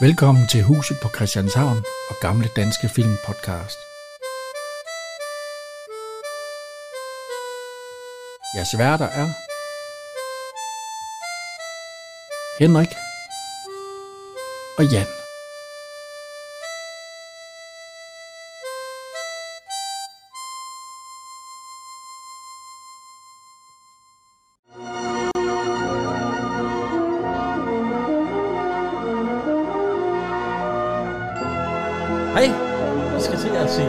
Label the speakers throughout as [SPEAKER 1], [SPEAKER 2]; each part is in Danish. [SPEAKER 1] Velkommen til Huset på Christianshavn og Gamle Danske Film Podcast. Jeres værter er Henrik og Jan.
[SPEAKER 2] Hej, vi skal til at se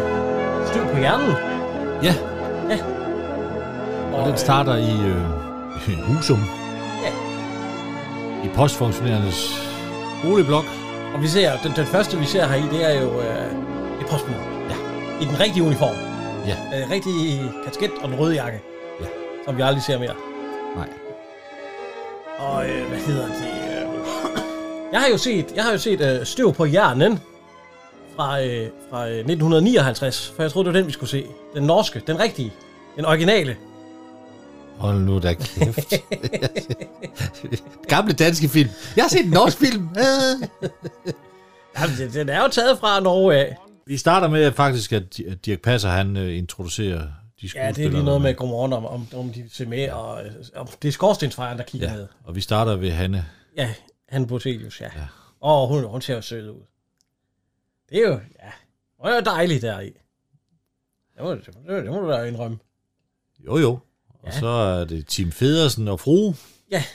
[SPEAKER 2] Støv på hjernen.
[SPEAKER 3] Ja.
[SPEAKER 2] Ja.
[SPEAKER 3] Og den starter i øh, Husum.
[SPEAKER 2] Ja.
[SPEAKER 3] I postfunktionærernes boligblok.
[SPEAKER 2] øh, Og vi ser, den, den første vi ser her i, det er jo øh, et postbud. Ja. I den rigtige uniform.
[SPEAKER 3] Ja.
[SPEAKER 2] Øh, rigtig kasket og den røde jakke.
[SPEAKER 3] Ja.
[SPEAKER 2] Som vi aldrig ser mere.
[SPEAKER 3] Nej.
[SPEAKER 2] Og øh, hvad hedder det? Øh, jeg har jo set, jeg har jo set øh, Støv på hjernen fra, øh, fra øh, 1959, for jeg troede, det var den, vi skulle se. Den norske, den rigtige, den originale.
[SPEAKER 3] Hold nu da kæft. Gamle danske film. Jeg har set en norsk film. Øh.
[SPEAKER 2] Jamen, den- den er jo taget fra Norge af.
[SPEAKER 3] Vi starter med faktisk, at Di- at Dirk Passer han øh, introducerer de skuespillere.
[SPEAKER 2] Ja, det er lige noget med godmorgen, om, om, om de ser med, og øh, om det er skorstensfejren, der kigger ja. med.
[SPEAKER 3] Ja, og vi starter ved Hanne.
[SPEAKER 2] Ja, han Botelius, ja. ja.
[SPEAKER 3] Ja.
[SPEAKER 2] Og hun, hun ser jo sød ud. Det er jo, ja, hun er jo dejlig deri. Det må, det, må- det må du da indrømme.
[SPEAKER 3] Jo, jo. Og så er det Tim Federsen og Fru.
[SPEAKER 2] Ja, som,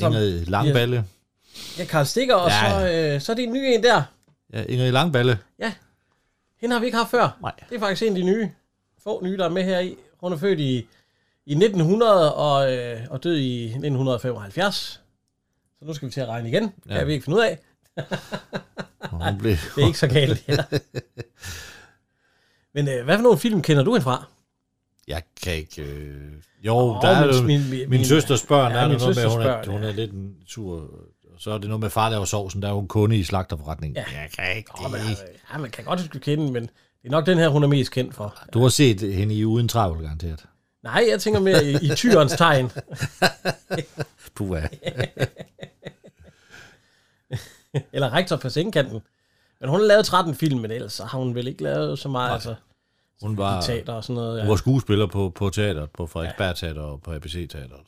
[SPEAKER 3] Som, Ingrid Langballe.
[SPEAKER 2] ja, Karl Stikker, og
[SPEAKER 3] Ja.
[SPEAKER 2] så, øh, så er det en ny en der.
[SPEAKER 3] Ja, Ingrid Langballe.
[SPEAKER 2] Hende har vi ikke haft før.
[SPEAKER 3] Nej.
[SPEAKER 2] Det er faktisk en af de nye, få nye, der er med her i. Hun er født i, i 1900 og, øh, og død i 1975. Så nu skal vi til at regne igen. Ja. Det
[SPEAKER 3] Ja.
[SPEAKER 2] har vi ikke fundet ud af.
[SPEAKER 3] Og hun blev...
[SPEAKER 2] Det er ikke så galt, ja. Men øh, hvad for nogle film kender du hende fra?
[SPEAKER 3] Jeg kan ikke... Øh... Jo, oh, der er
[SPEAKER 2] min-
[SPEAKER 3] jo...
[SPEAKER 2] min- min-
[SPEAKER 3] Min, min søsters børn,
[SPEAKER 2] ja,
[SPEAKER 3] ja, er
[SPEAKER 2] min
[SPEAKER 3] der noget med,
[SPEAKER 2] søsters
[SPEAKER 3] hun,
[SPEAKER 2] børn,
[SPEAKER 3] er, hun
[SPEAKER 2] ja.
[SPEAKER 3] er lidt en sur... og Så er det noget med far laver sovsen, der er hun kunde i slagterforretningen.
[SPEAKER 2] Ja.
[SPEAKER 3] Ja. Jeg kan ikke
[SPEAKER 2] Åh,
[SPEAKER 3] det.
[SPEAKER 2] men, altså, ja, man kan godt huske kende, men det er nok den her, hun er mest kendt for.
[SPEAKER 3] Du har set hende i Uden Travl, garanteret.
[SPEAKER 2] Nej, jeg tænker mere i, i tyrens tegn.
[SPEAKER 3] Puh, ja.
[SPEAKER 2] Eller rektor på sengekanten. Men hun har lavet 13 film, men ellers så har hun vel ikke lavet så meget. Altså,
[SPEAKER 3] Hun var,
[SPEAKER 2] teater og sådan noget.
[SPEAKER 3] hun
[SPEAKER 2] Ja.
[SPEAKER 3] var skuespiller på, på teateret, på Frederiksberg Teater og på ABC Teateret.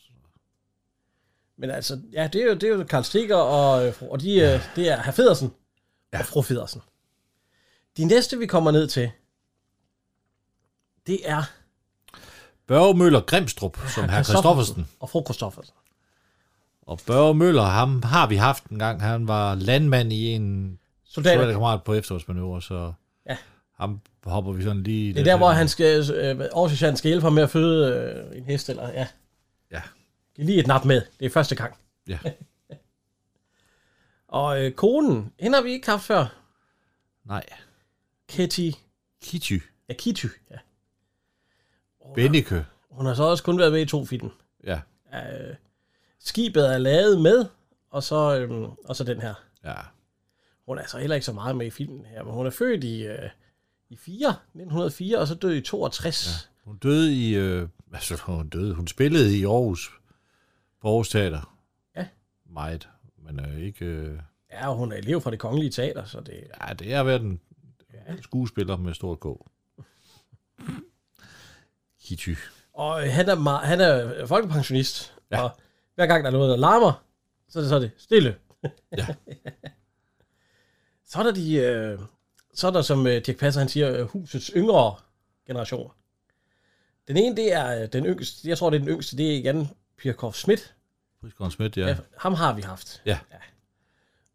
[SPEAKER 2] Men altså, ja, det er jo, det er jo Karl Stikker og, øh, fru- og de, ja. det er herr Federsen ja. og fru Federsen. De næste, vi kommer ned til, det er
[SPEAKER 3] Børge Møller Grimstrup, som herr Christoffersen.
[SPEAKER 2] og fru Christoffersen.
[SPEAKER 3] Og Børge Møller, ham har vi haft en gang. Han var landmand i en
[SPEAKER 2] Soldater.
[SPEAKER 3] soldaterkammerat på efterårsmanøvre, så
[SPEAKER 2] Ja.
[SPEAKER 3] ham hopper vi sådan lige...
[SPEAKER 2] Det er der, hvor han skal, øh, Aarhus han skal hjælpe ham med at føde øh, en hest, eller ja.
[SPEAKER 3] Ja.
[SPEAKER 2] Giv lige et nap med. Det er første gang.
[SPEAKER 3] øh, Ja.
[SPEAKER 2] Og øh, konen, hende har vi ikke haft før.
[SPEAKER 3] Nej.
[SPEAKER 2] Kitty.
[SPEAKER 3] Kitty.
[SPEAKER 2] Ja, Kitty. Ja.
[SPEAKER 3] Bennike.
[SPEAKER 2] Hun har så også kun været med i to film.
[SPEAKER 3] Ja.
[SPEAKER 2] Øh, skibet er lavet med, og så, øhm, og så den her.
[SPEAKER 3] Ja.
[SPEAKER 2] Hun er så heller ikke så meget med i filmen her, men hun er født i, øh, i 4, 1904, og så døde i 62. Ja.
[SPEAKER 3] Hun døde i... Øh, altså, hun døde. Hun spillede i Aarhus. På Aarhus Teater.
[SPEAKER 2] Ja.
[SPEAKER 3] Meget. Men øh, ikke... Øh,
[SPEAKER 2] Ja, og hun er elev fra det kongelige teater, så det...
[SPEAKER 3] ja, det er været en skuespiller med stort K. Kitty.
[SPEAKER 2] Og øh, han er, meget, han er øh, folkepensionist, ja.
[SPEAKER 3] Ja.
[SPEAKER 2] og hver gang der er noget, der larmer, så er det, så er det stille.
[SPEAKER 3] Ja.
[SPEAKER 2] så er der de... Øh, så er der, som øh, Dirk Passer han siger, øh, husets yngre generationer. Den ene, det er øh, den yngste, jeg tror, det er den yngste, det er Jan Pirkov Schmidt.
[SPEAKER 3] Prisgaard Schmidt, ja.
[SPEAKER 2] Ja.
[SPEAKER 3] ja
[SPEAKER 2] Ham har vi haft.
[SPEAKER 3] Ja.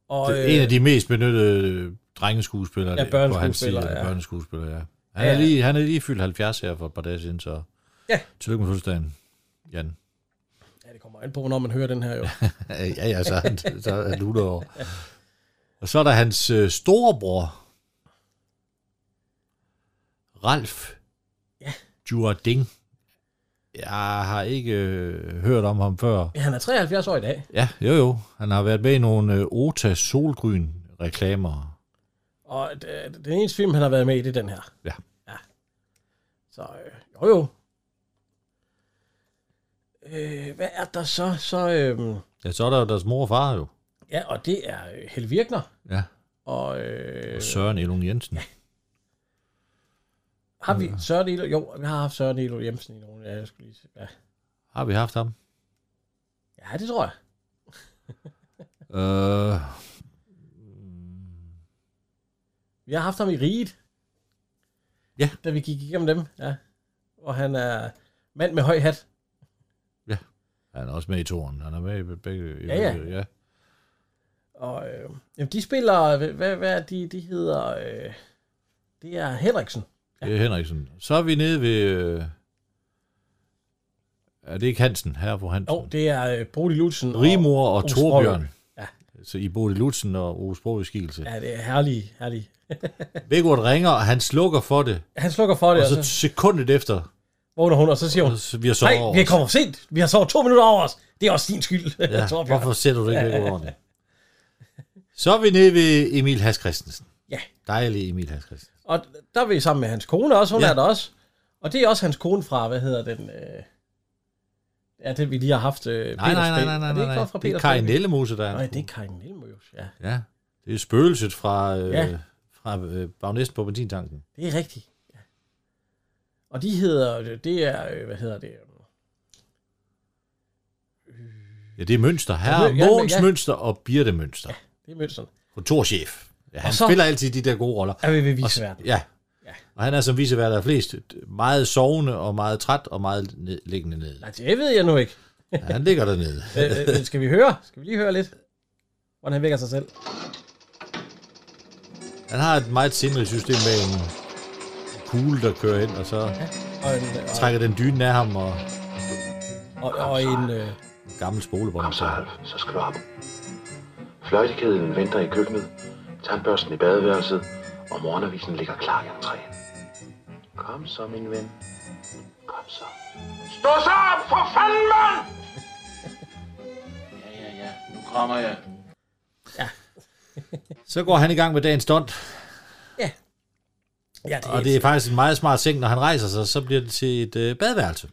[SPEAKER 2] Og, øh,
[SPEAKER 3] det er en af de mest benyttede øh, drengeskuespillere.
[SPEAKER 2] Ja,
[SPEAKER 3] det- på hans side.
[SPEAKER 2] børneskuespillere, ja.
[SPEAKER 3] Børneskuespillere, ja. Han,
[SPEAKER 2] Ja.
[SPEAKER 3] Er lige, han er lige fyldt 70 her for et par dage siden, så...
[SPEAKER 2] Ja.
[SPEAKER 3] Tillykke med fødselsdagen, Jan.
[SPEAKER 2] Ja, det kommer an på, når man hører den her jo.
[SPEAKER 3] Øh, ja, ja, så er han, så er han 100 år. Og så er der hans øh, storebror, Ralf
[SPEAKER 2] Ja.
[SPEAKER 3] Djurding. Jeg har ikke øh, hørt om ham før.
[SPEAKER 2] Ja, han er 73 år i dag,
[SPEAKER 3] Ja, jo jo. Han har været med i nogle øh, Ota Solgryn-reklamer.
[SPEAKER 2] og øh, den eneste film, han har været med i, det er den her.
[SPEAKER 3] Ja.
[SPEAKER 2] ja. Så øh, jo jo. Øh, hvad er der så? så øh,
[SPEAKER 3] Ja, så er der jo deres mor og far jo.
[SPEAKER 2] ja, og det er øh, Helle Virkner,
[SPEAKER 3] Ja.
[SPEAKER 2] Og øh,
[SPEAKER 3] Søren Elung Jensen.
[SPEAKER 2] har vi Søren Elo? Jo, vi har haft Søren Elo Jensen i nogle. Ja, jeg skulle lige se. Ja.
[SPEAKER 3] Har vi haft ham?
[SPEAKER 2] ja, det tror jeg.
[SPEAKER 3] Øh,
[SPEAKER 2] Vi har haft ham i riget.
[SPEAKER 3] Ja.
[SPEAKER 2] Da vi gik igennem dem, ja. Og han er mand med høj hat.
[SPEAKER 3] han er også med i toren. Han er med i begge.
[SPEAKER 2] Ja, ja.
[SPEAKER 3] ja.
[SPEAKER 2] Og øh, jamen, de spiller, hvad, hvad, hvad er de, de hedder, øh, det er Henriksen.
[SPEAKER 3] Det er Øh, Henriksen. Så er vi nede ved... Øh, er det ikke Hansen? Her på Hansen.
[SPEAKER 2] Jo, oh, det er øh, Brody Lutzen. og-
[SPEAKER 3] Rimor og
[SPEAKER 2] Brugs
[SPEAKER 3] Torbjørn.
[SPEAKER 2] Brogge. Ja.
[SPEAKER 3] Så I Bodil Lutzen og Ove Sprogbeskikkelse. Ja.
[SPEAKER 2] Ja, det er herlige, herlige.
[SPEAKER 3] Vægård ringer, og han slukker for det.
[SPEAKER 2] Han slukker for det,
[SPEAKER 3] Og
[SPEAKER 2] og
[SPEAKER 3] så
[SPEAKER 2] så
[SPEAKER 3] sekundet efter,
[SPEAKER 2] vågner hun, og så siger hun,
[SPEAKER 3] så vi har sovet
[SPEAKER 2] nej,
[SPEAKER 3] over
[SPEAKER 2] vi er
[SPEAKER 3] os.
[SPEAKER 2] kommet for sent. Vi har sovet to minutter over os. Det er også din skyld, ja,
[SPEAKER 3] Ja,
[SPEAKER 2] Torbjørn.
[SPEAKER 3] hvorfor sætter du det ikke væk ordentligt? Så er vi nede ved Emil Has Christensen.
[SPEAKER 2] Ja.
[SPEAKER 3] Dejlig Emil Has Christensen.
[SPEAKER 2] Og der er vi sammen med hans kone også, hun ja.
[SPEAKER 3] Ja.
[SPEAKER 2] er der også. Og det er også hans kone fra, hvad hedder den, øh, ja, den vi lige har haft, øh,
[SPEAKER 3] Nej, nej, nej, nej,
[SPEAKER 2] Er
[SPEAKER 3] nej,
[SPEAKER 2] det
[SPEAKER 3] nej,
[SPEAKER 2] ikke
[SPEAKER 3] nej.
[SPEAKER 2] fra
[SPEAKER 3] Det er
[SPEAKER 2] Peters
[SPEAKER 3] Karin
[SPEAKER 2] Baby?
[SPEAKER 3] Ellemose, der er.
[SPEAKER 2] Nej, det er Karin Elmøs, ja.
[SPEAKER 3] Ja, det er spøgelset fra, øh,
[SPEAKER 2] Ja.
[SPEAKER 3] ja. fra øh, bagnæsten på benzintanken.
[SPEAKER 2] Det er rigtigt. Ja. Og de hedder, det er, øh, hvad hedder det? øh,
[SPEAKER 3] Ja, det er Mønster. Her
[SPEAKER 2] Ja,
[SPEAKER 3] er
[SPEAKER 2] men-
[SPEAKER 3] Mogens
[SPEAKER 2] ja.
[SPEAKER 3] Mønster og Birte Mønster. Ja.
[SPEAKER 2] Det er Mønsen.
[SPEAKER 3] Kontorchef. Ja, han
[SPEAKER 2] Og så-
[SPEAKER 3] så... spiller altid de der gode roller.
[SPEAKER 2] Er vi ved
[SPEAKER 3] Og
[SPEAKER 2] vise
[SPEAKER 3] s-
[SPEAKER 2] verden.
[SPEAKER 3] Ja.
[SPEAKER 2] Ja.
[SPEAKER 3] ja. Og han er som visevært af flest meget sovende og meget træt og meget ned, liggende ned.
[SPEAKER 2] Nej, det ved jeg nu ikke.
[SPEAKER 3] Ja, han ligger dernede.
[SPEAKER 2] Øh, øh, men skal vi høre? Skal vi lige høre lidt? Hvordan han vækker sig selv.
[SPEAKER 3] Han har et meget sindrigt system med en kugle, der kører ind, og så
[SPEAKER 2] Og en, øh,
[SPEAKER 3] trækker den dynen af ham og
[SPEAKER 2] og, og, og en øh,
[SPEAKER 3] en gammel spolebånd.
[SPEAKER 4] Kom så,
[SPEAKER 3] Så.
[SPEAKER 4] Alf, så skal du op. Fløjtekedlen venter i køkkenet, tandbørsten i badeværelset, og morgenavisen ligger klar i entréen. Kom så, min ven. Kom så. Stå så op, for fanden, mand! ja, ja, ja. Nu kommer jeg.
[SPEAKER 3] så går han i gang med dagens stunt,
[SPEAKER 2] ja, det er,
[SPEAKER 3] og det er faktisk en meget smart seng, når han rejser sig, så bliver det til et øh, badeværelse.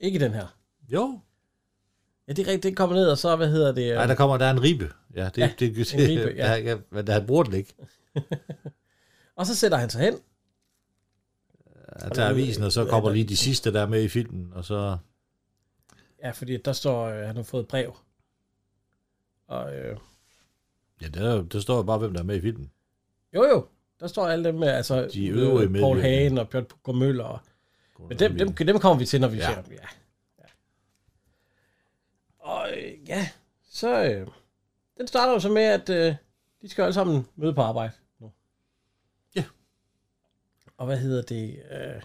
[SPEAKER 2] ikke den her.
[SPEAKER 3] Jo,
[SPEAKER 2] Ja, det er rigtigt. Det kommer ned, og så, hvad hedder det? Øh,
[SPEAKER 3] Nej, der kommer, der er en ribe. Ja, det,
[SPEAKER 2] Ja,
[SPEAKER 3] ja, det, det,
[SPEAKER 2] en ribe, ja.
[SPEAKER 3] ja. ja men han bruger den ikke.
[SPEAKER 2] og så sætter han sig hen.
[SPEAKER 3] Han tager avisen, og så kommer lige de sidste, der er med i filmen, og så...
[SPEAKER 2] Ja, fordi der står, øh, han har fået et brev. Og øh,
[SPEAKER 3] Ja, der, der står jo bare, hvem der er med i filmen.
[SPEAKER 2] jo, jo. Der står alle dem med, altså
[SPEAKER 3] De øvrige
[SPEAKER 2] øh, Paul
[SPEAKER 3] medvirkende.
[SPEAKER 2] Hagen og Bjørn Pugh Møller. Og, Men dem, dem, dem kommer vi til, når vi ja.
[SPEAKER 3] Ja.
[SPEAKER 2] ser dem. Ja. ja. Og øh, ja, så... Øh, den starter jo så med, at øh, de skal jo alle sammen møde på arbejde nu.
[SPEAKER 3] Ja.
[SPEAKER 2] Og hvad hedder det? Øh,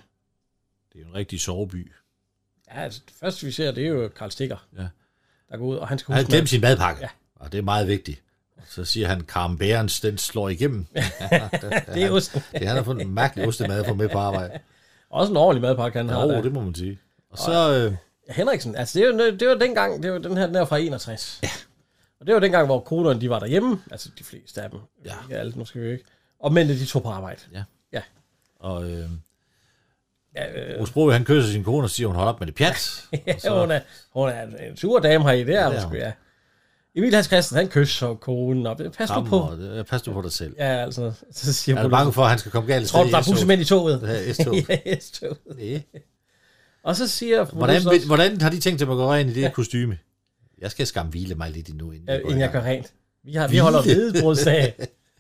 [SPEAKER 3] Det er jo en rigtig soveby.
[SPEAKER 2] ja, altså, det første vi ser, det er jo Karl Stikker.
[SPEAKER 3] Ja.
[SPEAKER 2] Der går ud, og han skal
[SPEAKER 3] Han har
[SPEAKER 2] huske...
[SPEAKER 3] glemt Altså, sin madpakke,
[SPEAKER 2] Ja.
[SPEAKER 3] ja. og det er meget vigtigt. Så siger han, Karen Bærens, den slår igennem. Ja,
[SPEAKER 2] det er osten.
[SPEAKER 3] det, han har fundet en mærkelig ostemad at få med på arbejde.
[SPEAKER 2] Også en ordentlig madpakke, han har.
[SPEAKER 3] Jo,
[SPEAKER 2] der.
[SPEAKER 3] det må man sige. Og så, øh,
[SPEAKER 2] Henriksen, altså det er jo, det var dengang, det var den her, den her fra 61. Ja. Og det var dengang, hvor konerne de var derhjemme, altså de fleste af dem.
[SPEAKER 3] Ja.
[SPEAKER 2] Ikke alle, nu skal vi jo ikke. Og mændene de tog på arbejde.
[SPEAKER 3] og øh,
[SPEAKER 2] Ja, øh,
[SPEAKER 3] Osbro, han kysser sin kone og siger, hun holder op med det pjat. Og
[SPEAKER 2] ja, hun, er, hun er en- en sur dame her i det, ja,
[SPEAKER 3] det er
[SPEAKER 2] måske,
[SPEAKER 3] hun.
[SPEAKER 2] ja. Emil Hans Christen, han kysser konen, og pas nu
[SPEAKER 3] strammer,
[SPEAKER 2] på.
[SPEAKER 3] og det- Pas du på dig selv.
[SPEAKER 2] Ja, altså, så siger
[SPEAKER 3] Er
[SPEAKER 2] hun,
[SPEAKER 3] du bange for, at han skal komme galt af
[SPEAKER 2] tror
[SPEAKER 3] sted
[SPEAKER 2] du, der er
[SPEAKER 3] i S-toget?
[SPEAKER 2] bussemænd i toget?
[SPEAKER 3] Det her S-tog?
[SPEAKER 2] ja, S-toget.
[SPEAKER 3] Næh.
[SPEAKER 2] Og så siger
[SPEAKER 3] Hvordan,
[SPEAKER 2] Bruce
[SPEAKER 3] vil,
[SPEAKER 2] også,
[SPEAKER 3] hvordan har de tænkt sig at gå ind i det ja. kostyme? Jeg skal skam hvile mig lidt endnu, inden
[SPEAKER 2] øh,
[SPEAKER 3] går
[SPEAKER 2] inden
[SPEAKER 3] i
[SPEAKER 2] jeg gør
[SPEAKER 3] gang.
[SPEAKER 2] rent. Vi, har, vi holder hvedebrudsdag.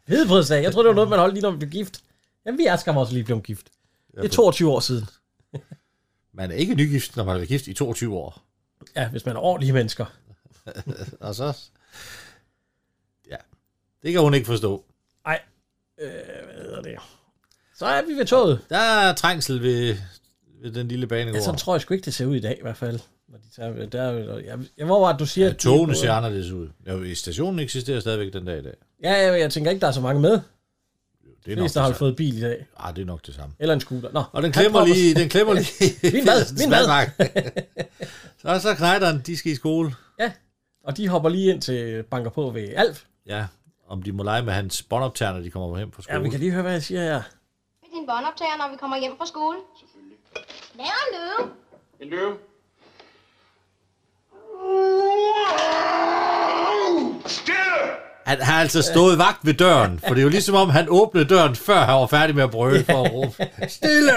[SPEAKER 2] Hvedebrudsdag. Jeg tror, det var noget, man holdt lige, når man blev gift. Jamen, vi er skam også lige blevet gift. Det er 22 år siden.
[SPEAKER 3] Man er ikke nygift, når man har været gift i 22 år.
[SPEAKER 2] Ja, hvis man er ordentlige mennesker.
[SPEAKER 3] Og så... Ja, det kan hun ikke forstå.
[SPEAKER 2] Nej, øh, hvad hedder det? Så er vi ved toget.
[SPEAKER 3] Der er trængsel ved, ved den lille banegård.
[SPEAKER 2] Ja, sådan tror jeg sgu ikke, det ser ud i dag i hvert fald. Når de tager, der, er jo- jeg, jeg hvor var det, du siger?
[SPEAKER 3] Ja,
[SPEAKER 2] at de-
[SPEAKER 3] togene ser anderledes ud. Ja, stationen eksisterer stadigvæk den dag i dag.
[SPEAKER 2] Ja, ja, jeg tænker ikke, der er så mange med.
[SPEAKER 3] Det
[SPEAKER 2] De
[SPEAKER 3] er nok det,
[SPEAKER 2] fleste har jo
[SPEAKER 3] samme.
[SPEAKER 2] fået bil i dag.
[SPEAKER 3] Ah, det er nok det samme.
[SPEAKER 2] Eller en scooter. Nå,
[SPEAKER 3] Og den
[SPEAKER 2] han
[SPEAKER 3] klemmer
[SPEAKER 2] popper-
[SPEAKER 3] lige, den klemmer lige.
[SPEAKER 2] Min mad, min mad.
[SPEAKER 3] så, så knejderen, de skal i skole.
[SPEAKER 2] Ja, og de hopper lige ind til banker på ved Alf.
[SPEAKER 3] Ja, om de må lege med hans båndoptager, når de kommer hjem fra skole.
[SPEAKER 2] Ja, vi kan lige høre, hvad jeg siger her.
[SPEAKER 5] Med din båndoptager, når vi kommer hjem fra skole. Selvfølgelig. Hvad er en løve?
[SPEAKER 6] En løve.
[SPEAKER 5] Stille!
[SPEAKER 3] Han har altså stået vagt ved døren, for det er jo ligesom om, han åbnede døren, før han var færdig med at brøle for at råbe, stille!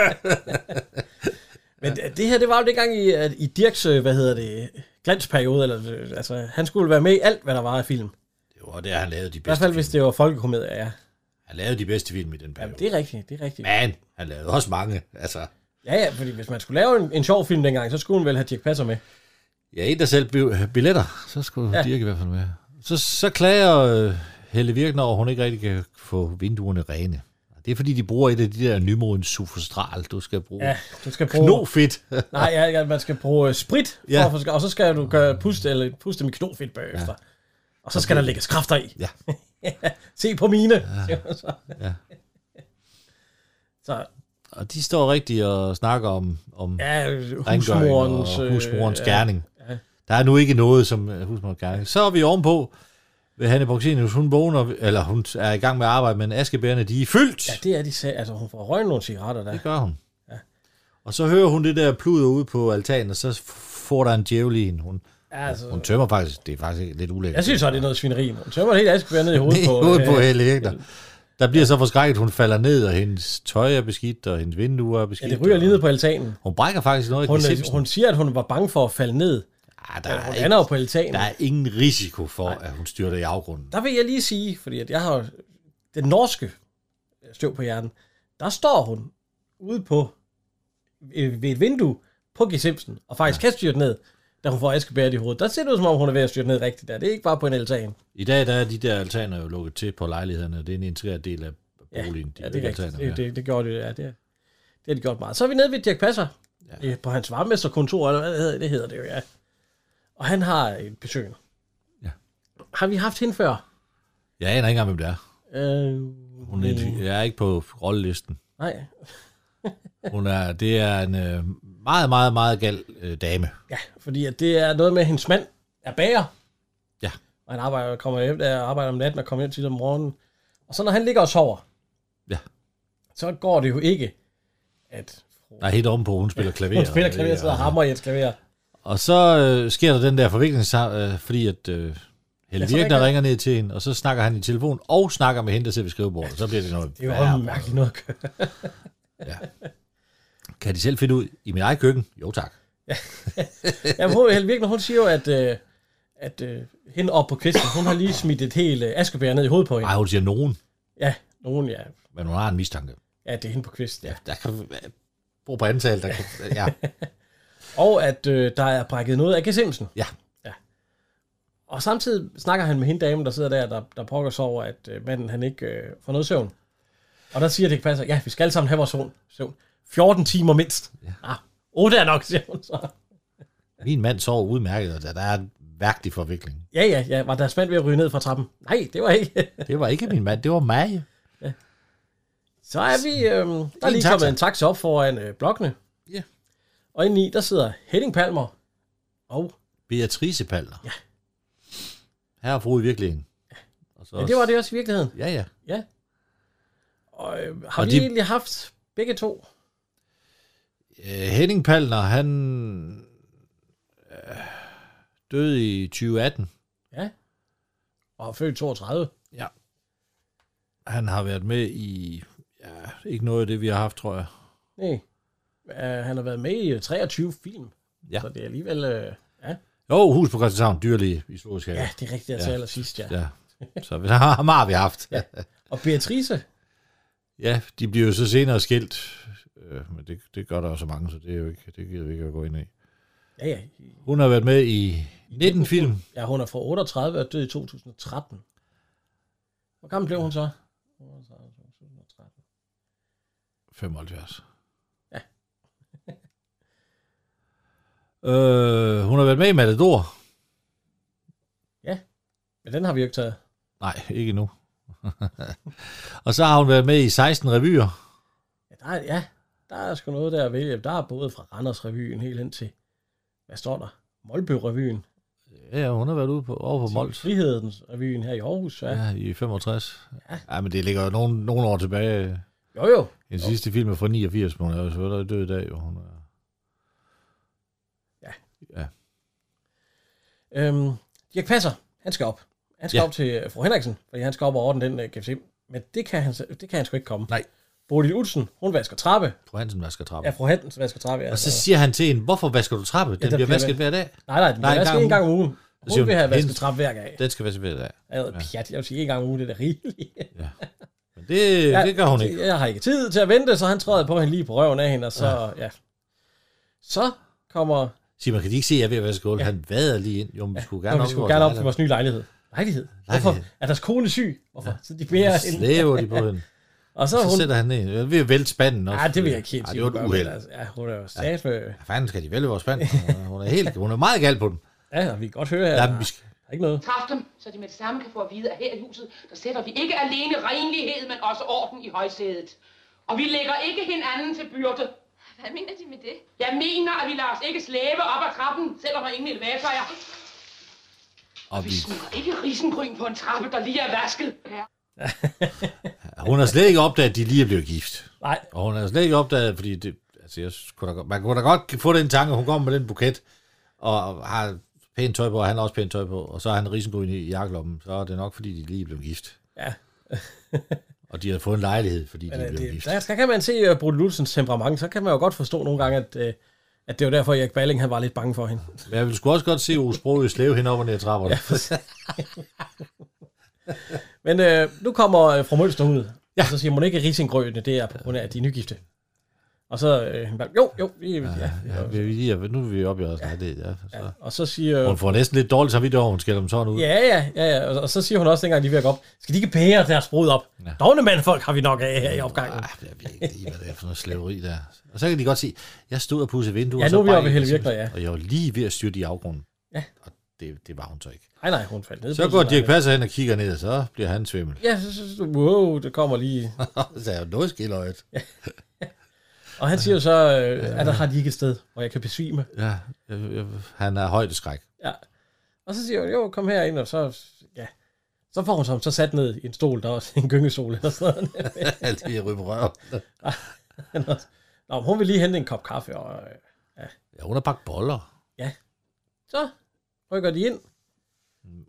[SPEAKER 2] Men det- det her, det var jo dengang i, at i Dirks, øh, hvad hedder det, glansperiode, eller, øh, altså, han skulle være med i alt, hvad der var af film.
[SPEAKER 3] Det var der, han lavede de
[SPEAKER 2] I hvert fald,
[SPEAKER 3] bedste
[SPEAKER 2] hvis
[SPEAKER 3] film.
[SPEAKER 2] det var folkekomedier, ja.
[SPEAKER 3] Han lavede de bedste film i den
[SPEAKER 2] Jamen,
[SPEAKER 3] periode.
[SPEAKER 2] det er rigtigt, det er rigtigt.
[SPEAKER 3] Men han lavede også mange, altså.
[SPEAKER 2] Ja, ja, fordi hvis man skulle lave en, en sjov film dengang, så skulle man vel have Dirk Passer med.
[SPEAKER 3] Ja, en der selv billetter, så skulle
[SPEAKER 2] Ja.
[SPEAKER 3] ja. Dirk i hvert fald med. Så, så klager øh, Helle Virkner, over, at hun ikke rigtig kan få vinduerne rene. Det er fordi, de bruger et af de der nymodens sufostral, du skal bruge.
[SPEAKER 2] Ja,
[SPEAKER 3] Ja.
[SPEAKER 2] du skal bruge...
[SPEAKER 3] Knofedt.
[SPEAKER 2] Nej, ja, ja, man skal bruge øh, sprit, for
[SPEAKER 3] Ja.
[SPEAKER 2] at få, og så skal du gøre puste, eller puste med knofedt bagefter. Ja. Og så skal der lægges kræfter i.
[SPEAKER 3] Ja.
[SPEAKER 2] Se på mine. Ja. Så.
[SPEAKER 3] Ja.
[SPEAKER 2] så
[SPEAKER 3] og de står rigtig og snakker om, om ja,
[SPEAKER 2] ja,
[SPEAKER 3] husmorens,
[SPEAKER 2] husmorens...
[SPEAKER 3] og
[SPEAKER 2] øh,
[SPEAKER 3] husmorens
[SPEAKER 2] ja.
[SPEAKER 3] ja, gerning. Ja. Der er nu ikke noget som øh, husmorens gerning. Så er vi ovenpå ved Hanne Borgsenius. Hun vågner, eller hun er i gang med at arbejde, men askebærerne, de er fyldt.
[SPEAKER 2] Ja, det er de sagde. Altså, hun får røgnet nogle cigaretter der.
[SPEAKER 3] Det gør hun. Ja. Og så hører hun det der pluder ude på altanen, og så f- får der en djævel i hende. Hun,
[SPEAKER 2] Ja, altså,
[SPEAKER 3] hun tømmer faktisk, det er faktisk lidt ulækkert.
[SPEAKER 2] jeg synes så, det er noget svineri. Hun tømmer helt askebær ned i hovedet på...
[SPEAKER 3] på, ude på
[SPEAKER 2] øh,
[SPEAKER 3] Helle Virkner. Der bliver så forskrækket, hun falder ned, og hendes tøj er beskidt, og hendes vinduer er
[SPEAKER 2] ja,
[SPEAKER 3] beskidt.
[SPEAKER 2] det ryger lige ned
[SPEAKER 3] og-
[SPEAKER 2] på altanen.
[SPEAKER 3] Hun brækker faktisk noget
[SPEAKER 2] Hun,
[SPEAKER 3] i
[SPEAKER 2] øh,
[SPEAKER 3] Simpson.
[SPEAKER 2] hun siger, at hun var bange for at falde ned.
[SPEAKER 3] Ah, der,
[SPEAKER 2] Ja,
[SPEAKER 3] er
[SPEAKER 2] hun
[SPEAKER 3] ikke,
[SPEAKER 2] lander jo på altanen.
[SPEAKER 3] der er ingen risiko for, at hun styrter i afgrunden.
[SPEAKER 2] Der vil jeg lige sige, fordi at jeg har jo den norske støv på hjernen, der står hun ude på øh, ved et vindue på G. Simpson, og faktisk ja. kan styrte ned, da hun får askebæret i hovedet. Der ser det ud, som om hun er ved at styrte ned rigtigt der. Det er ikke bare på en altan.
[SPEAKER 3] I dag der er de der altaner jo lukket til på lejlighederne, og det er en integreret del af
[SPEAKER 2] Ja,
[SPEAKER 3] boligen.
[SPEAKER 2] ja, det er rigtigt.
[SPEAKER 3] altaner,
[SPEAKER 2] Det, det, det gjorde det, ja. Det, det har de gjort meget. Så er vi nede ved Dirk Passer, ja. på hans varmemesterkontor, eller hvad hedder det, hedder det jo, ja. Og han har et besøg.
[SPEAKER 3] Ja.
[SPEAKER 2] Har vi haft hende før?
[SPEAKER 3] Jeg aner ikke engang, hvem det er.
[SPEAKER 2] Øh,
[SPEAKER 3] Hun
[SPEAKER 2] Mm.
[SPEAKER 3] er, jeg er ikke på rollelisten.
[SPEAKER 2] Nej,
[SPEAKER 3] Hun er, det er en øh, meget, meget, meget gal øh, dame.
[SPEAKER 2] Ja, fordi at det er noget med, at hendes mand er bager.
[SPEAKER 3] Ja.
[SPEAKER 2] Og han arbejder, kommer hjem, der arbejder om natten og kommer hjem til om morgenen. Og så når han ligger og sover,
[SPEAKER 3] Ja.
[SPEAKER 2] så går det jo ikke, at
[SPEAKER 3] Der er helt omme på, hun spiller klaver.
[SPEAKER 2] hun spiller klaver, sidder og hammer i et klaver.
[SPEAKER 3] Og så øh, sker der den der forvikling, øh, fordi at øh, Helle
[SPEAKER 2] Ja,
[SPEAKER 3] ja,
[SPEAKER 2] så
[SPEAKER 3] Virkner
[SPEAKER 2] ringer-
[SPEAKER 3] ringer ned til hende, og så snakker han i telefon, og snakker med hende, der sidder ved skrivebordet. Så bliver det noget
[SPEAKER 2] Det er jo
[SPEAKER 3] værre.
[SPEAKER 2] også mærkeligt noget at gøre.
[SPEAKER 3] Kan de selv finde ud i min egen køkken? Jo tak.
[SPEAKER 2] Jamen, hun, Helle Virkner, hun siger jo, at, øh, at øh, hende op på kvisten, hun har lige smidt et helt øh, askebær ned i hovedet på hende.
[SPEAKER 3] Nej, hun siger nogen,
[SPEAKER 2] Ja, nogen, ja.
[SPEAKER 3] men hun har en mistanke.
[SPEAKER 2] Ja, det er hende på kvisten, ja.
[SPEAKER 3] Ja, der kan brug på antal. Der kan, ja.
[SPEAKER 2] Og at øh, der er brækket noget af G. Simpson.
[SPEAKER 3] Ja.
[SPEAKER 2] ja. Og samtidig snakker han med hende damen, der sidder der, der, der pokker sig over, at øh, manden han ikke øh, får noget søvn. Og der siger det ikke passer, ja, vi skal alle sammen have vores søvn. søvn. 14 timer mindst. Ja. Ah, 8 er nok, siger hun så.
[SPEAKER 3] Min mand sover udmærket, og der, der er en værktig forvikling.
[SPEAKER 2] Ja, ja, ja, var der spændt ved at ryge ned fra trappen? Nej, det var ikke.
[SPEAKER 3] Det var ikke min mand, det var mig.
[SPEAKER 2] Så er vi, øh, der er
[SPEAKER 3] En
[SPEAKER 2] lige
[SPEAKER 3] taxa.
[SPEAKER 2] kommet en taxa op foran øh, blokkene.
[SPEAKER 3] Ja.
[SPEAKER 2] Og indeni, der sidder Henning Palmer og
[SPEAKER 3] Beatrice Palner.
[SPEAKER 2] Ja.
[SPEAKER 3] Her er fru i virkeligheden. Og så
[SPEAKER 2] ja, det var det også i virkeligheden.
[SPEAKER 3] Ja, ja.
[SPEAKER 2] Ja. Og øh, har
[SPEAKER 3] Og
[SPEAKER 2] og vi de...
[SPEAKER 3] de-
[SPEAKER 2] egentlig haft begge to?
[SPEAKER 3] Øh, Henning Palner, han øh, døde i 2018.
[SPEAKER 2] Ja. Og er født 32.
[SPEAKER 3] Ja. Han har været med i... Ja, ikke noget af det, vi har haft, tror jeg.
[SPEAKER 2] Nej. Uh, han har været med i øh, 23 film.
[SPEAKER 3] Ja.
[SPEAKER 2] Så det er alligevel... Øh, ja.
[SPEAKER 3] Jo, hus på Christianshavn, dyrlæge i Zoologisk Have.
[SPEAKER 2] ja, det er rigtigt, jeg ja.
[SPEAKER 3] Ja.
[SPEAKER 2] sidst, ja. ja.
[SPEAKER 3] ja. Så vi- ham har vi haft.
[SPEAKER 2] Ja.
[SPEAKER 3] Ja.
[SPEAKER 2] Og Beatrice,
[SPEAKER 3] ja, de bliver jo så senere skilt. Øh, men det, det gør der jo så mange, så det, er jo ikke, det gider vi ikke at gå ind i.
[SPEAKER 2] ja, ja,
[SPEAKER 3] Hun har været med i 19 film.
[SPEAKER 2] ja, hun er fra 38 og død i 2013. Hvor gammel blev hun så? 38, 2013.
[SPEAKER 3] 75.
[SPEAKER 2] Ja.
[SPEAKER 3] øh, hun har været med i Matador.
[SPEAKER 2] Men den har vi jo ikke taget.
[SPEAKER 3] Nej, ikke endnu. og så har hun været med i 16 revyer.
[SPEAKER 2] Ja, der er, ja, der er sgu noget der at vælge. Der er både fra Randers Revyen helt ind til... Hvad står der? Målby Revyen.
[SPEAKER 3] Ja, hun har været ude på, over på Mols.
[SPEAKER 2] Frihedens Revyen her i Aarhus. Ja. ja.
[SPEAKER 3] Ja, i 65. Ja. ja men det ligger jo nogle, nogle år tilbage.
[SPEAKER 2] Jo, jo.
[SPEAKER 3] Den sidste film er fra 89, men hun er jo selvfølgelig død i dag. Jo. Hun er...
[SPEAKER 2] Ja.
[SPEAKER 3] Ja.
[SPEAKER 2] Øhm, Dirk Passer, han skal op. Han skal ja.
[SPEAKER 3] Ja.
[SPEAKER 2] op til øh, fru Henriksen, fordi han skal op og ordne den uh, KFC. Men det kan, han, så- det kan han sgu ikke komme.
[SPEAKER 3] Nej.
[SPEAKER 2] Bodil Utsen, hun vasker trappe.
[SPEAKER 3] Fru Hansen vasker trappen.
[SPEAKER 2] Ja,
[SPEAKER 3] Ja,
[SPEAKER 2] fru Henriksen vasker trappe.
[SPEAKER 3] og
[SPEAKER 2] Altså.
[SPEAKER 3] så siger han til hende, hvorfor vasker du trappen? Den
[SPEAKER 2] der
[SPEAKER 3] ja, bliver
[SPEAKER 2] bliver
[SPEAKER 3] vasket hver dag.
[SPEAKER 2] nej, nej, den
[SPEAKER 3] Nej,
[SPEAKER 2] bliver
[SPEAKER 3] en
[SPEAKER 2] vasket
[SPEAKER 3] gang
[SPEAKER 2] en gang
[SPEAKER 3] om
[SPEAKER 2] om ugen.
[SPEAKER 3] siger
[SPEAKER 2] Hun vil
[SPEAKER 3] hun,
[SPEAKER 2] have vasket
[SPEAKER 3] hendes-
[SPEAKER 2] trappe hver gang.
[SPEAKER 3] Den skal vaskes hver dag.
[SPEAKER 2] Jeg ved, pjat, jeg vil sige en gang om ugen, det er da rigeligt.
[SPEAKER 3] Men det, ja, det gør hun ikke.
[SPEAKER 2] Jeg har ikke tid til at vente, så han træder på hende lige på røven af hende, og så, ja. ja. Så kommer...
[SPEAKER 3] Sig, man kan de ikke se, at jeg er ved at vaske gulvet. Ja. Han vader lige ind. Jo, men vi skulle gerne
[SPEAKER 2] Nå, vi
[SPEAKER 3] op,
[SPEAKER 2] skulle gerne op til vores nye lejlighed. Lejlighed? Hvorfor?
[SPEAKER 3] Lejlighed.
[SPEAKER 2] Er deres kone syg? Hvorfor? Ja. Så de beder hende.
[SPEAKER 3] Slæver de på hende.
[SPEAKER 2] Og så
[SPEAKER 3] Så,
[SPEAKER 2] er hun...
[SPEAKER 3] sætter han ned. Jeg vil vælte spanden også.
[SPEAKER 2] Nej, det vil jeg ikke helt
[SPEAKER 3] sige.
[SPEAKER 2] sige,
[SPEAKER 3] Det
[SPEAKER 2] hun
[SPEAKER 3] var et
[SPEAKER 2] gør,
[SPEAKER 3] uheld.
[SPEAKER 2] men altså, Ja, hun er jo sat med...
[SPEAKER 3] Hvad fanden skal de vælge vores spand? Hun er- Hun er, helt, hun er meget galt på den.
[SPEAKER 2] Ja, og vi kan godt høre her.
[SPEAKER 3] Ja,
[SPEAKER 2] der
[SPEAKER 3] vi skal,
[SPEAKER 2] er ikke noget.
[SPEAKER 6] Træf dem, så de med det samme kan få at vide, at her i huset, der sætter vi ikke alene renlighed, men også orden i højsædet. Og vi lægger ikke hinanden til byrde.
[SPEAKER 5] Hvad mener de med det?
[SPEAKER 6] Jeg mener, at vi lader os ikke slæbe op ad trappen, selvom der ingen elevator er.
[SPEAKER 3] og
[SPEAKER 6] Vi
[SPEAKER 3] vi,
[SPEAKER 6] smider ikke risengryn på en trappe, der lige er vasket. Ja.
[SPEAKER 3] hun har slet ikke opdaget, at de lige er blevet gift.
[SPEAKER 2] Nej,
[SPEAKER 3] Og hun har slet ikke opdaget, fordi det, altså, jeg kunne da, godt- man kunne da godt få den tanke, hun kommer med den buket, og har pænt tøj på, og han har også pænt tøj på, og så har han risengryn i jakkelommen, så er det nok, fordi de lige blev gift.
[SPEAKER 2] Ja.
[SPEAKER 3] og de har fået en lejlighed, fordi de
[SPEAKER 2] men, øh,
[SPEAKER 3] blev
[SPEAKER 2] det,
[SPEAKER 3] gift.
[SPEAKER 2] der, der kan man se uh, Bruno Lutzens temperament, så kan man jo godt forstå nogle gange, at, uh, at det var derfor, at Erik Balling han var lidt bange for hende.
[SPEAKER 3] Men jeg ville sgu også godt se Ove Sprogøe slæve hende op og ned ad trapperne.
[SPEAKER 2] Men uh, nu kommer uh, fru Mølster ud, ja. og så siger hun ikke, at risengrødene, det er på grund af, at de er nygifte. Og så, øh, han bare, jo, jo, vi, ja, ja,
[SPEAKER 3] Ja, vi, vi, ja, nu er vi oppe i os. Ja. Det, ja, så.
[SPEAKER 2] Og så siger...
[SPEAKER 3] Hun får næsten lidt dårligt samvittighed over, hun skælder dem sådan ud.
[SPEAKER 2] Ja, ja, ja, ja. Og- Og så siger hun også, dengang de er ved at gå op, skal de ikke bære deres brud op? Ja. Dogne mandfolk har vi nok af her i opgangen.
[SPEAKER 3] Ah, jeg ved ikke lige, hvad det er for noget slaveri der. Og så kan de godt se, jeg stod og pudsede vinduer.
[SPEAKER 2] Ja,
[SPEAKER 3] og så
[SPEAKER 2] nu er vi
[SPEAKER 3] brækkede
[SPEAKER 2] oppe i Helle
[SPEAKER 3] det
[SPEAKER 2] Virkner,
[SPEAKER 3] simpelthen.
[SPEAKER 2] ja.
[SPEAKER 3] Og jeg var lige ved at styrte i afgrunden.
[SPEAKER 2] Ja.
[SPEAKER 3] Og det, det var hun så ikke.
[SPEAKER 2] Nej, nej, hun faldt ned.
[SPEAKER 3] Så går Dirk Passer hen og kigger ned, og så bliver han svimmel.
[SPEAKER 2] Ja, så, så, så, wow, det kommer lige.
[SPEAKER 3] så er jeg jo noget skiløjet.
[SPEAKER 2] Og han siger jo så, øh, at der har de ikke et sted, hvor jeg kan besvime.
[SPEAKER 3] Ja, jeg, jeg, han er højdeskræk.
[SPEAKER 2] Ja. Og så siger hun, jo, kom herind, og så, ja. Så får hun sig så sat ned i en stol, der er også en gyngestol eller sådan noget.
[SPEAKER 3] Alt det ryber røv.
[SPEAKER 2] Nå, men hun vil lige hente en kop kaffe, og øh,
[SPEAKER 3] Ja, hun har pakket boller
[SPEAKER 2] så rykker de ind.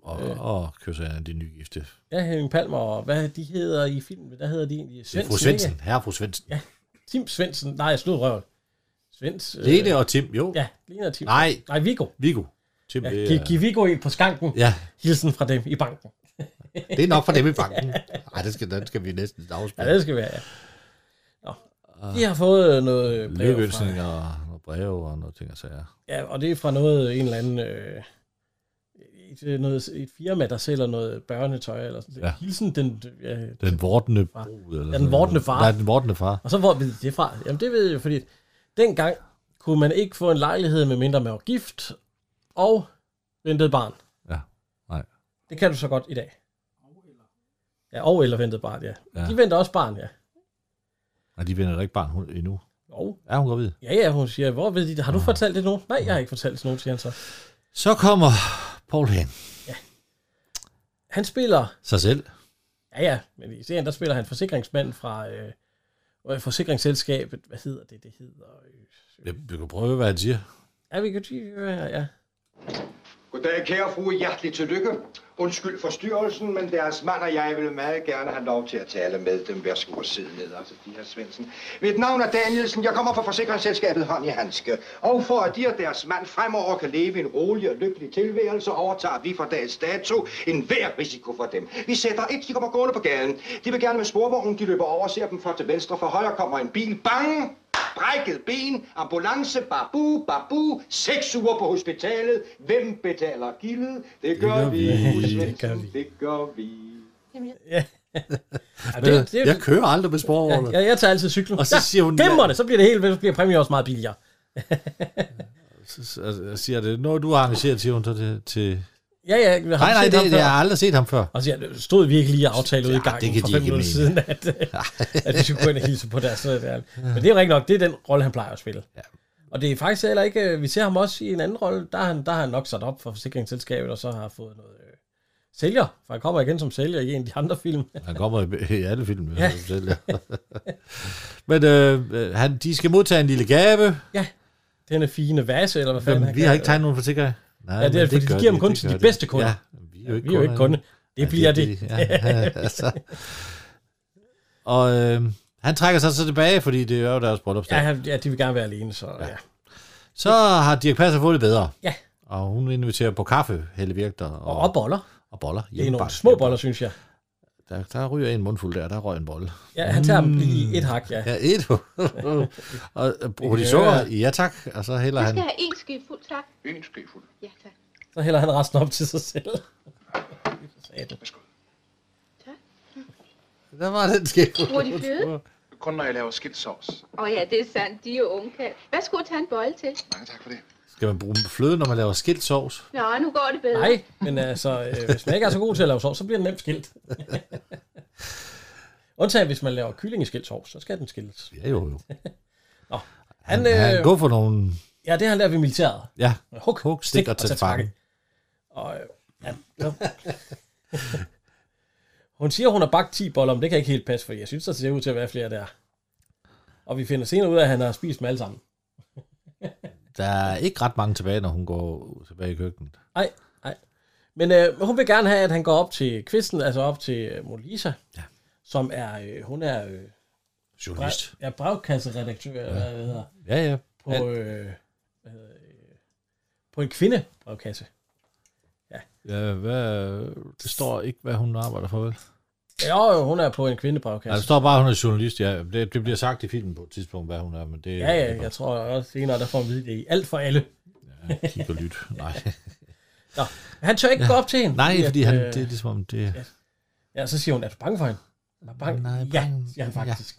[SPEAKER 3] og, og kysser de nygifte.
[SPEAKER 2] Ja, Henning Palmer, og hvad de hedder i filmen, hvad hedder de egentlig?
[SPEAKER 3] Det er
[SPEAKER 2] Svendsen,
[SPEAKER 3] fru Svendsen. Herre fru Svendsen. Ja.
[SPEAKER 2] ikke? Tim Svendsen, nej, jeg slog røven. Svends. øh,
[SPEAKER 3] Lene og Tim, jo. Ja.
[SPEAKER 2] Ja, Lene og Tim.
[SPEAKER 3] Nej,
[SPEAKER 2] Nej, Viggo.
[SPEAKER 3] Viggo. Tim,
[SPEAKER 2] Ja,
[SPEAKER 3] ja, det,
[SPEAKER 2] giv,
[SPEAKER 3] er-
[SPEAKER 2] giv Viggo en på skanken. Ja.
[SPEAKER 3] ja,
[SPEAKER 2] Hilsen fra dem i banken.
[SPEAKER 3] det er nok for dem i banken. Ej, det skal, den skal vi næsten
[SPEAKER 2] Ja,
[SPEAKER 3] afspille.
[SPEAKER 2] det skal være, ja. Nå. De har fået øh, noget øh, brev fra,
[SPEAKER 3] Lykkeønsninger og nogle breve og noget ting og sager.
[SPEAKER 2] ja, og det er fra noget, en eller anden, øh, et, øh, noget, et firma, der sælger noget børnetøj, eller sådan
[SPEAKER 3] Ja.
[SPEAKER 2] ja. Hilsen, den, ja,
[SPEAKER 3] Den vortende brud. Eller
[SPEAKER 2] Ja, den vortende far.
[SPEAKER 3] Nej, den vortende far.
[SPEAKER 2] og så hvor ved de det fra? Jamen det ved jeg jo, fordi dengang kunne man ikke få en lejlighed, med mindre man var gift og ventede barn.
[SPEAKER 3] Ja, nej.
[SPEAKER 2] Det kan du så godt i dag. Ja, og eller ventede barn, ja. ja.
[SPEAKER 3] Ja.
[SPEAKER 2] De venter også barn, ja.
[SPEAKER 3] Nej, de vender da ikke barn hun, endnu.
[SPEAKER 2] Jo,
[SPEAKER 3] Er hun gravid?
[SPEAKER 2] Ja, ja, hun siger, hvor ved de det? Har du fortalt det til nogen? Nej, jeg har ikke fortalt det til nogen, siger han så.
[SPEAKER 3] Så kommer Paul hen.
[SPEAKER 2] Han spiller,
[SPEAKER 3] Sig selv.
[SPEAKER 2] ja ja, men i serien, der spiller han forsikringsmand fra øh, øh, forsikringsselskabet, hvad hedder det, det hedder? øh,
[SPEAKER 3] Jeg, jeg kan prøve, hvad han siger.
[SPEAKER 2] Ja, vi kan sige, øh, ja.
[SPEAKER 7] Goddag, kære fru. Hjerteligt tillykke. Undskyld forstyrrelsen, men deres mand og jeg vil meget gerne have lov til at tale med dem. Værsgo og sidde ned, altså de her Svendsen. Mit navn er Danielsen. Jeg kommer fra forsikringsselskabet Hånd i Handske. Og for at de og deres mand fremover kan leve en rolig og lykkelig tilværelse, overtager vi fra dags dato en hver risiko for dem. Vi sætter et, de kommer gående på gaden. De vil gerne med sporvognen, de løber over og ser dem fra til venstre. For højre kommer en bil. Bang! Brækket ben, ambulance, babu, babu, seks uger på hospitalet. Hvem betaler gildet? Det gør,
[SPEAKER 3] gør
[SPEAKER 7] vi.
[SPEAKER 3] vi.
[SPEAKER 2] Det gør vi.
[SPEAKER 7] Det gør vi.
[SPEAKER 2] ja det, det,
[SPEAKER 3] Jeg kører aldrig med sporvogne.
[SPEAKER 2] ja, ja, jeg tager altid cyklen.
[SPEAKER 3] Og så
[SPEAKER 2] ja,
[SPEAKER 3] siger hun-
[SPEAKER 2] Glemmer det, så bliver det helt, så bliver præmien også meget billigere.
[SPEAKER 3] Altså, Jeg siger det. Når du har arrangeret, siger hun så til... til...
[SPEAKER 2] Ja, ja, har
[SPEAKER 3] Nej,
[SPEAKER 2] du
[SPEAKER 3] nej,
[SPEAKER 2] set
[SPEAKER 3] det,
[SPEAKER 2] ham før?
[SPEAKER 3] det, jeg har aldrig set ham før.
[SPEAKER 2] Og så siger han, stod vi ikke lige og aftalte ud i
[SPEAKER 3] Ja,
[SPEAKER 2] gangen
[SPEAKER 3] det kan
[SPEAKER 2] for
[SPEAKER 3] de
[SPEAKER 2] fem
[SPEAKER 3] ikke
[SPEAKER 2] minutter
[SPEAKER 3] mene.
[SPEAKER 2] siden, at, at vi skulle gå ind og hilse på deres. sådan der. Men det er jo rigtig nok, det er den rolle, han plejer at spille. Ja. Og det er faktisk heller ikke, øh, vi ser ham også i en anden rolle, der har han, der har han nok sat op for forsikringsselskabet, og så har fået noget øh, sælger, for han kommer igen som sælger i en af de andre film.
[SPEAKER 3] Han kommer i, i alle film. Ja. Men øh, han, de skal modtage en lille gave.
[SPEAKER 2] Den er fine vase, eller hvad fanden
[SPEAKER 3] Jamen,
[SPEAKER 2] han
[SPEAKER 3] vi
[SPEAKER 2] kan-
[SPEAKER 3] har ikke tegnet nogen forsikring. Nej,
[SPEAKER 2] Ja, det er,
[SPEAKER 3] men
[SPEAKER 2] fordi de
[SPEAKER 3] gør
[SPEAKER 2] giver dem kun
[SPEAKER 3] det
[SPEAKER 2] til
[SPEAKER 3] gør
[SPEAKER 2] de bedste kunder.
[SPEAKER 3] Ja, vi er jo ikke,
[SPEAKER 2] Vi er jo ikke kunde. Det bliver det.
[SPEAKER 3] Ja, altså. Og øh, han trækker sig så tilbage, fordi det er jo deres bryllupsdag.
[SPEAKER 2] Ja,
[SPEAKER 3] Ja.
[SPEAKER 2] han- ja, de vil gerne være alene, så ja.
[SPEAKER 3] Så har Dirk Passer fået det bedre.
[SPEAKER 2] Ja.
[SPEAKER 3] Og hun inviterer på kaffe, Helle Virkter.
[SPEAKER 2] Og,
[SPEAKER 3] Og,
[SPEAKER 2] og boller.
[SPEAKER 3] og boller.
[SPEAKER 2] Det er nogle
[SPEAKER 3] Hjemmebagt.
[SPEAKER 2] små boller, synes jeg.
[SPEAKER 3] Der, der ryger en mundfuld der, der røg en bolle.
[SPEAKER 2] Ja, han tager dem lige
[SPEAKER 3] Mm.
[SPEAKER 2] i et hak, ja.
[SPEAKER 3] Ja, et. og øh, bruger de
[SPEAKER 2] Ja.
[SPEAKER 3] sukker? Ja tak. Og så hælder
[SPEAKER 5] Jeg skal
[SPEAKER 3] han.
[SPEAKER 5] have en ske fuld, tak.
[SPEAKER 7] En skefuld.
[SPEAKER 5] Ja, tak.
[SPEAKER 2] Så hælder han resten op til sig selv. Satan.
[SPEAKER 3] Der var den skæv.
[SPEAKER 5] Bruger de fløde?
[SPEAKER 7] Kun når jeg laver skilsovs.
[SPEAKER 5] Åh ja, det er sandt. De er jo unge Hvad skulle tage en bolle til?
[SPEAKER 7] Mange tak for det.
[SPEAKER 3] Skal man bruge fløde, når man laver skilt sovs?
[SPEAKER 5] Nå, nu går det bedre.
[SPEAKER 2] Nej, men altså, øh, hvis man ikke er så god til at lave sovs, så bliver den nemt skilt. Undtagen hvis man laver kyllingeskilt sovs, så skal den skilles.
[SPEAKER 3] Ja, jo, jo.
[SPEAKER 2] Han,
[SPEAKER 3] Han, han
[SPEAKER 2] øh,
[SPEAKER 3] går for nogle...
[SPEAKER 2] ja, det har han lært ved militæret.
[SPEAKER 3] Ja,
[SPEAKER 2] Huk,
[SPEAKER 3] hug, stik og tag fange.
[SPEAKER 2] Og, øh, ja, så- hun siger, hun har bagt 10 boller, men det kan ikke helt passe, for jeg synes, der ser ud til at være flere der. Og vi finder senere ud af, at han har spist dem alle sammen.
[SPEAKER 3] Der er ikke ret mange tilbage, når hun går tilbage i køkkenet.
[SPEAKER 2] Nej, nej. Men øh, hun vil gerne have, at han går op til kvisten, altså op til øh, Molisa, ja. som er, øh, hun er øh,
[SPEAKER 3] Journalist.
[SPEAKER 2] Ja, brevkasseredaktør, ja. eller hvad det hedder,
[SPEAKER 3] Ja, ja.
[SPEAKER 2] på, øh, hvad hedder, det, øh, på en kvindebrevkasse.
[SPEAKER 3] ja hvad, det står ikke, hvad hun arbejder for, vel?
[SPEAKER 2] Jo, jo, hun er på en
[SPEAKER 3] Nej, det
[SPEAKER 2] kvindebrevkasse.
[SPEAKER 3] står bare, at hun er journalist. Ja. Det, det bliver sagt i filmen på et tidspunkt, hvad hun er, men det
[SPEAKER 2] Ja,
[SPEAKER 3] det er
[SPEAKER 2] ja,
[SPEAKER 3] bare
[SPEAKER 2] jeg tror også senere, der får vi vide det i alt for alle.
[SPEAKER 3] at kigge og lytte. Nej,
[SPEAKER 2] Han tør ikke ja. gå op til hende.
[SPEAKER 3] Nej fordi
[SPEAKER 2] at,
[SPEAKER 3] han,
[SPEAKER 2] øh,
[SPEAKER 3] det er ligesom, det
[SPEAKER 2] Ja, så siger hun, er du bange for hende? Er du bange?
[SPEAKER 3] Nej,
[SPEAKER 2] Nej, bange.
[SPEAKER 3] bange.
[SPEAKER 2] Ja, siger han faktisk.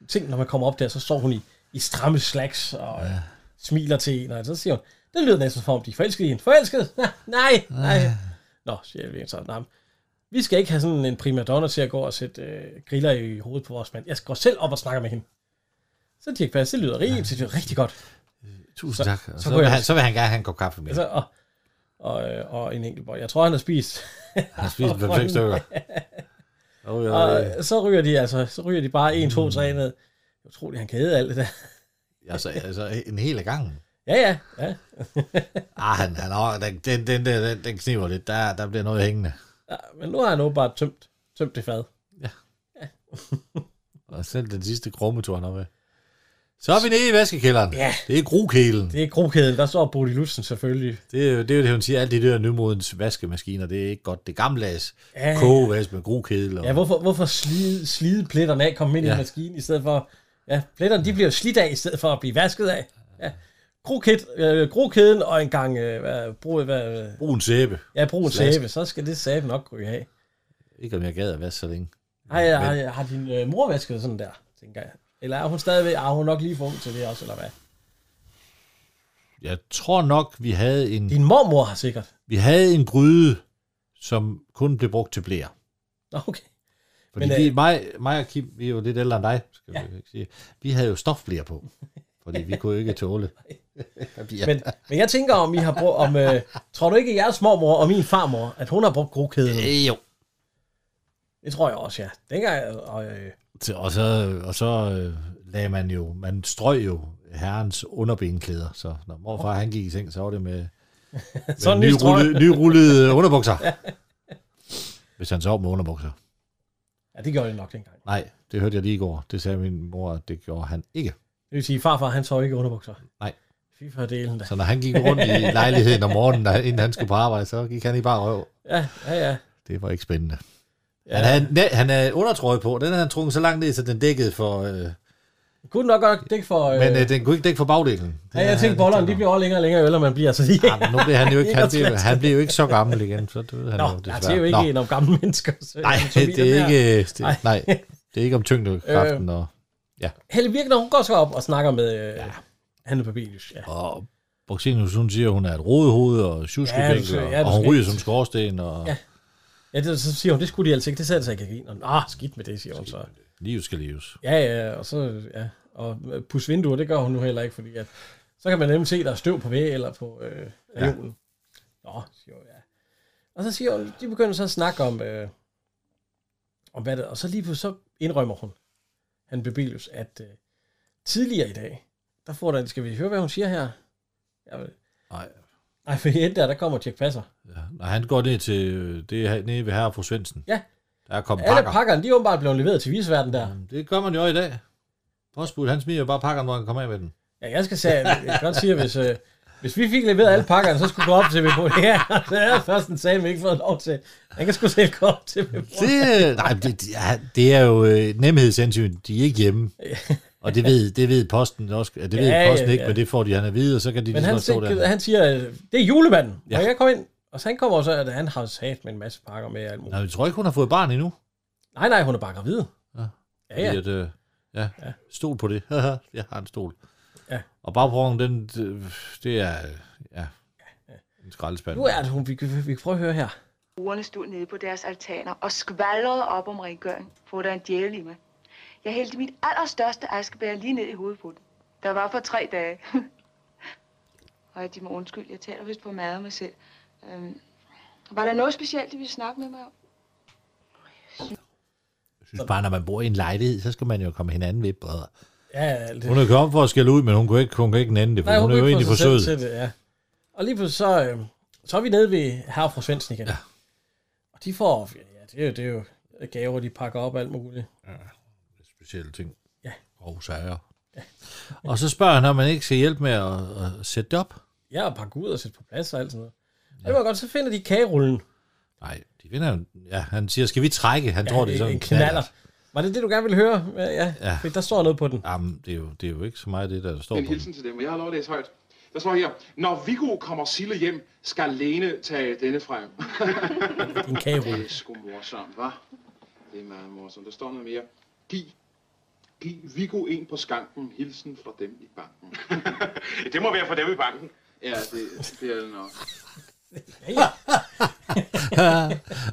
[SPEAKER 2] Ja. Tænk, når man kommer op der, så står hun i, i stramme slacks og ja. smiler til en, og så siger hun, det lyder næsten som om, de er forelskede i hende. Forelsket? Ja, nej, nej. Nå, siger vi så. Nej, men vi skal ikke have sådan en primadonna til at gå og sætte øh, griller i hovedet på vores mand. Jeg går selv op og snakker med hende. Så Dirk Pass, det lyder rigtig, det lyder rigtig godt. så-
[SPEAKER 3] Tusind tak.
[SPEAKER 2] så
[SPEAKER 3] Og Så,
[SPEAKER 2] kunne
[SPEAKER 3] vil
[SPEAKER 2] jeg
[SPEAKER 3] han,
[SPEAKER 2] også-
[SPEAKER 3] så vil han gerne have en kop kaffe med.
[SPEAKER 2] Altså, og, og, øh, og en enkelt bold. Jeg tror, han har spist.
[SPEAKER 3] Han spiser fem seks stykker. Oh, ja, ja.
[SPEAKER 2] Og så ryger de altså, så ryger de bare 1, 2, 3 ned. Jeg tror, han kædede alt det der.
[SPEAKER 3] Altså, altså, en hel gang.
[SPEAKER 2] Ja, ja, ja.
[SPEAKER 3] Ah, han, han har, den, den, den, der, den, den kniver lidt. Der, der bliver noget hængende.
[SPEAKER 2] Ja, men nu har han åbenbart tømt, tømt det fad.
[SPEAKER 3] Og selv den sidste krumme tog han op af. Så er vi nede i vaskekælderen.
[SPEAKER 2] Ja.
[SPEAKER 3] Det er grukælen.
[SPEAKER 2] Det er grokæden, der står Bodil Lutzen selvfølgelig.
[SPEAKER 3] Det, er jo- det er jo det, hun siger. Alt det der nymodens vaskemaskiner, det er ikke godt. Det er gammeldags
[SPEAKER 2] Ja.
[SPEAKER 3] kogevask med grukædel. Og...
[SPEAKER 2] Ja, hvorfor, hvorfor slide, slide pletterne af, komme ind ja.
[SPEAKER 3] Ja.
[SPEAKER 2] i maskinen i stedet for... Ja, pletterne de bliver jo slidt af, i stedet for at blive vasket af. Ja. Grokæd, øh, grokæden og en gang øh, hvad, brug, hvad, øh,
[SPEAKER 3] Brun sæbe.
[SPEAKER 2] ja, brug en
[SPEAKER 3] Slask.
[SPEAKER 2] sæbe, så skal det sæbe nok ryge af.
[SPEAKER 3] Ikke om jeg gad at vaske så længe.
[SPEAKER 2] Ej, har, har din øh, mor vasket sådan der, tænker jeg. Eller er hun stadigvæk, er hun nok lige for ung til det også, eller hvad?
[SPEAKER 3] Jeg tror nok, vi havde en,
[SPEAKER 2] Din mormor har sikkert.
[SPEAKER 3] vi havde en gryde, som kun blev brugt til blære.
[SPEAKER 2] Nå, okay.
[SPEAKER 3] Fordi
[SPEAKER 2] Men,
[SPEAKER 3] Men, vi,
[SPEAKER 2] øh,
[SPEAKER 3] mig, mig og Kim, vi er jo lidt ældre end dig, skal ja. ikke sige. Vi havde jo stofblære på, fordi vi kunne jo ikke tåle. ja.
[SPEAKER 2] Men, men jeg tænker, om I har brugt, om, øh, tror du ikke, at jeres mormor og min farmor, at hun har brugt grokæden?
[SPEAKER 3] Øh, jo.
[SPEAKER 2] Det tror jeg også, ja. Dengang, og, øh,
[SPEAKER 3] Så- Og så, og så øh, lagde man jo, man strøg jo herrens underbenklæder, så når morfar han gik i seng, så var det med,
[SPEAKER 2] så
[SPEAKER 3] med
[SPEAKER 2] en ny strøm.
[SPEAKER 3] nyrullede, nyrullede underbukser. Hvis han sov med underbukser.
[SPEAKER 2] Ja, det gjorde det nok dengang.
[SPEAKER 3] Nej, det hørte jeg lige i går. Det sagde min mor, at det gjorde han ikke.
[SPEAKER 2] Det vil sige, farfar, han sov ikke i underbukser.
[SPEAKER 3] Nej.
[SPEAKER 2] Fy for delen da.
[SPEAKER 3] Så når han gik rundt i lejligheden om morgenen, når- inden han skulle på arbejde, så gik han i bare røv.
[SPEAKER 2] Ja, ja, ja.
[SPEAKER 3] Det var ikke spændende. Ja. Han, havde, næ- han havde undertrøje på. Den havde han trukket så langt ned, så den dækkede for... Øh,
[SPEAKER 2] Kunne nok godt dække for... Øh,
[SPEAKER 3] men øh, den kunne ikke dække for bagdelen. Den
[SPEAKER 2] ja, jeg
[SPEAKER 3] havde
[SPEAKER 2] tænkte,
[SPEAKER 3] han
[SPEAKER 2] bollerne, de
[SPEAKER 3] ikke
[SPEAKER 2] bliver også længere og længere, jo ældre man bliver. Så de,
[SPEAKER 3] tænkt over. Ja, Ah, men nu bliver han jo ikke, han,
[SPEAKER 2] Det er
[SPEAKER 3] bliver,
[SPEAKER 2] også
[SPEAKER 3] han bliver jo ikke så gammel igen, så det ved han
[SPEAKER 2] Nå,
[SPEAKER 3] jo
[SPEAKER 2] ja,
[SPEAKER 3] desværre.
[SPEAKER 2] det er jo ikke en om gamle mennesker. Så
[SPEAKER 3] Nej, det er ikke, det,
[SPEAKER 2] Nej.
[SPEAKER 3] nej, det er ikke om tyngdekraften
[SPEAKER 2] Øh.
[SPEAKER 3] og,
[SPEAKER 2] Helle Virkner, hun går så op og snakker med øh, ja. Hanne Babelius. Ja.
[SPEAKER 3] og Boxenius, hun siger, hun er et rodehoved og sjuskebænkel,
[SPEAKER 2] Ja, du- ja,
[SPEAKER 3] ja,
[SPEAKER 2] du
[SPEAKER 3] og hun
[SPEAKER 2] skal-
[SPEAKER 3] ryger som skorsten, og ja.
[SPEAKER 2] ja, det, så siger hun, det skulle de altså ikke. Det satte sig ikke i. Og, Ah, skidt med det, siger hun så.
[SPEAKER 3] livet skal leves.
[SPEAKER 2] Ja, ja, og så, ja. Og øh, pusse vinduer, det gør hun nu heller ikke, fordi at, så kan man nemlig se, der er støv på væg eller på øh, reolen. Ja. Nå, siger hun, ja. Og så siger hun, de begynder så at snakke om, øh, om hvad det og så lige pludselig så indrømmer hun, han Bebelius, at øh, tidligere i dag, der får der, skal vi høre, hvad hun siger her? Jeg,
[SPEAKER 3] Nej.
[SPEAKER 2] Nej, for i enden der, der kommer Dirk Passer.
[SPEAKER 3] Ja. Når han går ned til, øh, det er her- nede ved herre og fru Svendsen.
[SPEAKER 2] Ja.
[SPEAKER 3] Der kom
[SPEAKER 2] Alle
[SPEAKER 3] pakker.
[SPEAKER 2] pakkerne, de er åbenbart blevet leveret til visverden der.
[SPEAKER 3] Jamen, Det gør man jo i dag. Postbud, han smider jo bare pakkerne, hvor han kommer af med den.
[SPEAKER 2] Ja, jeg skal sige, jeg kan godt sige, at hvis, øh, hvis vi fik leveret alle pakkerne, så skulle vi gå op til VB. Ja, det er først en sag, vi ikke fået lov til. Han kan sgu selv gå op til VB.
[SPEAKER 3] Det, nej, det, det, er, det er jo øh, nemhedshensyn. De er ikke hjemme. Og det ved, det ved posten også. Ja, Det ved
[SPEAKER 2] Ja,
[SPEAKER 3] ja,
[SPEAKER 2] ja,
[SPEAKER 3] posten ja, ikke,
[SPEAKER 2] ja.
[SPEAKER 3] men det får de han ligesom at vide, og så kan de
[SPEAKER 2] Men
[SPEAKER 3] lige så
[SPEAKER 2] han,
[SPEAKER 3] godt stå
[SPEAKER 2] siger,
[SPEAKER 3] der.
[SPEAKER 2] han siger, øh, det er julemanden. Ja.
[SPEAKER 3] Ja.
[SPEAKER 2] Og jeg kom ind, og så han kommer så, at han har sat med en masse pakker med og alt muligt.
[SPEAKER 3] Nej, jeg tror ikke, hun har fået barn endnu.
[SPEAKER 2] Nej, nej, hun er bare gravid.
[SPEAKER 3] Ja.
[SPEAKER 2] Ja, ja.
[SPEAKER 3] Fordi at, øh, ja, ja. Stol på det. jeg har en stol.
[SPEAKER 2] Ja.
[SPEAKER 3] Og bagprovnen, den, det- det er ja, en skraldespand.
[SPEAKER 2] Nu er det hun, vi, vi, vi kan prøve at høre her.
[SPEAKER 8] Brugerne stod nede på deres altaner og skvaldrede op om rengøring, for der er en djævel i mig. Jeg hældte mit allerstørste askebær lige ned i hovedet på den. Der var for tre dage. og de må undskylde, jeg taler vist på meget af mig selv. Øhm, var der noget specielt, de ville snakke med mig om?
[SPEAKER 3] Jeg synes bare, når man bor i en lejlighed, så skal man jo komme hinanden ved bedre.
[SPEAKER 2] Ja, ja, det.
[SPEAKER 3] Hun er kommet for at skælde ud, men hun kunne ikke, hun kunne ikke nænde det, for
[SPEAKER 2] Nej,
[SPEAKER 3] Nej, hun, hun er jo
[SPEAKER 2] kunne ikke
[SPEAKER 3] egentlig
[SPEAKER 2] få
[SPEAKER 3] for
[SPEAKER 2] sig selv til
[SPEAKER 3] sød.
[SPEAKER 2] det, ja. Og lige pludselig så, øh, så er vi nede ved herre og fru Svendsen igen. Ja. Og de får, ja, det er jo, det er jo gaver, de pakker op og alt muligt.
[SPEAKER 3] specielle ting.
[SPEAKER 2] Ja.
[SPEAKER 3] Og sager. Ja. og så spørger han, om man ikke skal hjælpe med at, at sætte det op.
[SPEAKER 2] Ja, og pakke ud og sætte på plads og alt sådan noget. Ja. Det var godt, så finder de kagerullen.
[SPEAKER 3] Nej, de vinder jo. Ja, han siger, skal vi trække? Han ja, tror, det er sådan en knaller.
[SPEAKER 2] Øh, Var det det, du gerne ville høre? Ja, ja.
[SPEAKER 3] Ja.
[SPEAKER 2] Fordi der står noget på den.
[SPEAKER 3] Jamen, det er, jo, det er jo ikke så meget det, der står på
[SPEAKER 9] En
[SPEAKER 3] den.
[SPEAKER 9] hilsen til dem, og jeg har lov at læse højt. Der står her, når Viggo kommer Sille hjem, skal Lene tage denne frem.
[SPEAKER 2] En
[SPEAKER 9] Det
[SPEAKER 2] kagerulle.
[SPEAKER 9] er sgu morsomt, hva'? Det er meget morsomt. Der står noget mere. Giv, giv Viggo en på skanken. Hilsen fra dem i banken. det må være fra dem i banken. Ja, det, det er det nok.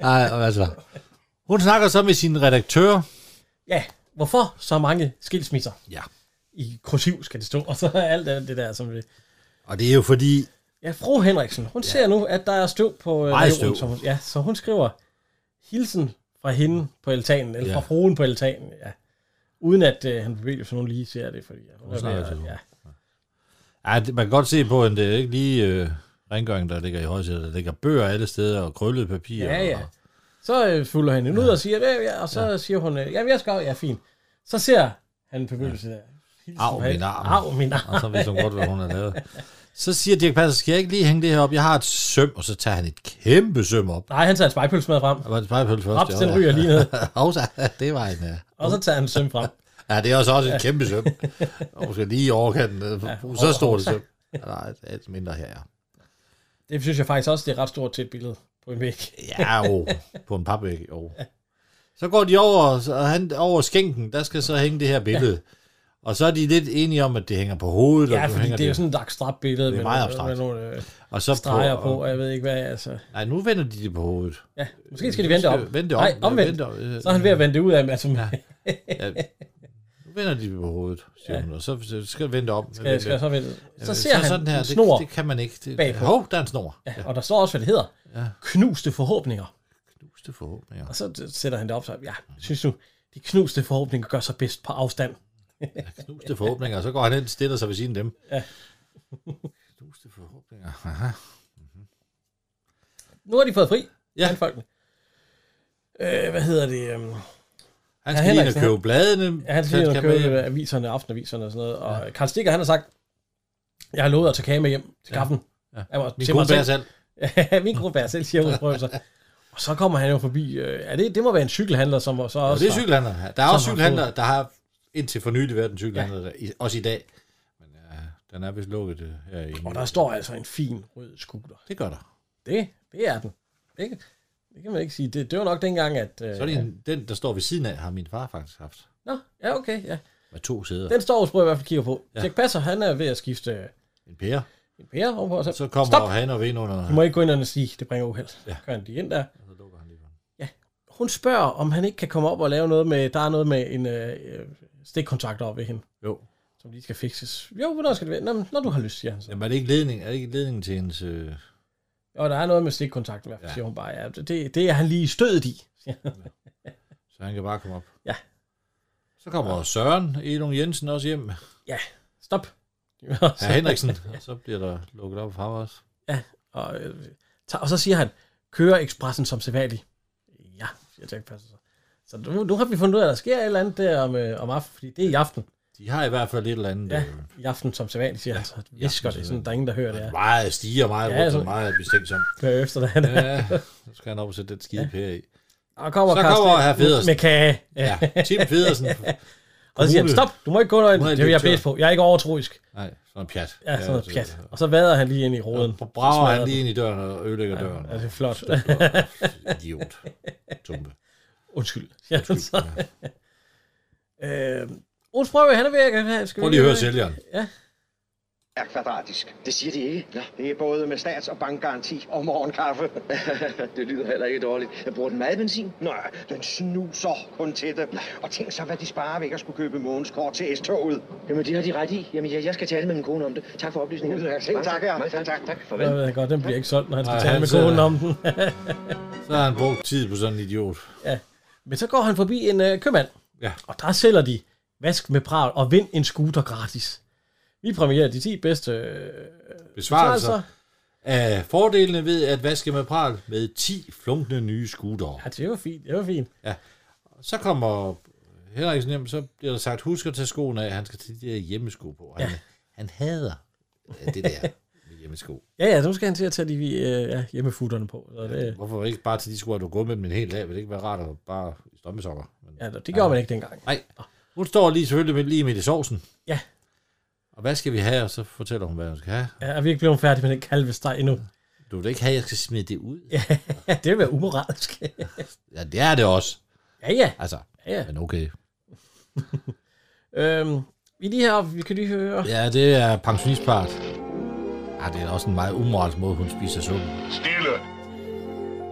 [SPEAKER 3] Nej, og altså. Hun snakker så med sin redaktør.
[SPEAKER 2] Ja, hvorfor så mange skilsmisser?
[SPEAKER 3] Ja.
[SPEAKER 2] I kursiv skal det stå, og så er alt det der, som vi...
[SPEAKER 3] Og det er jo fordi,
[SPEAKER 2] Ja, fru Henriksen, hun ja. ser nu, at der er støv på... øh,
[SPEAKER 3] Meget
[SPEAKER 2] reolen,
[SPEAKER 3] støv.
[SPEAKER 2] som hun- ja, så hun skriver, hilsen fra hende på altanen, eller ja.
[SPEAKER 3] Ja.
[SPEAKER 2] fra fruen på altanen, ja. Uden at øh, han bevæger, så nogen lige ser det, fordi... Ja, hun er
[SPEAKER 3] snakker
[SPEAKER 2] ved at-
[SPEAKER 3] til
[SPEAKER 2] ja.
[SPEAKER 3] ja, det- man kan godt se på, at det er ikke lige øh, rengøringen, der ligger i højsædet. Der ligger bøger alle steder og krøllet papir.
[SPEAKER 2] Ja, ja.
[SPEAKER 3] Og,
[SPEAKER 2] Så øh, fulder han hende ud og siger, ja, ja, og så ja. siger hun, øh, ja, jeg skal, ja, fint. Så ser han begyndelse der. Hilsen
[SPEAKER 3] Au,
[SPEAKER 2] fra-
[SPEAKER 3] min arm.
[SPEAKER 2] Au, min
[SPEAKER 3] og så
[SPEAKER 2] arm.
[SPEAKER 3] vidste hun godt, hvad hun havde lavet. Så siger Dirk Passer, skal jeg ikke lige hænge det her op? Jeg har et søm, og så tager han et kæmpe søm op.
[SPEAKER 2] Nej, han tager en spejpølse med frem.
[SPEAKER 3] Der var et spejlpøl først.
[SPEAKER 2] Op, den ryger lige ned.
[SPEAKER 3] Hovsa, det var en... øh,
[SPEAKER 2] Og så tager han en søm frem.
[SPEAKER 3] Ja, det er også, også et kæmpe søm. Og skal lige i overkanten. øh, Så står det søm. Nej, det er et mindre her. ja.
[SPEAKER 2] Det synes jeg faktisk også, det er ret stort til et billede på en væg.
[SPEAKER 3] Ja, jo. På en papvæg, jo. Så går de over, så- og han, over skænken, der skal så hænge det her billede. Og så er de lidt enige om, at det hænger på hovedet,
[SPEAKER 2] Ja,
[SPEAKER 3] og nu
[SPEAKER 2] fordi
[SPEAKER 3] hænger
[SPEAKER 2] det er jo sådan et abstrakt billede.
[SPEAKER 3] Det er
[SPEAKER 2] med
[SPEAKER 3] meget
[SPEAKER 2] nogle-
[SPEAKER 3] abstrakt.
[SPEAKER 2] Med nogle øh,
[SPEAKER 3] og så
[SPEAKER 2] streger på, og
[SPEAKER 3] og,
[SPEAKER 2] jeg ved ikke hvad, altså.
[SPEAKER 3] Nej, nu vender de det på hovedet.
[SPEAKER 2] Ja, måske skal de vente om.
[SPEAKER 3] Vend det om.
[SPEAKER 2] Nej,
[SPEAKER 3] Ja,
[SPEAKER 2] omvendt.
[SPEAKER 3] vend det om, øh,
[SPEAKER 2] Så er han ved at vende det ud af, altså, ja.
[SPEAKER 3] Ja, nu vender de det på hovedet, siger
[SPEAKER 2] Ja.
[SPEAKER 3] hun, og så så skal vende om. Skal,
[SPEAKER 2] skal jeg så vende. Så ser han sådan her, en
[SPEAKER 3] det,
[SPEAKER 2] snor,
[SPEAKER 3] Det kan man ikke. Det,
[SPEAKER 2] bagpå.
[SPEAKER 3] Hov, der er en snor.
[SPEAKER 2] ja, og der står også, hvad det hedder.
[SPEAKER 3] Ja.
[SPEAKER 2] Knuste forhåbninger.
[SPEAKER 3] Knuste forhåbninger.
[SPEAKER 2] Og så sætter han det op, så ja, synes du, de knuste forhåbninger gør sig bedst på afstand.
[SPEAKER 3] Knuste forhåbninger, og så går han hen og stiller sig ved siden af dem.
[SPEAKER 2] Ja.
[SPEAKER 3] Knuste forhåbninger. Aha.
[SPEAKER 2] Nu har de fået fri,
[SPEAKER 3] Ja.
[SPEAKER 2] ja. folkene. Øh, hvad hedder det? øhm,
[SPEAKER 3] Han
[SPEAKER 2] Ja,
[SPEAKER 3] skal lige ind
[SPEAKER 2] Henriksen,
[SPEAKER 3] og købe bladene.
[SPEAKER 2] Ja, han
[SPEAKER 3] så
[SPEAKER 2] skal ind og
[SPEAKER 3] skal
[SPEAKER 2] købe
[SPEAKER 3] med-
[SPEAKER 2] øh, aviserne, aftenaviserne og sådan noget. Og ja. Karl Stikker, han har sagt, jeg har lovet at tage kage med hjem til kaffen. Ja. Ja.
[SPEAKER 3] Min gode bær selv.
[SPEAKER 2] Ja, min gruppe er selv, siger hun, prøver sig. Og så kommer han jo forbi, øh, ja, det, det må være en cykelhandler, som så
[SPEAKER 3] Og
[SPEAKER 2] også...
[SPEAKER 3] det er cykelhandler. Der er også
[SPEAKER 2] har
[SPEAKER 3] cykelhandler, der har indtil for nylig været en cykelhandler, der, i- også i dag. Men ja, den er vist lukket øh, her i.
[SPEAKER 2] Og der står altså en fin rød scooter.
[SPEAKER 3] Det gør der.
[SPEAKER 2] Det, det er den. Det, kan- det kan man ikke sige. Det, det var nok dengang, at... Øh,
[SPEAKER 3] Så er det en, den, der står ved siden af, har min far faktisk haft.
[SPEAKER 2] Nå, ja, okay, ja.
[SPEAKER 3] Med to sæder.
[SPEAKER 2] Den står Aarhus i hvert fald kigger på. Ja. Dirk Passer, han er ved at skifte øh,
[SPEAKER 3] En pære.
[SPEAKER 2] en pære ovenpå. Og så,
[SPEAKER 3] Så kommer
[SPEAKER 2] Stop!
[SPEAKER 3] Stop. han og vinde under...
[SPEAKER 2] Du må ikke gå ind og sige, det bringer uheld. Ja. Gør han lige ind der.
[SPEAKER 3] Så lukker han lige for den.
[SPEAKER 2] Hun spørger, om han ikke kan komme op og lave noget med... Der er noget med en øh, øh, stikkontakt over ved hende,
[SPEAKER 3] Jo.
[SPEAKER 2] som lige skal fikses. Jo, hvornår skal det være? Nå, men når du har lyst, siger han så.
[SPEAKER 3] Jamen, er det ikke ledning, er det ikke ledning til hendes... Øh...
[SPEAKER 2] Og der er noget med stikkontakten i hvert fald, ja.
[SPEAKER 3] Ja.
[SPEAKER 2] siger hun bare. Ja, det, det er han lige stødet i. siger han.
[SPEAKER 3] Så han kan bare komme op.
[SPEAKER 2] Ja.
[SPEAKER 3] Så kommer ja. Søren Elon Jensen også hjem.
[SPEAKER 2] ja, stop.
[SPEAKER 3] Ja, Henriksen. Og så bliver der lukket op for ham også.
[SPEAKER 2] Og, øh, tager- og så siger han, kører ekspressen som sædvanligt. Ja, siger Jack Passer. Så nu, nu har vi fundet ud af, at der sker et eller andet der om, øh, om aftenen, fordi det er i aften.
[SPEAKER 3] De har i hvert fald et eller andet. øh,
[SPEAKER 2] Ja,
[SPEAKER 3] Ja.
[SPEAKER 2] i aften som sædvanligt, siger han. Så visker det, sådan, der er ingen, der hører det. her.
[SPEAKER 3] Meget stiger, meget
[SPEAKER 2] Ja,
[SPEAKER 3] ja, rundt,
[SPEAKER 2] altså.
[SPEAKER 3] og meget bestænksom.
[SPEAKER 2] Kører efter det. han.
[SPEAKER 3] Ja, så skal han op og sætte den skide ja. i.
[SPEAKER 2] Og kommer
[SPEAKER 3] Så
[SPEAKER 2] Carsten
[SPEAKER 3] kommer herr Feddersen.
[SPEAKER 2] Med kage.
[SPEAKER 3] Ja, Tim Pedersen.
[SPEAKER 2] Og så siger han,
[SPEAKER 3] Kommune.
[SPEAKER 2] stop, du må ikke gå nøgen.
[SPEAKER 3] Kommunal
[SPEAKER 2] Det vil jeg
[SPEAKER 3] direktør.
[SPEAKER 2] blæse på. Jeg er ikke overtroisk.
[SPEAKER 3] Nej, sådan en pjat.
[SPEAKER 2] Ja, sådan noget
[SPEAKER 3] så-
[SPEAKER 2] pjat. Og så vader han lige ind i roden.
[SPEAKER 3] Så brager
[SPEAKER 2] Smadrer
[SPEAKER 3] han
[SPEAKER 2] den.
[SPEAKER 3] lige ind i døren og ødelægger døren.
[SPEAKER 2] Ja, det er flot.
[SPEAKER 3] Idiot. Tumpe.
[SPEAKER 2] Undskyld. Ja, så. Øh, Ole Sprøve, han er ved at... Skal vi
[SPEAKER 3] Prøv lige at høre sælgeren.
[SPEAKER 7] er kvadratisk.
[SPEAKER 4] Det siger de ikke. Nå,
[SPEAKER 7] Det er både med stats- og bankgaranti og morgenkaffe.
[SPEAKER 4] det lyder heller ikke dårligt. Jeg bruger den meget benzin.
[SPEAKER 7] Nej, den snuser kun til det. Og tænk så, hvad de sparer væk at skulle købe månedskort til S-toget.
[SPEAKER 4] Jamen, det har de ret i. Jamen, jeg, jeg skal tale med min kone om det. Tak for oplysningen.
[SPEAKER 7] Ja, selv tak, ja.
[SPEAKER 4] Tak, tak, tak. Farvel.
[SPEAKER 2] Jeg ved jeg godt, den bliver ikke solgt, når han skal
[SPEAKER 3] Nej,
[SPEAKER 2] tale
[SPEAKER 3] han
[SPEAKER 2] med
[SPEAKER 3] sidder-
[SPEAKER 2] konen om den.
[SPEAKER 3] Så har han brugt tid på sådan en idiot.
[SPEAKER 2] Men så går han forbi en øh, købmand,
[SPEAKER 3] Ja.
[SPEAKER 2] og der sælger de vask med pral og vind en scooter gratis. Vi præmierer de 10 bedste øh,
[SPEAKER 3] Besvarelser af fordelene ved at vaske med pral med 10 flunkende nye scootere.
[SPEAKER 2] Ja, det var fint, det var fint.
[SPEAKER 3] Så kommer Henriksen hjem, så bliver der sagt, husk at tage skoene af, han skal tage de der hjemmesko på. Han, ja. han hader øh, det der med hjemmesko.
[SPEAKER 2] Ja, ja, nu skal han til at tage de øh, ja, hjemmefutterne på. Så det,
[SPEAKER 3] Hvorfor ikke bare til de sko, at du går med dem en hel dag? Vil det ikke være rart at bare i strømpesokker? Men,
[SPEAKER 2] ja, det gjorde man ikke dengang.
[SPEAKER 3] Nej, hun står lige selvfølgelig med, lige midt i sovsen.
[SPEAKER 2] Ja.
[SPEAKER 3] Og hvad skal vi have? Og så fortæller hun, hvad hun skal have.
[SPEAKER 2] Ja, er vi ikke blevet færdige med den kalvesteg endnu?
[SPEAKER 3] Du vil da ikke have, at jeg skal smide det ud? Ja,
[SPEAKER 2] Ja, det vil være umoralsk.
[SPEAKER 3] ja det er det også.
[SPEAKER 2] ja, ja.
[SPEAKER 3] Altså,
[SPEAKER 2] ja, ja.
[SPEAKER 3] men okay.
[SPEAKER 2] Øhm, vi er lige heroppe, vi kan lige høre.
[SPEAKER 3] Ja, det er pensionistpart. Ah, det er også en meget umoralsk måde, hun spiser suppe.
[SPEAKER 9] Stille!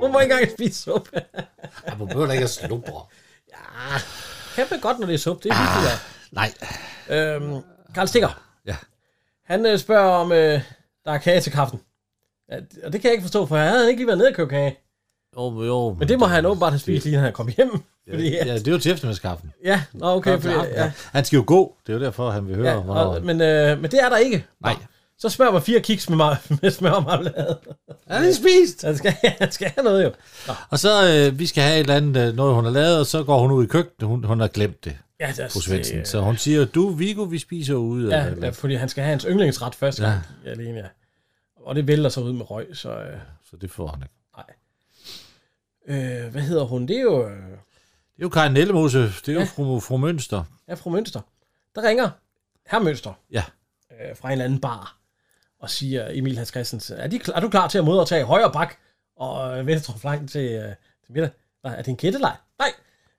[SPEAKER 2] Hun må ikke engang spise suppe.
[SPEAKER 3] Ah, hun behøver da ikke at slubre.
[SPEAKER 2] ja, kan man godt, når det er suppe, det er vigtigt. ja.
[SPEAKER 3] Nej.
[SPEAKER 2] Øhm, Karl Stikker.
[SPEAKER 3] Ja.
[SPEAKER 2] Han øh, spørger, om øh, der er kage til kaffen. Ja, d- og det kan jeg ikke forstå, for han havde ikke lige været nede og købe kage.
[SPEAKER 3] Jo, men jo.
[SPEAKER 2] Men det må han åbenbart have spist lige, når han kom hjem. Fordi,
[SPEAKER 3] Ja, ja, det er jo til eftermiddagskaffen.
[SPEAKER 2] ja, nå, okay. Fordi, ja,
[SPEAKER 3] Han skal jo gå. Det er jo derfor, han vil høre.
[SPEAKER 2] ja,
[SPEAKER 3] Ja,
[SPEAKER 2] og, men, øh, men det er der ikke.
[SPEAKER 3] Nej.
[SPEAKER 2] Så smører man fire kiks med, mar- med smør og marmelade.
[SPEAKER 3] Er det spist?
[SPEAKER 2] Så han skal, han skal have noget jo.
[SPEAKER 3] Og så, øh, vi skal have et eller andet, øh, noget hun har lavet, og så går hun ud i køkkenet. Hun, hun har glemt det,
[SPEAKER 2] Ja, det er,
[SPEAKER 3] fru
[SPEAKER 2] Altså,
[SPEAKER 3] Svendsen.
[SPEAKER 2] det,
[SPEAKER 3] Så hun siger, du Viggo, vi spiser ude.
[SPEAKER 2] ja,
[SPEAKER 3] eller-
[SPEAKER 2] ja, fordi han skal have hans yndlingsret først.
[SPEAKER 3] Ja.
[SPEAKER 2] Ja. Alene, ja. Og det vælter sig ud med røg, så... Øh,
[SPEAKER 3] Så det får han ikke.
[SPEAKER 2] øh, hvad hedder hun? Det er jo... Øh,
[SPEAKER 3] Det er jo Karin Nellemose. Det er jo fru, fru Mønster.
[SPEAKER 2] Ja, fru Mønster. Der ringer herr Mønster
[SPEAKER 3] Ja.
[SPEAKER 2] øh, fra en eller anden bar og siger Emil Hans Christensen, er, de, kl- er du klar til at modtage højre bak og øh, venstre flank til, øh, til middag? Nej, er det en kættelej? Nej.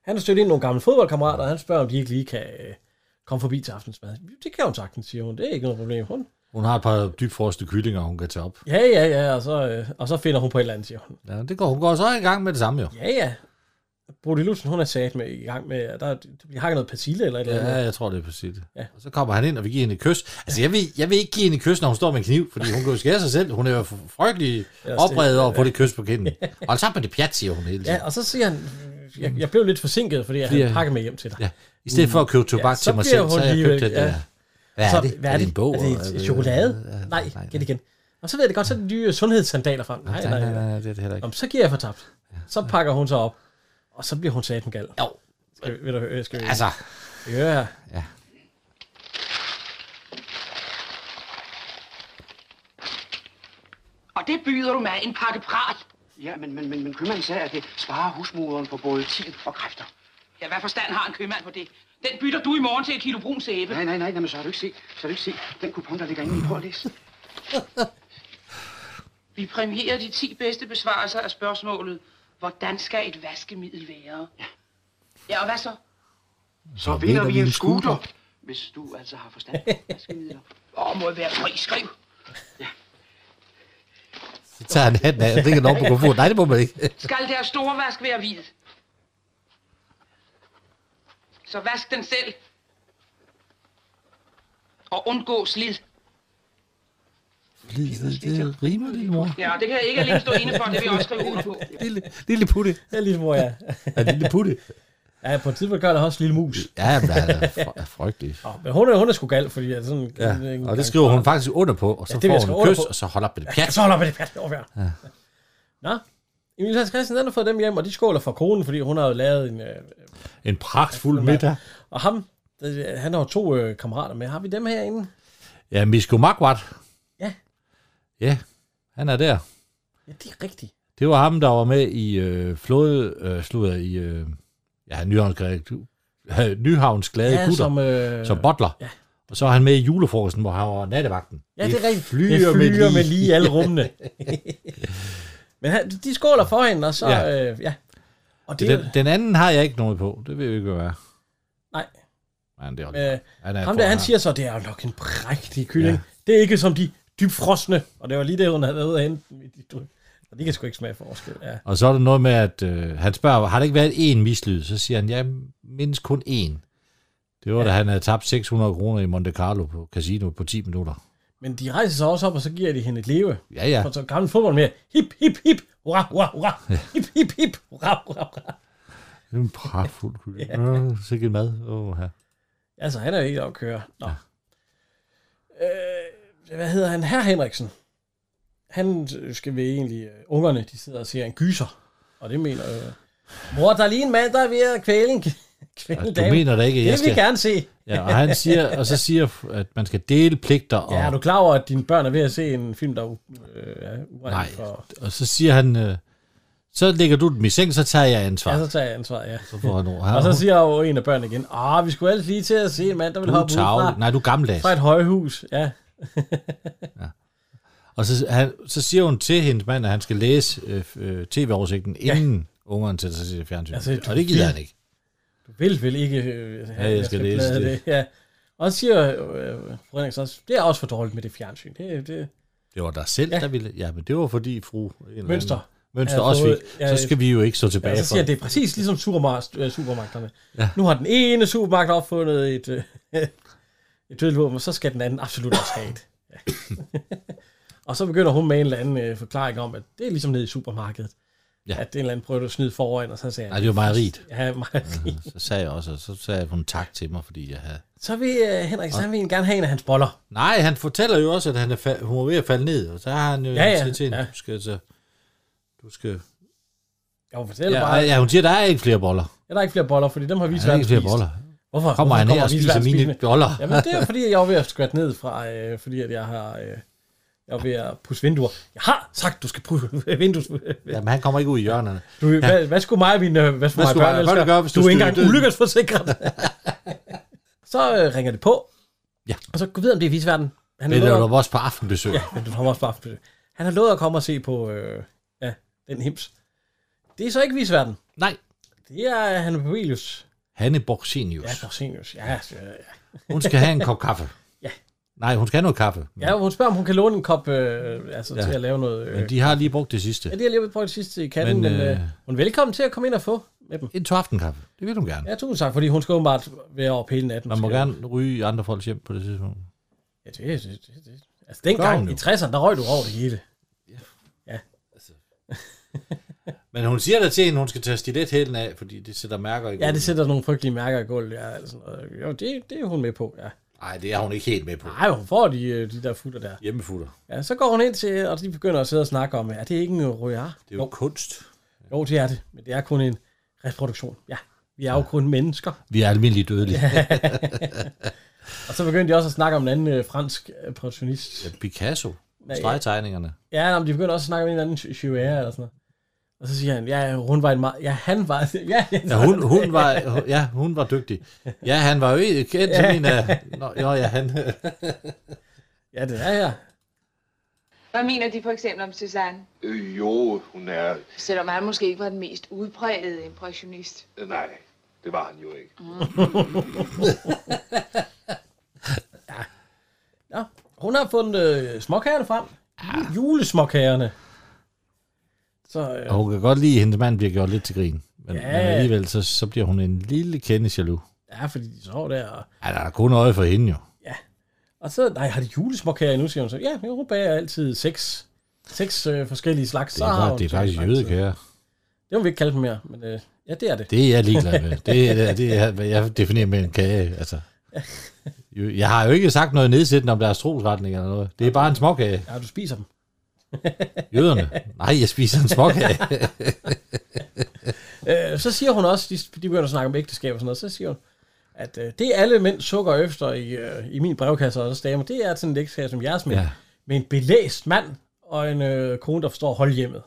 [SPEAKER 2] Han har stødt ind nogle gamle fodboldkammerater, og han spørger, om de ikke lige kan øh, komme forbi til aftensmad. Det kan hun sagtens, siger hun. Det er ikke noget problem. Hun.
[SPEAKER 3] Hun har et par dybfrostede kyllinger, hun kan tage op.
[SPEAKER 2] Ja, ja, ja, og så, øh, og så finder hun på et eller andet, siger hun.
[SPEAKER 3] Ja, det går, hun går så i gang med det samme, jo.
[SPEAKER 2] Ja, ja. Bodil Lutzen, hun er sat med i gang med, at der, der bliver hakket noget persille eller et eller andet.
[SPEAKER 3] Ja, jeg tror, det er præcis det.
[SPEAKER 2] Ja.
[SPEAKER 3] Ja. Og så kommer han ind, og vi giver hende et kys. Altså, jeg vil, jeg vil ikke give hende et kys, når hun står med en kniv, fordi hun kan jo skære sig selv. Hun er jo frygtelig
[SPEAKER 2] Ellers det-
[SPEAKER 3] opredet over at få det kys på kinden. Og så med det pjat, siger hun hele tiden.
[SPEAKER 2] Ja, og så siger han, jeg, jeg blev lidt forsinket, fordi jeg havde
[SPEAKER 3] Fordi øh,
[SPEAKER 2] en
[SPEAKER 3] jeg-
[SPEAKER 2] pakke med hjem til dig.
[SPEAKER 3] Ja. I stedet for at købe tobak
[SPEAKER 2] Ja,
[SPEAKER 3] ja,
[SPEAKER 2] så
[SPEAKER 3] til mig
[SPEAKER 2] bliver
[SPEAKER 3] selv, så
[SPEAKER 2] hun
[SPEAKER 3] har jeg købt
[SPEAKER 2] lige-
[SPEAKER 3] det der.
[SPEAKER 2] ja.
[SPEAKER 3] Hvad er
[SPEAKER 2] så,
[SPEAKER 3] det?
[SPEAKER 2] Hvad er, det?
[SPEAKER 3] en bog?
[SPEAKER 2] er det et chokolade? Ja, nej, nej, kan det igen. Og så ved jeg det godt, så er det de nye sundhedssandaler frem. Nej, nej, nej. nej.
[SPEAKER 3] det er det heller
[SPEAKER 2] Nå,
[SPEAKER 3] ikke.
[SPEAKER 2] men så giver jeg for tabt. Så pakker hun sig op, og så bliver hun sat en gal.
[SPEAKER 3] Jo,
[SPEAKER 2] Skal vi, vil du, høre- skal vi,
[SPEAKER 3] altså,
[SPEAKER 2] skal vi høre her?
[SPEAKER 3] Ja.
[SPEAKER 6] Og det byder du med en pakke pral.
[SPEAKER 4] Ja, men, men, men, men købmanden sagde, at det sparer husmoderen for både tid og kræfter.
[SPEAKER 6] Ja, hvad forstand har en købmand på det? Den bytter du i morgen til et kilo brun sæbe.
[SPEAKER 4] Nej, nej, nej, nej, men så har du ikke set, så har du ikke set den kupon, der ligger inde i prøv at læse.
[SPEAKER 6] Vi præmierer de 10 bedste besvarelser af spørgsmålet, hvordan skal et vaskemiddel være? Ja. Ja, og hvad så?
[SPEAKER 4] Så vinder vi en scooter, hvis du altså har forstand på vaskemidler.
[SPEAKER 6] Åh, må jeg være fri, skriv.
[SPEAKER 3] så tager han hatten af og drikker den op på komfort. Nej, det må man ikke.
[SPEAKER 6] Skal deres store vask være hvid? Så vask den selv. Og undgå slid.
[SPEAKER 3] Det rimer, lille mor.
[SPEAKER 6] Ja, og det kan jeg ikke alene stå inde for, det vil jeg også skrive under på.
[SPEAKER 3] Lille, lille putte.
[SPEAKER 2] Det er lige, hvor ligesom, jeg...
[SPEAKER 3] Ja, lille putte.
[SPEAKER 2] Ja, på et tidspunkt gør der også lille mus.
[SPEAKER 3] Ja, men han er, fr- er frygtelig.
[SPEAKER 2] Nå, men hun er, hun er sgu gal, fordi at sådan...
[SPEAKER 3] Ja.
[SPEAKER 2] en-
[SPEAKER 3] Og det skriver hun faktisk under på, og så
[SPEAKER 2] Ja,
[SPEAKER 3] ja,
[SPEAKER 2] det vil jeg
[SPEAKER 3] får
[SPEAKER 2] skrive
[SPEAKER 3] hun
[SPEAKER 2] under
[SPEAKER 3] et kys,
[SPEAKER 2] på.
[SPEAKER 3] og så hold op med det
[SPEAKER 2] Ja,
[SPEAKER 3] pjat.
[SPEAKER 2] så holder man det fast over ja. Nå, Emil Hans Christian, han har fået dem hjem, og de skåler for konen, fordi hun har jo lavet en... Øh,
[SPEAKER 3] En pragtfuld middag.
[SPEAKER 2] og ham, der, han har jo to øh, kammerater med. Har vi dem herinde?
[SPEAKER 3] Ja, Misko Magwart.
[SPEAKER 2] Ja.
[SPEAKER 3] Ja, han er der.
[SPEAKER 2] Ja, det er rigtigt.
[SPEAKER 3] Det var ham, der var med i øh, flåde, øh, slutter i, øh, ja, Nyhavns Glade, øh, Nyhavns glade ja,
[SPEAKER 2] Ja,
[SPEAKER 3] Gutter, som,
[SPEAKER 2] som... Øh,
[SPEAKER 3] øh, som butler.
[SPEAKER 2] ja.
[SPEAKER 3] Ja. Og så er han med i julefrokosten, hvor han var nattevagten.
[SPEAKER 2] Ja, det er rigtigt.
[SPEAKER 3] Flyer,
[SPEAKER 2] det flyer
[SPEAKER 3] med lige.
[SPEAKER 2] med lige i alle rummene. Men han, de skåler for hende, og så... Ja.
[SPEAKER 3] Ja.
[SPEAKER 2] Øh, ja. Og det,
[SPEAKER 3] Det, den, den anden har jeg ikke noget på. Det ved jeg ikke, hvad er.
[SPEAKER 2] Nej.
[SPEAKER 3] Men det er,
[SPEAKER 2] øh,
[SPEAKER 3] han er
[SPEAKER 2] ham der, han
[SPEAKER 3] forhånd.
[SPEAKER 2] siger så, det er jo nok en prægtig kylling. Ja.
[SPEAKER 3] Ja.
[SPEAKER 2] Det er ikke som de dybfrosne. Og det var lige det, hun havde været ude at hente. dem i de dry- Og de kan sgu ikke smage forskel. Ja.
[SPEAKER 3] Og så er der noget med, at øh, han spørger, har der ikke været én mislyd? Så siger han, jeg mindes kun én. Det var, ja. da han havde tabt 600 kroner i Monte Carlo på casino på 10 minutter.
[SPEAKER 2] Men de rejser sig også op, og så giver de hende et leve.
[SPEAKER 3] Ja, ja.
[SPEAKER 2] For så gammel fodbold med. Hip, hip, hip. Hurra, hurra, hurra. Hip, hip, hip. Hurra, hurra, hurra.
[SPEAKER 3] Det er en pragtfuld kylling. ja. Sikke mad. Åh, ja.
[SPEAKER 2] Altså, han er jo ikke op at køre. Nå. Øh, hvad hedder han? Herr Henriksen. Han øh, skal vi egentlig... øh, Ungerne, de sidder og ser en gyser. Og det mener jo... Mor, der er lige en mand, der er ved at kvæle en kvæle en
[SPEAKER 3] Og
[SPEAKER 2] dame.
[SPEAKER 3] Altså, du mener da ikke, at
[SPEAKER 2] det
[SPEAKER 3] jeg
[SPEAKER 2] vil vi
[SPEAKER 3] skal...
[SPEAKER 2] gerne se.
[SPEAKER 3] Ja, og, han siger, og så siger, at man skal dele pligter. Og,
[SPEAKER 2] Ja, er du klar over, at dine børn er ved at se en film, der er u- øh, er
[SPEAKER 3] Nej.
[SPEAKER 2] uegnet for...
[SPEAKER 3] og så siger han, øh, så lægger du den i seng, så tager jeg ansvar.
[SPEAKER 2] Ja, så
[SPEAKER 3] Ja,
[SPEAKER 2] tager jeg ansvaret, ja.
[SPEAKER 3] så får han ord.
[SPEAKER 2] Og så siger jo en af børnene igen, ah, vi skulle ellers lige til at se en mand, der vil
[SPEAKER 3] du er
[SPEAKER 2] hoppe ud
[SPEAKER 3] tavle.
[SPEAKER 2] fra,
[SPEAKER 3] Nej, du er gammeldags.
[SPEAKER 2] fra et højhus. Ja,
[SPEAKER 3] Og så, han, så siger hun til hendes mand, at han skal læse øh, øh, tv-oversigten, ja. inden ungeren sætter sig til det fjernsyn.
[SPEAKER 2] Altså,
[SPEAKER 3] Altså,
[SPEAKER 2] du
[SPEAKER 3] og det gider han ikke.
[SPEAKER 2] du vil vel ikke øh, have,
[SPEAKER 3] Ja, jeg skal læse
[SPEAKER 2] bladre
[SPEAKER 3] det.
[SPEAKER 2] Ja. Og så siger øh, fru Henriksen også, det er også for dårligt med det fjernsyn. Det, det.
[SPEAKER 3] Det var dig selv,
[SPEAKER 2] Ja.
[SPEAKER 3] ja. der ville... Ja, men det var fordi fru... en eller anden-
[SPEAKER 2] Mønster.
[SPEAKER 3] Mønster
[SPEAKER 2] Ja,
[SPEAKER 3] ja, også
[SPEAKER 2] fået-
[SPEAKER 3] fik.
[SPEAKER 2] ja,
[SPEAKER 3] Så skal vi jo ikke så tilbage
[SPEAKER 2] Ja,
[SPEAKER 3] ja,
[SPEAKER 2] så siger
[SPEAKER 3] for...
[SPEAKER 2] jeg, det er præcis ligesom supermar- øh, supermagterne. Ja. Nu har den ene supermagt opfundet et, øh, et dødeligt våben, og så skal den anden absolut også have et. Ja. og så begynder hun med en eller anden øh, forklaring om, at det er ligesom nede i supermarkedet. Ja.
[SPEAKER 3] Ja.
[SPEAKER 2] At en eller anden prøver at snyde foran, og så siger
[SPEAKER 3] Nej,
[SPEAKER 2] jeg,
[SPEAKER 3] det var meget rigt.
[SPEAKER 2] ja, Marie.
[SPEAKER 3] Så sagde jeg også, og så sagde hun tak til mig, fordi jeg havde...
[SPEAKER 2] Så vil øh, Henrik, så han vil egentlig gerne have en af hans boller.
[SPEAKER 3] Nej, han fortæller jo også, at han er fa- hun er ved at falde ned, og så har han jo
[SPEAKER 2] Ja, ja,
[SPEAKER 3] siger til hende,
[SPEAKER 2] ja.
[SPEAKER 3] du skal, så, du skal...
[SPEAKER 2] Jeg vil fortælle ja,
[SPEAKER 3] Ja,
[SPEAKER 2] bare, ja.
[SPEAKER 3] ja, hun siger, der er ikke flere boller.
[SPEAKER 2] der er ikke flere boller, fordi dem har vi
[SPEAKER 3] Der er
[SPEAKER 2] svært
[SPEAKER 3] ikke flere boller.
[SPEAKER 2] Hvorfor?
[SPEAKER 3] Kommer
[SPEAKER 2] Hvorfor
[SPEAKER 3] han her og
[SPEAKER 2] vi
[SPEAKER 3] spiser
[SPEAKER 2] svært
[SPEAKER 3] mine
[SPEAKER 2] spisende?
[SPEAKER 3] boller?
[SPEAKER 2] Jamen, det er fordi, jeg var ved at skvatte ned fra, øh, fordi at jeg har... Øh, jeg var ved at pusse vinduer. Jeg har sagt, du skal pusse vinduer.
[SPEAKER 3] Jamen, han kommer ikke ud i hjørnerne.
[SPEAKER 2] Du, ja. hvad, hvad, skulle mig og mine, øh, hvad skulle, hvad
[SPEAKER 3] Hvad skulle
[SPEAKER 2] skulle børn,
[SPEAKER 3] mig- hvad
[SPEAKER 2] hvad
[SPEAKER 3] ville du gøre, hvis
[SPEAKER 2] du,
[SPEAKER 3] du
[SPEAKER 2] er
[SPEAKER 3] stødte
[SPEAKER 2] ikke engang
[SPEAKER 3] døden?
[SPEAKER 2] ulykkesforsikret. så øh, ringer det på.
[SPEAKER 3] Ja.
[SPEAKER 2] Og så gå videre, om det er visverden. Han
[SPEAKER 3] Det
[SPEAKER 2] lovet-
[SPEAKER 3] er jo også på aftenbesøg.
[SPEAKER 2] Ja, men du kommer også på aftenbesøg. Han har lovet at komme og se på øh, ja, den hims. Det er så ikke visverden.
[SPEAKER 3] Nej,
[SPEAKER 2] Det er Hanne Pavelius.
[SPEAKER 3] Hanne
[SPEAKER 2] Ja,
[SPEAKER 3] Borgsenius.
[SPEAKER 2] Borsenius. Ja, ja, ja.
[SPEAKER 3] Hun skal have en kop kaffe.
[SPEAKER 2] Ja.
[SPEAKER 3] Nej, hun skal have noget kaffe. Men,
[SPEAKER 2] ja, hun spørger, om hun kan låne en kop øh, altså, ja.
[SPEAKER 3] Mm. Ja.
[SPEAKER 2] til at lave noget. Øh.
[SPEAKER 3] men de har lige brugt det sidste.
[SPEAKER 2] Ja, de har lige prøvet det sidste i katten, men,
[SPEAKER 3] Men,
[SPEAKER 2] men øh,
[SPEAKER 3] øh,
[SPEAKER 2] hun er velkommen til at komme ind og få med dem.
[SPEAKER 3] En til aftenkaffe. Det vil hun gerne.
[SPEAKER 2] Ja, tusind tak, fordi hun skal åbenbart være op hele natten.
[SPEAKER 3] Man må
[SPEAKER 2] Skal-
[SPEAKER 3] gerne ryge i andre folks hjem på det tidspunkt.
[SPEAKER 2] Ja, det, det, det, det. Altså, dengang
[SPEAKER 3] hun
[SPEAKER 2] i
[SPEAKER 3] jo.
[SPEAKER 2] 60'erne, der røg du over det hele.
[SPEAKER 3] Men hun siger da til hende, hun skal tage stilethælen af, fordi det sætter mærker i
[SPEAKER 2] Ja, det sætter nogle frygtelige mærker i gulvet. Ja, eller sådan noget. Jo, det, det er hun med på, ja.
[SPEAKER 3] Nej, det er hun ikke helt med på.
[SPEAKER 2] Nej, hun får de, øh, de der futter der.
[SPEAKER 3] Hjemmefutter.
[SPEAKER 2] Ja, så går hun ind til, og de begynder at sidde og snakke om, er det ikke en royar?
[SPEAKER 3] Det er jo kunst.
[SPEAKER 2] Jo, det er det, men det er kun en reproduktion. Ja, vi er jo kun mennesker.
[SPEAKER 3] Vi er almindeligt dødelige. Ja.
[SPEAKER 2] Og så begyndte de også at snakke om en anden øh, fransk øh, pensionist.
[SPEAKER 3] Picasso.
[SPEAKER 2] ja.
[SPEAKER 3] Stregtegningerne.
[SPEAKER 2] Ja, nå, men de begyndte også at snakke om en anden Chihuahua eller sådan noget. Og så siger han, ja, hun var en meget... Ja, han var... Ja, ja,
[SPEAKER 3] Ja, hun, hun, var, ja, hun var dygtig. Ja, han var jo ikke kendt som en af... Nå, jo, ja, han...
[SPEAKER 2] ja det er jeg.
[SPEAKER 8] Hvad mener de for eksempel om Cézanne?
[SPEAKER 9] Øh, jo, hun er...
[SPEAKER 8] Selvom han måske ikke var den mest udprægede impressionist.
[SPEAKER 9] Nej, det var han jo ikke.
[SPEAKER 2] Ja. Hun har fundet øh, småkagerne frem. Ja. Julesmåkagerne. Så øh,
[SPEAKER 3] Og hun kan godt lide, at hendes mand bliver gjort lidt til grin. Men,
[SPEAKER 2] Ja.
[SPEAKER 3] ja. men alligevel, så, så bliver hun en lille kende jaloux.
[SPEAKER 2] ja, fordi de sover der. Og,
[SPEAKER 3] Ja, der er kun øje for hende jo.
[SPEAKER 2] og så, nej, har de julesmåkager nu, siger hun så. Ja, men hun bager altid seks, seks øh, forskellige slags.
[SPEAKER 3] Det er, godt, det er faktisk jødekager.
[SPEAKER 2] Det må vi ikke kalde dem mere, men øh, Ja, det er det.
[SPEAKER 3] Det er jeg ligeglad med. Det er, det er, det er hvad jeg definerer med en kage. Altså. Jo, Jeg har jo ikke sagt noget nedsættende om deres trosretning eller noget. Det er bare en småkage.
[SPEAKER 2] Ja, du spiser dem.
[SPEAKER 3] Jøderne. Nej, jeg spiser en småkage.
[SPEAKER 2] Øh, så siger hun også, de, de begynder at snakke om ægteskab og sådan noget, så siger hun, at øh, det alle mænd sukker efter i, øh, i min brevkasse og deres damer, det er sådan et ægteskab som jeres med,
[SPEAKER 3] Ja.
[SPEAKER 2] ja. med en belæst mand og en øh, kone, der forstår holdhjemmet.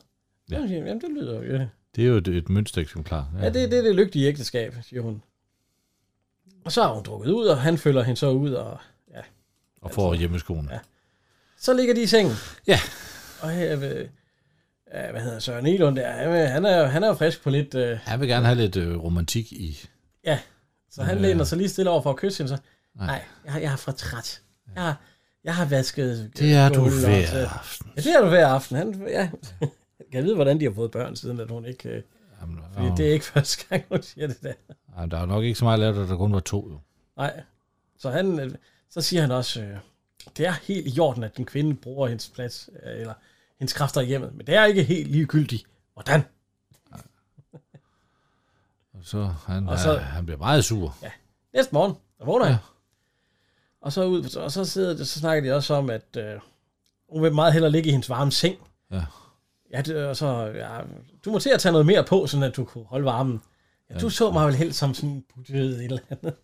[SPEAKER 3] Ja.
[SPEAKER 2] Ja. Siger, hun, Jamen, det lyder jo... Ja,
[SPEAKER 3] Det er jo et, et mønstereksemplar.
[SPEAKER 2] ja det, det er det lygtige ægteskab, siger hun. Og så har hun drukket ud, og han følger hende så ud, og
[SPEAKER 3] Og får hjemmeskoene. Ja.
[SPEAKER 2] så ligger de i sengen.
[SPEAKER 3] Ja.
[SPEAKER 2] Og her ved, ja, hvad hedder Søren Elund der, han, øh, han er, jo- han er jo frisk på lidt... Øh,
[SPEAKER 3] Jeg vil gerne have lidt øh, romantik i.
[SPEAKER 2] Så han læner sig lige stille over for at kysse hende, så nej, jeg, har- jeg har fra træt. Jeg har, jeg har vasket... øh,
[SPEAKER 3] Det er du
[SPEAKER 2] gulv og-
[SPEAKER 3] hver aften.
[SPEAKER 2] Ja, det er du hver aften. Han, ja. Jeg kan vide, hvordan de har fået børn, siden at hun ikke... Øh,
[SPEAKER 3] Jamen,
[SPEAKER 2] fordi det er ikke første gang, hun siger det der.
[SPEAKER 3] jamen, der er jo nok ikke så meget lavet, at der kun var to. Jo.
[SPEAKER 2] Nej. Så, han, øh, så siger han også, øh, det er helt i orden, at den kvinde bruger hendes plads, øh, eller hendes kræfter i hjemmet, men det er ikke helt ligegyldigt. Hvordan?
[SPEAKER 3] Og så, han,
[SPEAKER 2] Og
[SPEAKER 3] og
[SPEAKER 2] så-
[SPEAKER 3] så han bliver meget sur.
[SPEAKER 2] Næste morgen, der vågner
[SPEAKER 3] Ja.
[SPEAKER 2] jeg. Og så, ud, og så, sidder, de- så snakker de også om, at øh, hun vil meget hellere ligge i hendes varme seng.
[SPEAKER 3] Ja.
[SPEAKER 2] Ja, det, og så, ja, du må til at tage noget mere på, sådan at du kunne holde varmen. Ja, du så mig vel helt som sådan en puttet et eller andet.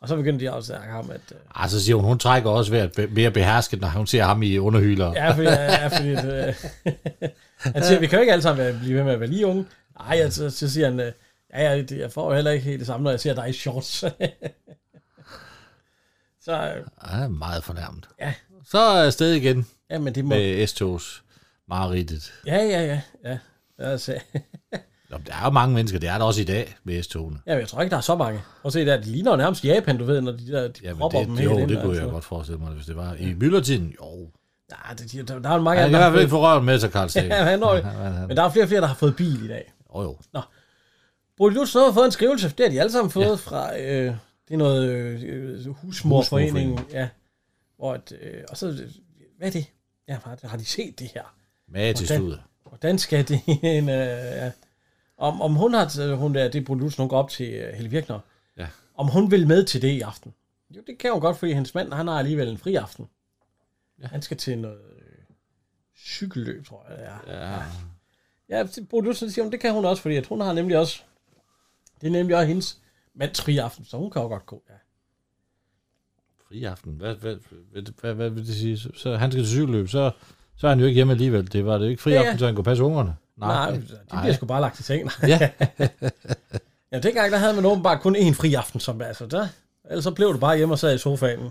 [SPEAKER 2] Og så begyndte de også at snakke om, at... Øh,
[SPEAKER 3] Ah, så siger hun, hun trækker også ved at be- mere behersket, når hun ser ham i underhyler.
[SPEAKER 2] ja, fordi... Ja, fordi at, øh, han siger, vi kan jo ikke alle sammen være, blive ved med at være lige unge. Nej, altså, så siger han, øh, ja, ja, det- jeg får jo heller ikke helt det samme, når jeg ser dig i shorts. så, øh,
[SPEAKER 3] Han er meget fornærmet.
[SPEAKER 2] Ja.
[SPEAKER 3] Så er jeg afsted igen
[SPEAKER 2] ja, men det må...
[SPEAKER 3] med S-togs. Mareridtet.
[SPEAKER 2] Ja, ja, ja. ja. Altså,
[SPEAKER 3] Nå, men der er jo mange mennesker, det er der også i dag med S-togene.
[SPEAKER 2] ja, men jeg tror ikke, der er så mange. Prøv at se der, de ligner jo nærmest Japan, du ved, når de der de
[SPEAKER 3] Ja, men
[SPEAKER 2] propper dem
[SPEAKER 3] det,
[SPEAKER 2] helt
[SPEAKER 3] jo,
[SPEAKER 2] ind,
[SPEAKER 3] det kunne jeg
[SPEAKER 2] altså.
[SPEAKER 3] godt forestille mig, hvis det var. I myldretiden, jo.
[SPEAKER 2] Nej, det, de- der, der er mange
[SPEAKER 3] Han
[SPEAKER 2] af
[SPEAKER 3] kan i hvert fald ikke få røven med sig, Karl Stikker.
[SPEAKER 2] Ja, han når det.
[SPEAKER 3] han, han,
[SPEAKER 2] Men der er flere og flere, der har fået bil i dag.
[SPEAKER 3] jo, jo.
[SPEAKER 2] Brody Lutz har fået en skrivelse, det har de alle sammen fået ja. fra, øh, det er noget øh, husmorforeningen, ja. Hvor et, øh, og så, øh, hvad er det? Ja, har, har de set det her?
[SPEAKER 3] Med til
[SPEAKER 2] Hvordan?
[SPEAKER 3] studiet.
[SPEAKER 2] Hvordan skal det en... Øh, ja. om, om hun har... øh, Hun der, det er Brun Lutz, hun går op til øh, Helle Virkner.
[SPEAKER 3] Ja.
[SPEAKER 2] Om hun vil med til det i aften. Jo, det kan hun godt, fordi hendes mand, han har alligevel en fri aften. Ja. Han skal til noget øh, cykelløb, tror jeg. Ja,
[SPEAKER 3] Ja.
[SPEAKER 2] ja Brun Lutz siger, hun, det kan hun også, fordi at hun har nemlig også... Det er nemlig også hendes mands fri aften, så hun kan jo godt gå. Ja.
[SPEAKER 3] Fri aften. Hvad, hvad, hvad, hvad, hvad vil det sige? Så, så han skal til cykelløb, så, så er han jo ikke hjemme alligevel. Det var det jo ikke fri
[SPEAKER 2] Ja, ja.
[SPEAKER 3] aften, så han kunne passe ungerne.
[SPEAKER 2] Nej, Nej, de bliver
[SPEAKER 3] nej.
[SPEAKER 2] sgu bare lagt i sengen.
[SPEAKER 3] Ja.
[SPEAKER 2] Ja, dengang der havde man åbenbart kun én fri aften, som altså der. Ellers så blev du bare hjemme og sad i sofaen.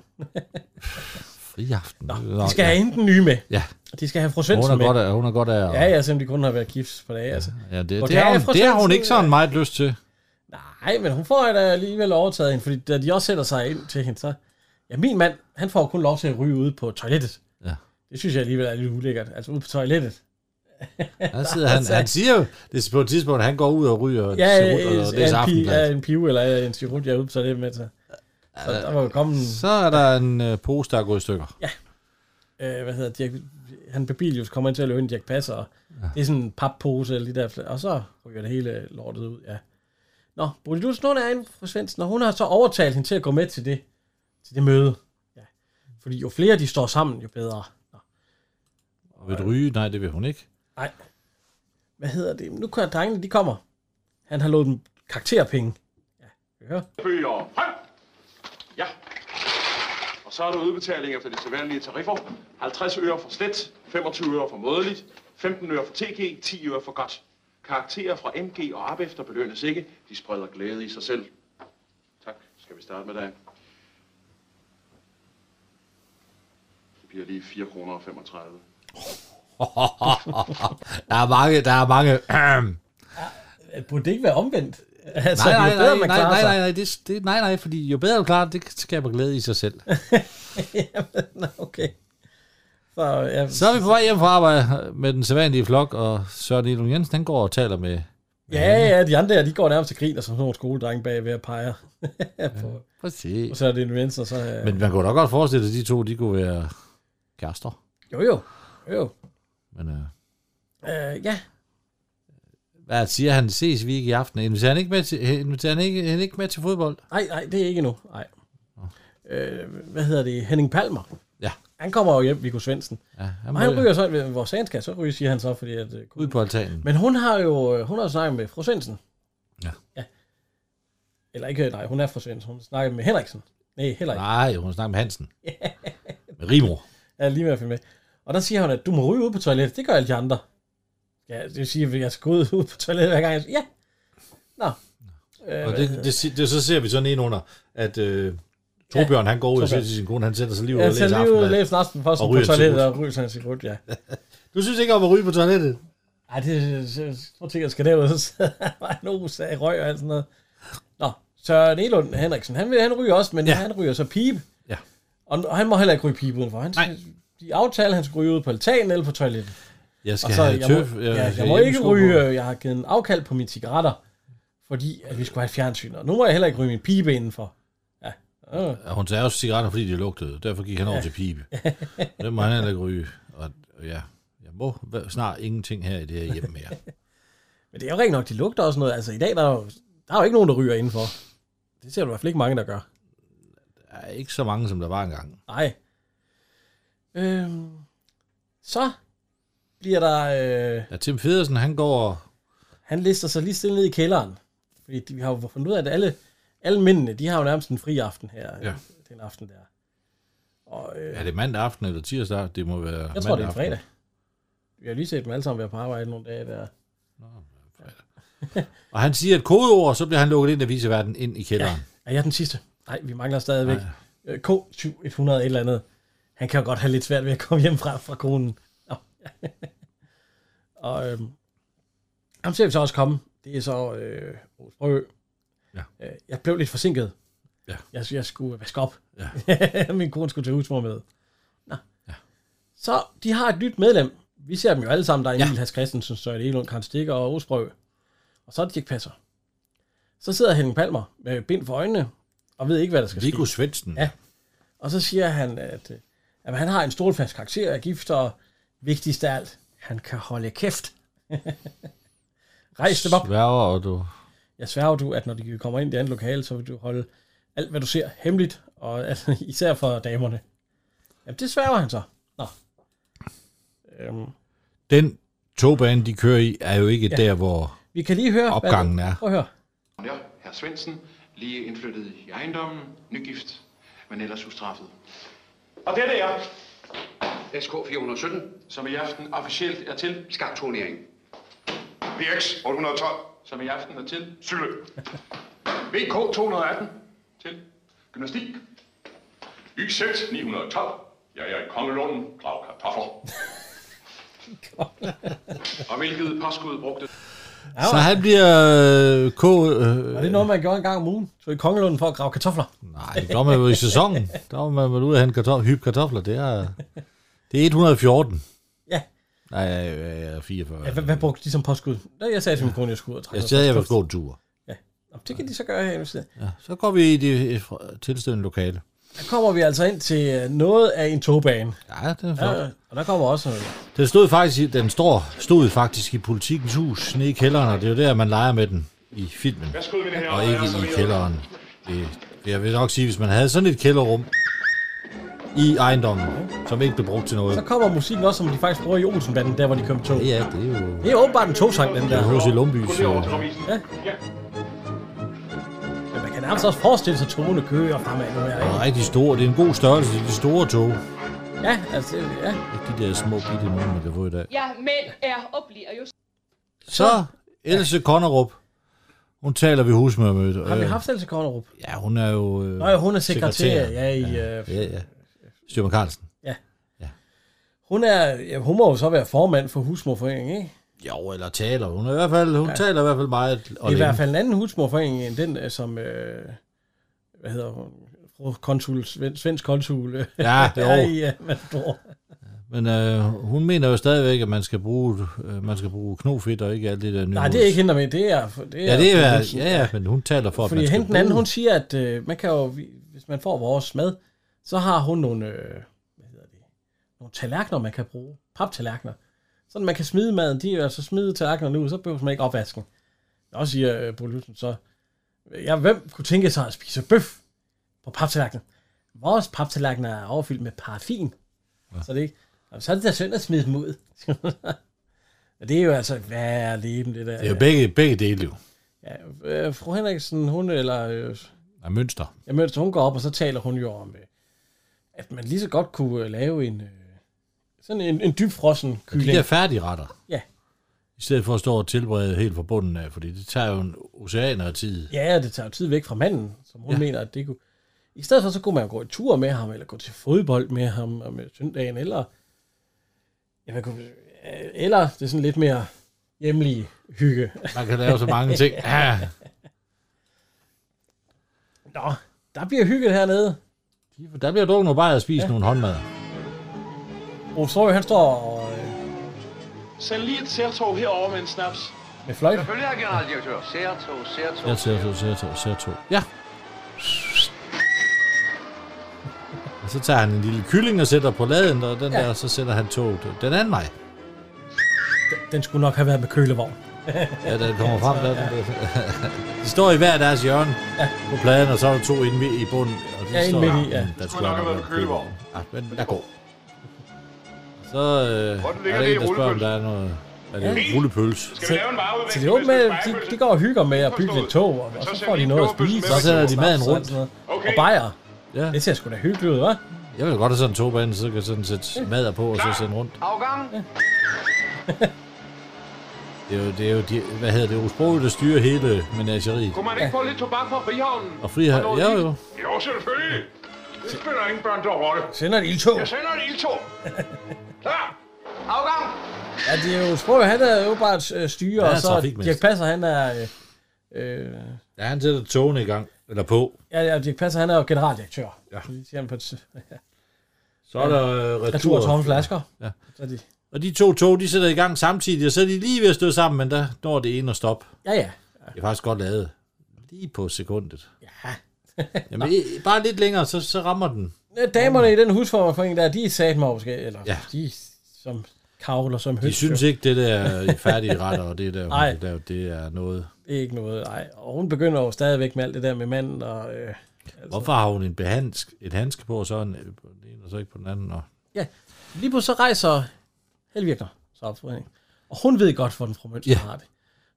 [SPEAKER 3] Fri aften. Nå,
[SPEAKER 2] De skal have hende den nye med.
[SPEAKER 3] Ja.
[SPEAKER 2] De skal have
[SPEAKER 3] Hun
[SPEAKER 2] Frosensen
[SPEAKER 3] er
[SPEAKER 2] med.
[SPEAKER 3] godt af, hun er godt af.
[SPEAKER 2] Ja, ja, selvom de kun har været gift på dage, altså.
[SPEAKER 3] ja det,
[SPEAKER 2] Og
[SPEAKER 3] det,
[SPEAKER 2] der
[SPEAKER 3] har
[SPEAKER 2] er
[SPEAKER 3] hun, det har hun
[SPEAKER 2] Frosensen,
[SPEAKER 3] ikke sådan meget lyst til.
[SPEAKER 2] Nej, men hun får da alligevel overtaget hende, fordi da de også sætter sig ind til hende, så... Ja, min mand, han får kun lov til at ryge ude på toilettet.
[SPEAKER 3] Ja.
[SPEAKER 2] Det synes jeg alligevel er lidt ulækkert. Altså ude på toilettet.
[SPEAKER 3] Han, sidder, han, han siger jo, det er på et tidspunkt, at han går ud og ryger
[SPEAKER 2] Altså- Ja, øh,
[SPEAKER 3] ja, cirrut, og det er så
[SPEAKER 2] en, pi,
[SPEAKER 3] aftenblad.
[SPEAKER 2] ja, en pive eller en cirrut, jeg er ude på toilettet med. Så, så der var jo kommet... en-
[SPEAKER 3] Så er der en øh, pose, der er gået i stykker.
[SPEAKER 2] øh, hvad hedder Dirk, han Babilius kommer ind til at løbe ind Dirk Passer, og ja. det er sådan en pappose eller de der, fla- og så ryger det hele lortet ud, ja. Nå, Bodil Lutzen, hun er inde for Svendsen, og hun har så overtalt hende til at gå med til det, til det møde. Ja. Fordi jo flere de står sammen, jo bedre. Nå,
[SPEAKER 3] Og vil du ryge? Nej, det vil hun ikke.
[SPEAKER 2] nej. Hvad hedder det? Nu kører drengene, de kommer. Han har lovet dem karakterpenge. Ja, ja.
[SPEAKER 9] Bøger frem! Ja. Og så er der udbetaling efter de sædvanlige tariffer. 50 øre for slet, 25 øre for mådeligt, 15 øre for TG, 10 øre for godt. Karakterer fra MG og op efter belønnes ikke. De spreder glæde i sig selv. Tak. Skal vi starte med dig? Det bliver lige 4 kroner og 35.
[SPEAKER 3] Der er mange, der er mange.
[SPEAKER 2] Burde det ikke være omvendt? Altså,
[SPEAKER 3] nej, nej,
[SPEAKER 2] jo bedre
[SPEAKER 3] nej,
[SPEAKER 2] man
[SPEAKER 3] nej,
[SPEAKER 2] klarer
[SPEAKER 3] nej,
[SPEAKER 2] sig.
[SPEAKER 3] nej, nej, det, det, nej, nej, fordi jo bedre du klarer det, det skaber glæde i sig selv.
[SPEAKER 2] Jamen, nå, okay. Så, ja,
[SPEAKER 3] Så er vi på vej hjem fra arbejde med den sædvanlige flok, og Søren Elon Jensen, han går og taler med...
[SPEAKER 2] Ja, ja, de andre der, de går nærmest til grin, og så sådan nogle skoledrenge bag ved at pege. på, og
[SPEAKER 3] Præcis.
[SPEAKER 2] så er det en venstre, og så... Øh,
[SPEAKER 3] Men man kunne da godt forestille sig, at de to, de kunne være kærester.
[SPEAKER 2] jo, jo, jo, jo.
[SPEAKER 3] Men øh,
[SPEAKER 2] Øh, ja,
[SPEAKER 3] Hvad siger han? Ses vi ikke i aften? Inviterer han ikke med til, inviterer han ikke, han ikke med til fodbold?
[SPEAKER 2] Nej, nej, det er ikke endnu. Nej. Øh, hvad hedder det? Henning Palmer.
[SPEAKER 3] Ja.
[SPEAKER 2] Han kommer jo hjem, Viggo Svendsen.
[SPEAKER 3] ja
[SPEAKER 2] Og han ryger så, hvor sagen skal, så ryger, siger han så, fordi at... øh,
[SPEAKER 3] ud på altanen.
[SPEAKER 2] Men hun har jo øh, hun har jo snakket med fru Svendsen.
[SPEAKER 3] Ja.
[SPEAKER 2] ja. Eller ikke, øh, nej, hun er fru Svendsen. Hun snakker med Henriksen. Nej, heller ikke.
[SPEAKER 3] Nej, hun snakker med Hansen. Med Rimor.
[SPEAKER 2] Jeg er lige ved at finde med. Og der siger hun, at du må ryge ud på toilettet. Det gør alle de andre. Ja, det vil sige, at jeg skal gå ud ud på toilettet hver gang. Jeg siger, ja. Nå. Øh,
[SPEAKER 3] Og det, det, si- det, så ser vi sådan en under, at øh, Torbjørn, han går ud og siger
[SPEAKER 2] Torbjørn.
[SPEAKER 3] til sin kone, han sætter sig lige ud og
[SPEAKER 2] jeg
[SPEAKER 3] læser
[SPEAKER 2] tager lige ud og
[SPEAKER 3] aften.
[SPEAKER 2] læser aften på
[SPEAKER 3] og ryger en
[SPEAKER 2] toilettet
[SPEAKER 3] cigaret.
[SPEAKER 2] og ryger sådan en cigaret, ja.
[SPEAKER 3] Du synes ikke om at ryge på toilettet?
[SPEAKER 2] Ej, det jeg tror ikke, jeg skal derud. Så sidder der bare en osa i røg og alt sådan noget. Nå, Søren Elund Henriksen, han, vil- han ryger også, men ja.
[SPEAKER 3] Ja.
[SPEAKER 2] han ryger så pibe.
[SPEAKER 3] Ja.
[SPEAKER 2] Og, og han må heller ikke ryge pibe udenfor. Han,
[SPEAKER 3] Nej.
[SPEAKER 2] De aftaler, han skal ryge ud på altanen eller på toilettet.
[SPEAKER 3] Jeg skal
[SPEAKER 2] Og så,
[SPEAKER 3] have
[SPEAKER 2] jeg
[SPEAKER 3] tøf.
[SPEAKER 2] må, ja, jeg, må
[SPEAKER 3] skal
[SPEAKER 2] ikke
[SPEAKER 3] hjemmesko på.
[SPEAKER 2] ryge, øh, jeg har givet en afkald på mine cigaretter, fordi at vi skulle have et fjernsyn, og nu må jeg heller ikke ryge min pibe indenfor. Ja, øh,
[SPEAKER 3] Ja, Hun tager også cigaretter, fordi de lugtede. Derfor gik han over til pibe. Det må han heller ikke ryge. Og og ja, jeg må hva- snart ingenting her i det her hjem mere.
[SPEAKER 2] men det er jo rent nok, de lugter også noget. Altså i dag, der er jo, der er jo ikke nogen, der ryger indenfor. Det ser du i hvert fald ikke mange, der gør.
[SPEAKER 3] Der er ikke så mange, som der var engang.
[SPEAKER 2] Nej. Øhm, så bliver der... Øh,
[SPEAKER 3] Ja, Tim Federsen, han går og...
[SPEAKER 2] han lister sig lige stille ned i kælderen. Fordi de, vi har jo fundet ud af, at alle, alle mændene, de har jo nærmest en fri aften her.
[SPEAKER 3] Ja.
[SPEAKER 2] Den aften der. Og, øh,
[SPEAKER 3] Er det mandag aften eller tirsdag? Det må være
[SPEAKER 2] Jeg tror, det
[SPEAKER 3] mandag
[SPEAKER 2] er en
[SPEAKER 3] aften.
[SPEAKER 2] fredag. Vi har lige set dem alle sammen være på arbejde nogle dage der.
[SPEAKER 3] Og han siger et kodeord, så bliver han lukket ind af viseverden ind i kælderen.
[SPEAKER 2] Er jeg den sidste? Nej, vi mangler stadigvæk. Øh, K7100 et eller andet. Han kan jo godt have lidt svært ved at komme hjem fra, fra konen. Nå. og øhm, ham ser vi så også komme. Det er så øh, Troels Brøø.
[SPEAKER 3] Ja.
[SPEAKER 2] Øh, jeg blev lidt forsinket.
[SPEAKER 3] Ja.
[SPEAKER 2] Jeg, jeg skulle vaske op.
[SPEAKER 3] Ja.
[SPEAKER 2] Min kone skulle til husmor med. Nå. Så de har et nyt medlem. Vi ser dem jo alle sammen. Der er Emil ja. Has Christensen, Søren Elund, Karen Stikker og Osbrø. Og så er det Dirk Passer. Så sidder Henning Palmer med bind for øjnene, og ved ikke, hvad der skal
[SPEAKER 3] Viggo
[SPEAKER 2] ske.
[SPEAKER 3] Svendsen.
[SPEAKER 2] Ja. Og så siger han, at, øh, at han har en stålfast karakter, er gift, og vigtigst af alt, han kan holde kæft. Rejs dem op.
[SPEAKER 3] Sværger, og du...
[SPEAKER 2] Jeg sværger du, at når de kommer ind i det andet lokale, så vil du holde alt, hvad du ser, hemmeligt, og altså, især for damerne. Jamen, det sværger han så. Nå. Øhm,
[SPEAKER 3] Den togbane, de kører i, er jo ikke ja. der, hvor...
[SPEAKER 2] vi kan lige høre... hvad du-
[SPEAKER 3] Opgangen er.
[SPEAKER 2] Prøv at høre.
[SPEAKER 9] Ja, herr Svendsen, lige indflyttet i ejendommen, nygift, men ellers ustraffet. Og dette er SK 417, som i aften officielt er til skakturnering.
[SPEAKER 7] VX 812.
[SPEAKER 9] Som i aften er til Syle. VK 218 til Gymnastik. YZ 912. Jeg er i Kongelunden, Grav Kartoffer. Og hvilket påskud brugte
[SPEAKER 3] Så han bliver... Øh, K... Øh,
[SPEAKER 2] Og det er noget, man gjorde en gang om ugen. Så i Kongelunden for at grave kartofler.
[SPEAKER 3] nej, det gør man jo i sæsonen. Der var man vel ude og hente kartofler, hyppe kartofler. Det er, det er 114.
[SPEAKER 2] Ja.
[SPEAKER 3] Nej, jeg er 44.
[SPEAKER 2] Ja, hvad, hvad brugte de som påskud? Nå, jeg sagde til min kone, jeg skulle ud og trække
[SPEAKER 3] Jeg
[SPEAKER 2] noget
[SPEAKER 3] sagde, jeg vil
[SPEAKER 2] påskud.
[SPEAKER 3] gå en tur.
[SPEAKER 2] Nå, Det kan de så gøre her i stedet.
[SPEAKER 3] Ja, så går vi i det fra- tilstødende lokale.
[SPEAKER 2] Der kommer vi altså ind til øh, noget af en togbane.
[SPEAKER 3] Ja, det er
[SPEAKER 2] Ja,
[SPEAKER 3] flot.
[SPEAKER 2] og der kommer også øh, noget.
[SPEAKER 3] Den stod faktisk, i- den står, stod faktisk i politikens hus nede i kælderen, og det er jo der, man leger med den i filmen,
[SPEAKER 9] Værsgo, mine herrer.
[SPEAKER 3] og
[SPEAKER 9] jeg er
[SPEAKER 3] ikke i
[SPEAKER 9] serveret.
[SPEAKER 3] kælderen. Det, jeg vil nok sige, hvis man havde sådan et kælderrum i ejendommen, som ikke blev brugt til noget.
[SPEAKER 2] Så kommer musikken også, som de faktisk bruger i Olsenbanden, der hvor de kører med tog.
[SPEAKER 3] Ja, det er jo
[SPEAKER 2] Det er åbenbart en togsang, den der.
[SPEAKER 3] H.C. Lumby's.
[SPEAKER 9] Gå lige over til
[SPEAKER 3] øh,
[SPEAKER 9] avisen.
[SPEAKER 2] Ja.
[SPEAKER 9] Ja.
[SPEAKER 2] Men man kan nærmest også forestille sig, at togene kører fremad nu her.
[SPEAKER 3] Og
[SPEAKER 2] ikke?
[SPEAKER 3] rigtig stor. Det er en god størrelse, de store tog.
[SPEAKER 2] Ja, altså, ja.
[SPEAKER 3] Ikke de der små bitte nogen, man kan få i dag.
[SPEAKER 6] Ja, mænd er og bliver jo
[SPEAKER 3] Så Else Konnerup. Hun taler ved husmørmødet.
[SPEAKER 2] Har vi haft Else Kornerup?
[SPEAKER 3] Ja, hun er jo... Øh,
[SPEAKER 2] Nå ja, hun er sekretær. Ja, i, øh,
[SPEAKER 3] Ja, ja. Styrman Carlsen.
[SPEAKER 2] hun, er, ja, hun må jo så være formand for husmorforeningen, ikke?
[SPEAKER 3] Jo, eller taler. Hun, er i hvert fald, hun ja. taler i hvert fald meget. Og
[SPEAKER 2] Det er i
[SPEAKER 3] længe.
[SPEAKER 2] hvert fald en anden husmorforening end den, øh, som... Øh, hvad hedder hun? Fru Konsul, Svend- svensk konsul. øh,
[SPEAKER 3] Ja, det
[SPEAKER 2] er
[SPEAKER 3] er
[SPEAKER 2] i øh, Matador.
[SPEAKER 3] Mm. Men øh, hun mener jo stadigvæk, at man skal bruge, øh, man skal bruge knofedt og ikke alt det der nye.
[SPEAKER 2] Nej, det er ikke hende der med. Det er, det er,
[SPEAKER 3] Ja, det er,
[SPEAKER 2] Nielsen.
[SPEAKER 3] ja, ja, men hun taler for, at
[SPEAKER 2] Fordi
[SPEAKER 3] man skal
[SPEAKER 2] hende den anden,
[SPEAKER 3] bruge-
[SPEAKER 2] hun siger, at øh, man kan jo, vi- hvis man får vores mad, så har hun nogle, øh, hvad hedder det, nogle tallerkener, man kan bruge. Paptallerkener. Sådan man kan smide maden, de er jo altså smide tallerkenerne ud, så behøver man ikke opvasken. Nå, siger øh, Bo Lutzen så, ja, hvem kunne tænke sig at spise bøf på paptallerkenen? Vores paptallerkener er overfyldt med paraffin. Ja. Så det ikke, "Jamen, så er det da synd at smide dem ud. Og det er jo altså, hvad er leben, det der?
[SPEAKER 3] Det er jo begge, begge dele jo.
[SPEAKER 2] Ja, øh, fru Henriksen, hun, eller øh,
[SPEAKER 3] Der er mønster.
[SPEAKER 2] Ja, mens hun går op, og så taler hun jo om, øh, at man lige så godt kunne øh, lave en, øh, sådan en, en dybfrossen
[SPEAKER 3] Men De
[SPEAKER 2] kylling.
[SPEAKER 3] der færdige retter.
[SPEAKER 2] Ja.
[SPEAKER 3] I stedet for at stå og tilberede helt fra bunden af, fordi det tager jo en oceaner af tid.
[SPEAKER 2] Ja, det tager jo tid væk fra manden, som hun ja. mener, at det kunne... I stedet for, så kunne man jo gå i tur med ham, eller gå til fodbold med ham om øh, søndagen, eller... Ja, man kunne, øh, eller det er sådan lidt mere hjemlige hygge.
[SPEAKER 3] Man kan lave så mange ting. Ah,
[SPEAKER 2] Nå, der bliver hygget hernede.
[SPEAKER 3] der bliver drukket noget bare at spise ja. nogle håndmad.
[SPEAKER 2] Rolf Sorg, han står og, øh,
[SPEAKER 9] Send lige et særtog herover med en snaps.
[SPEAKER 2] med fløjt.
[SPEAKER 7] Selvfølgelig er generaldirektør. Særtog, særtog.
[SPEAKER 3] Jeg tager to, jeg tager to, jeg to. Ja. Og så tager han en lille kylling og sætter på laden, og den
[SPEAKER 2] Ja.
[SPEAKER 3] ja. der, så sætter han toget den anden vej.
[SPEAKER 2] Den skulle nok have været med kølevogn.
[SPEAKER 3] Ja, den kommer frem der. Den, der. De står i hver deres hjørne ja. på pladen, og så er der to inde midt i bunden. Og de
[SPEAKER 2] Ja, inde
[SPEAKER 3] står
[SPEAKER 2] midt i,
[SPEAKER 3] der.
[SPEAKER 2] ja.
[SPEAKER 3] Mm, Der skulle nok have været en kølevogn. Ja, men der går. Så øh, er der
[SPEAKER 9] ligger det
[SPEAKER 3] en,
[SPEAKER 9] i
[SPEAKER 3] der spørger, om der er noget... Er det en rullepølse?
[SPEAKER 9] Skal vi lave en
[SPEAKER 2] Så
[SPEAKER 9] vareudveksling?
[SPEAKER 2] det er jo med,
[SPEAKER 9] hvis
[SPEAKER 2] de,
[SPEAKER 9] der er
[SPEAKER 2] de
[SPEAKER 9] spejepølse?
[SPEAKER 2] går og hygger med at bygge lidt tog, og, og
[SPEAKER 9] så
[SPEAKER 2] så
[SPEAKER 9] sender
[SPEAKER 2] får de
[SPEAKER 9] de
[SPEAKER 2] noget at
[SPEAKER 9] køberpølsen
[SPEAKER 2] spise.
[SPEAKER 9] med.
[SPEAKER 2] og
[SPEAKER 9] Så
[SPEAKER 3] sender de
[SPEAKER 2] snaps
[SPEAKER 3] maden
[SPEAKER 2] og alt
[SPEAKER 3] rundt.
[SPEAKER 2] sådan noget.
[SPEAKER 9] Okay.
[SPEAKER 2] Og bajer.
[SPEAKER 3] Ja,
[SPEAKER 2] Det ser sgu da hyggeligt ud, hva'?
[SPEAKER 3] jeg vil godt have sådan en togbane, så kan jeg sådan sætte madder på, og så sende rundt.
[SPEAKER 7] Afgang.
[SPEAKER 3] Det er jo, det er jo de, hvad hedder det, Osbro, der styrer hele menageriet.
[SPEAKER 9] Kunne man ikke få lidt tobak fra Frihavnen?
[SPEAKER 3] Og frihavn,
[SPEAKER 9] Hvornår
[SPEAKER 3] ja
[SPEAKER 9] de-
[SPEAKER 3] jo.
[SPEAKER 9] Jo, selvfølgelig. Det spiller ingen børn der rolle.
[SPEAKER 2] Sender et ildtog.
[SPEAKER 9] Jeg sender et ildtog. Klar.
[SPEAKER 7] Afgang.
[SPEAKER 2] Ja, det er jo Sprog, han er jo bare et øh, styre,
[SPEAKER 3] Ja,
[SPEAKER 2] og så
[SPEAKER 3] trafikmester.
[SPEAKER 2] Dirk Passer, han er... Øh, øh,
[SPEAKER 3] Ja, han sætter togene i gang, eller på.
[SPEAKER 2] ja, ja, Dirk Passer, han er jo generaldirektør.
[SPEAKER 3] Ja.
[SPEAKER 2] Det siger han på et s-
[SPEAKER 3] Så er der øh,
[SPEAKER 2] retur
[SPEAKER 3] retur.
[SPEAKER 2] og tomme flasker.
[SPEAKER 3] Ja.
[SPEAKER 2] Så er de,
[SPEAKER 3] Og de to tog, de sætter i gang samtidig, og så er de lige ved at stå sammen, men der når det ene at stoppe.
[SPEAKER 2] ja, ja.
[SPEAKER 3] Det er faktisk godt lavet. Lige på sekundet.
[SPEAKER 2] ja.
[SPEAKER 3] Jamen, i- bare lidt længere, så, så rammer den.
[SPEAKER 2] Øh, Damerne i den husforforening der, de er sat mig måske, eller ja.
[SPEAKER 3] Ja.
[SPEAKER 2] de er som kavler som høns.
[SPEAKER 3] De synes ikke, det der færdige retter og det der,
[SPEAKER 2] Nej. Altså.
[SPEAKER 3] hun kan lave, det er noget.
[SPEAKER 2] Det er ikke noget, nej. Og hun begynder jo stadigvæk med alt det der med manden, og... Øh,
[SPEAKER 3] Hvorfor har hun en behandsk, et handske på, og så en, øh, på den ene, og så ikke på den anden? Og...
[SPEAKER 2] Ja, lige pludselig så rejser Helvirkner så op for hende. Og hun ved godt, hvordan fru Mønster ja.
[SPEAKER 3] Ja.
[SPEAKER 2] har det.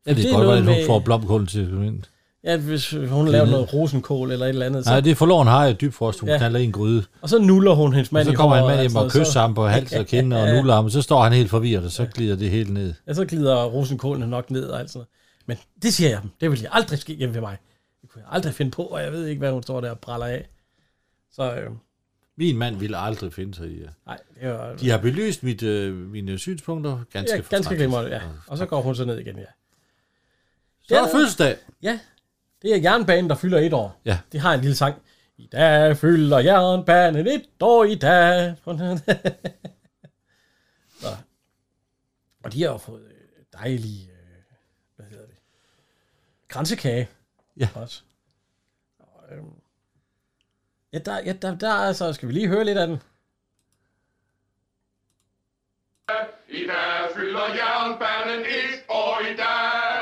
[SPEAKER 3] Jeg ved
[SPEAKER 2] det er
[SPEAKER 3] godt,
[SPEAKER 2] noget
[SPEAKER 3] hvordan hun
[SPEAKER 2] med-
[SPEAKER 3] får blomkål til at komme ind.
[SPEAKER 2] Ja, hvis hun laver noget rosenkål eller et eller andet. Så,
[SPEAKER 3] Nej, det er forloren har jeg dybfrost. Hun
[SPEAKER 2] Ja.
[SPEAKER 3] ja. knalder i en gryde.
[SPEAKER 2] og så nuller hun hendes
[SPEAKER 3] Men
[SPEAKER 2] mand
[SPEAKER 3] så
[SPEAKER 2] i
[SPEAKER 3] kommer
[SPEAKER 2] håret,
[SPEAKER 3] han med hjem
[SPEAKER 2] altså,
[SPEAKER 3] og kysser ham på hals og kinde og nuller ham, og så står han helt forvirret, og så glider det helt ned.
[SPEAKER 2] Så, ja, så glider rosenkålen nok ned og alt sådan noget. Men det siger jeg dem. Det vil jeg aldrig ske hjemme ved mig. Det kunne jeg aldrig finde på, og jeg ved ikke, hvad hun står der og praller af. Så øh,
[SPEAKER 3] Min mand ville aldrig finde sig i øh, det.
[SPEAKER 2] nej, det var...
[SPEAKER 3] De har belyst mit, øh, mine synspunkter ganske
[SPEAKER 2] ja, ganske
[SPEAKER 3] fortræffeligt.
[SPEAKER 2] glimrende, ja. Og så går hun så ned igen, ja.
[SPEAKER 3] Så er der fødselsdag.
[SPEAKER 2] Ja, det er jernbanen, der fylder et år.
[SPEAKER 3] Ja.
[SPEAKER 2] Det har en lille sang. I dag fylder jernbanen et år i dag. Så. Og de har jo fået øh, dejlige, øh, hvad hedder det, kransekage.
[SPEAKER 3] Ja.
[SPEAKER 2] Også. Og, øhm, ja, der, ja, der, der, er så skal vi lige høre lidt af den.
[SPEAKER 9] I dag fylder jernbanen et år i dag.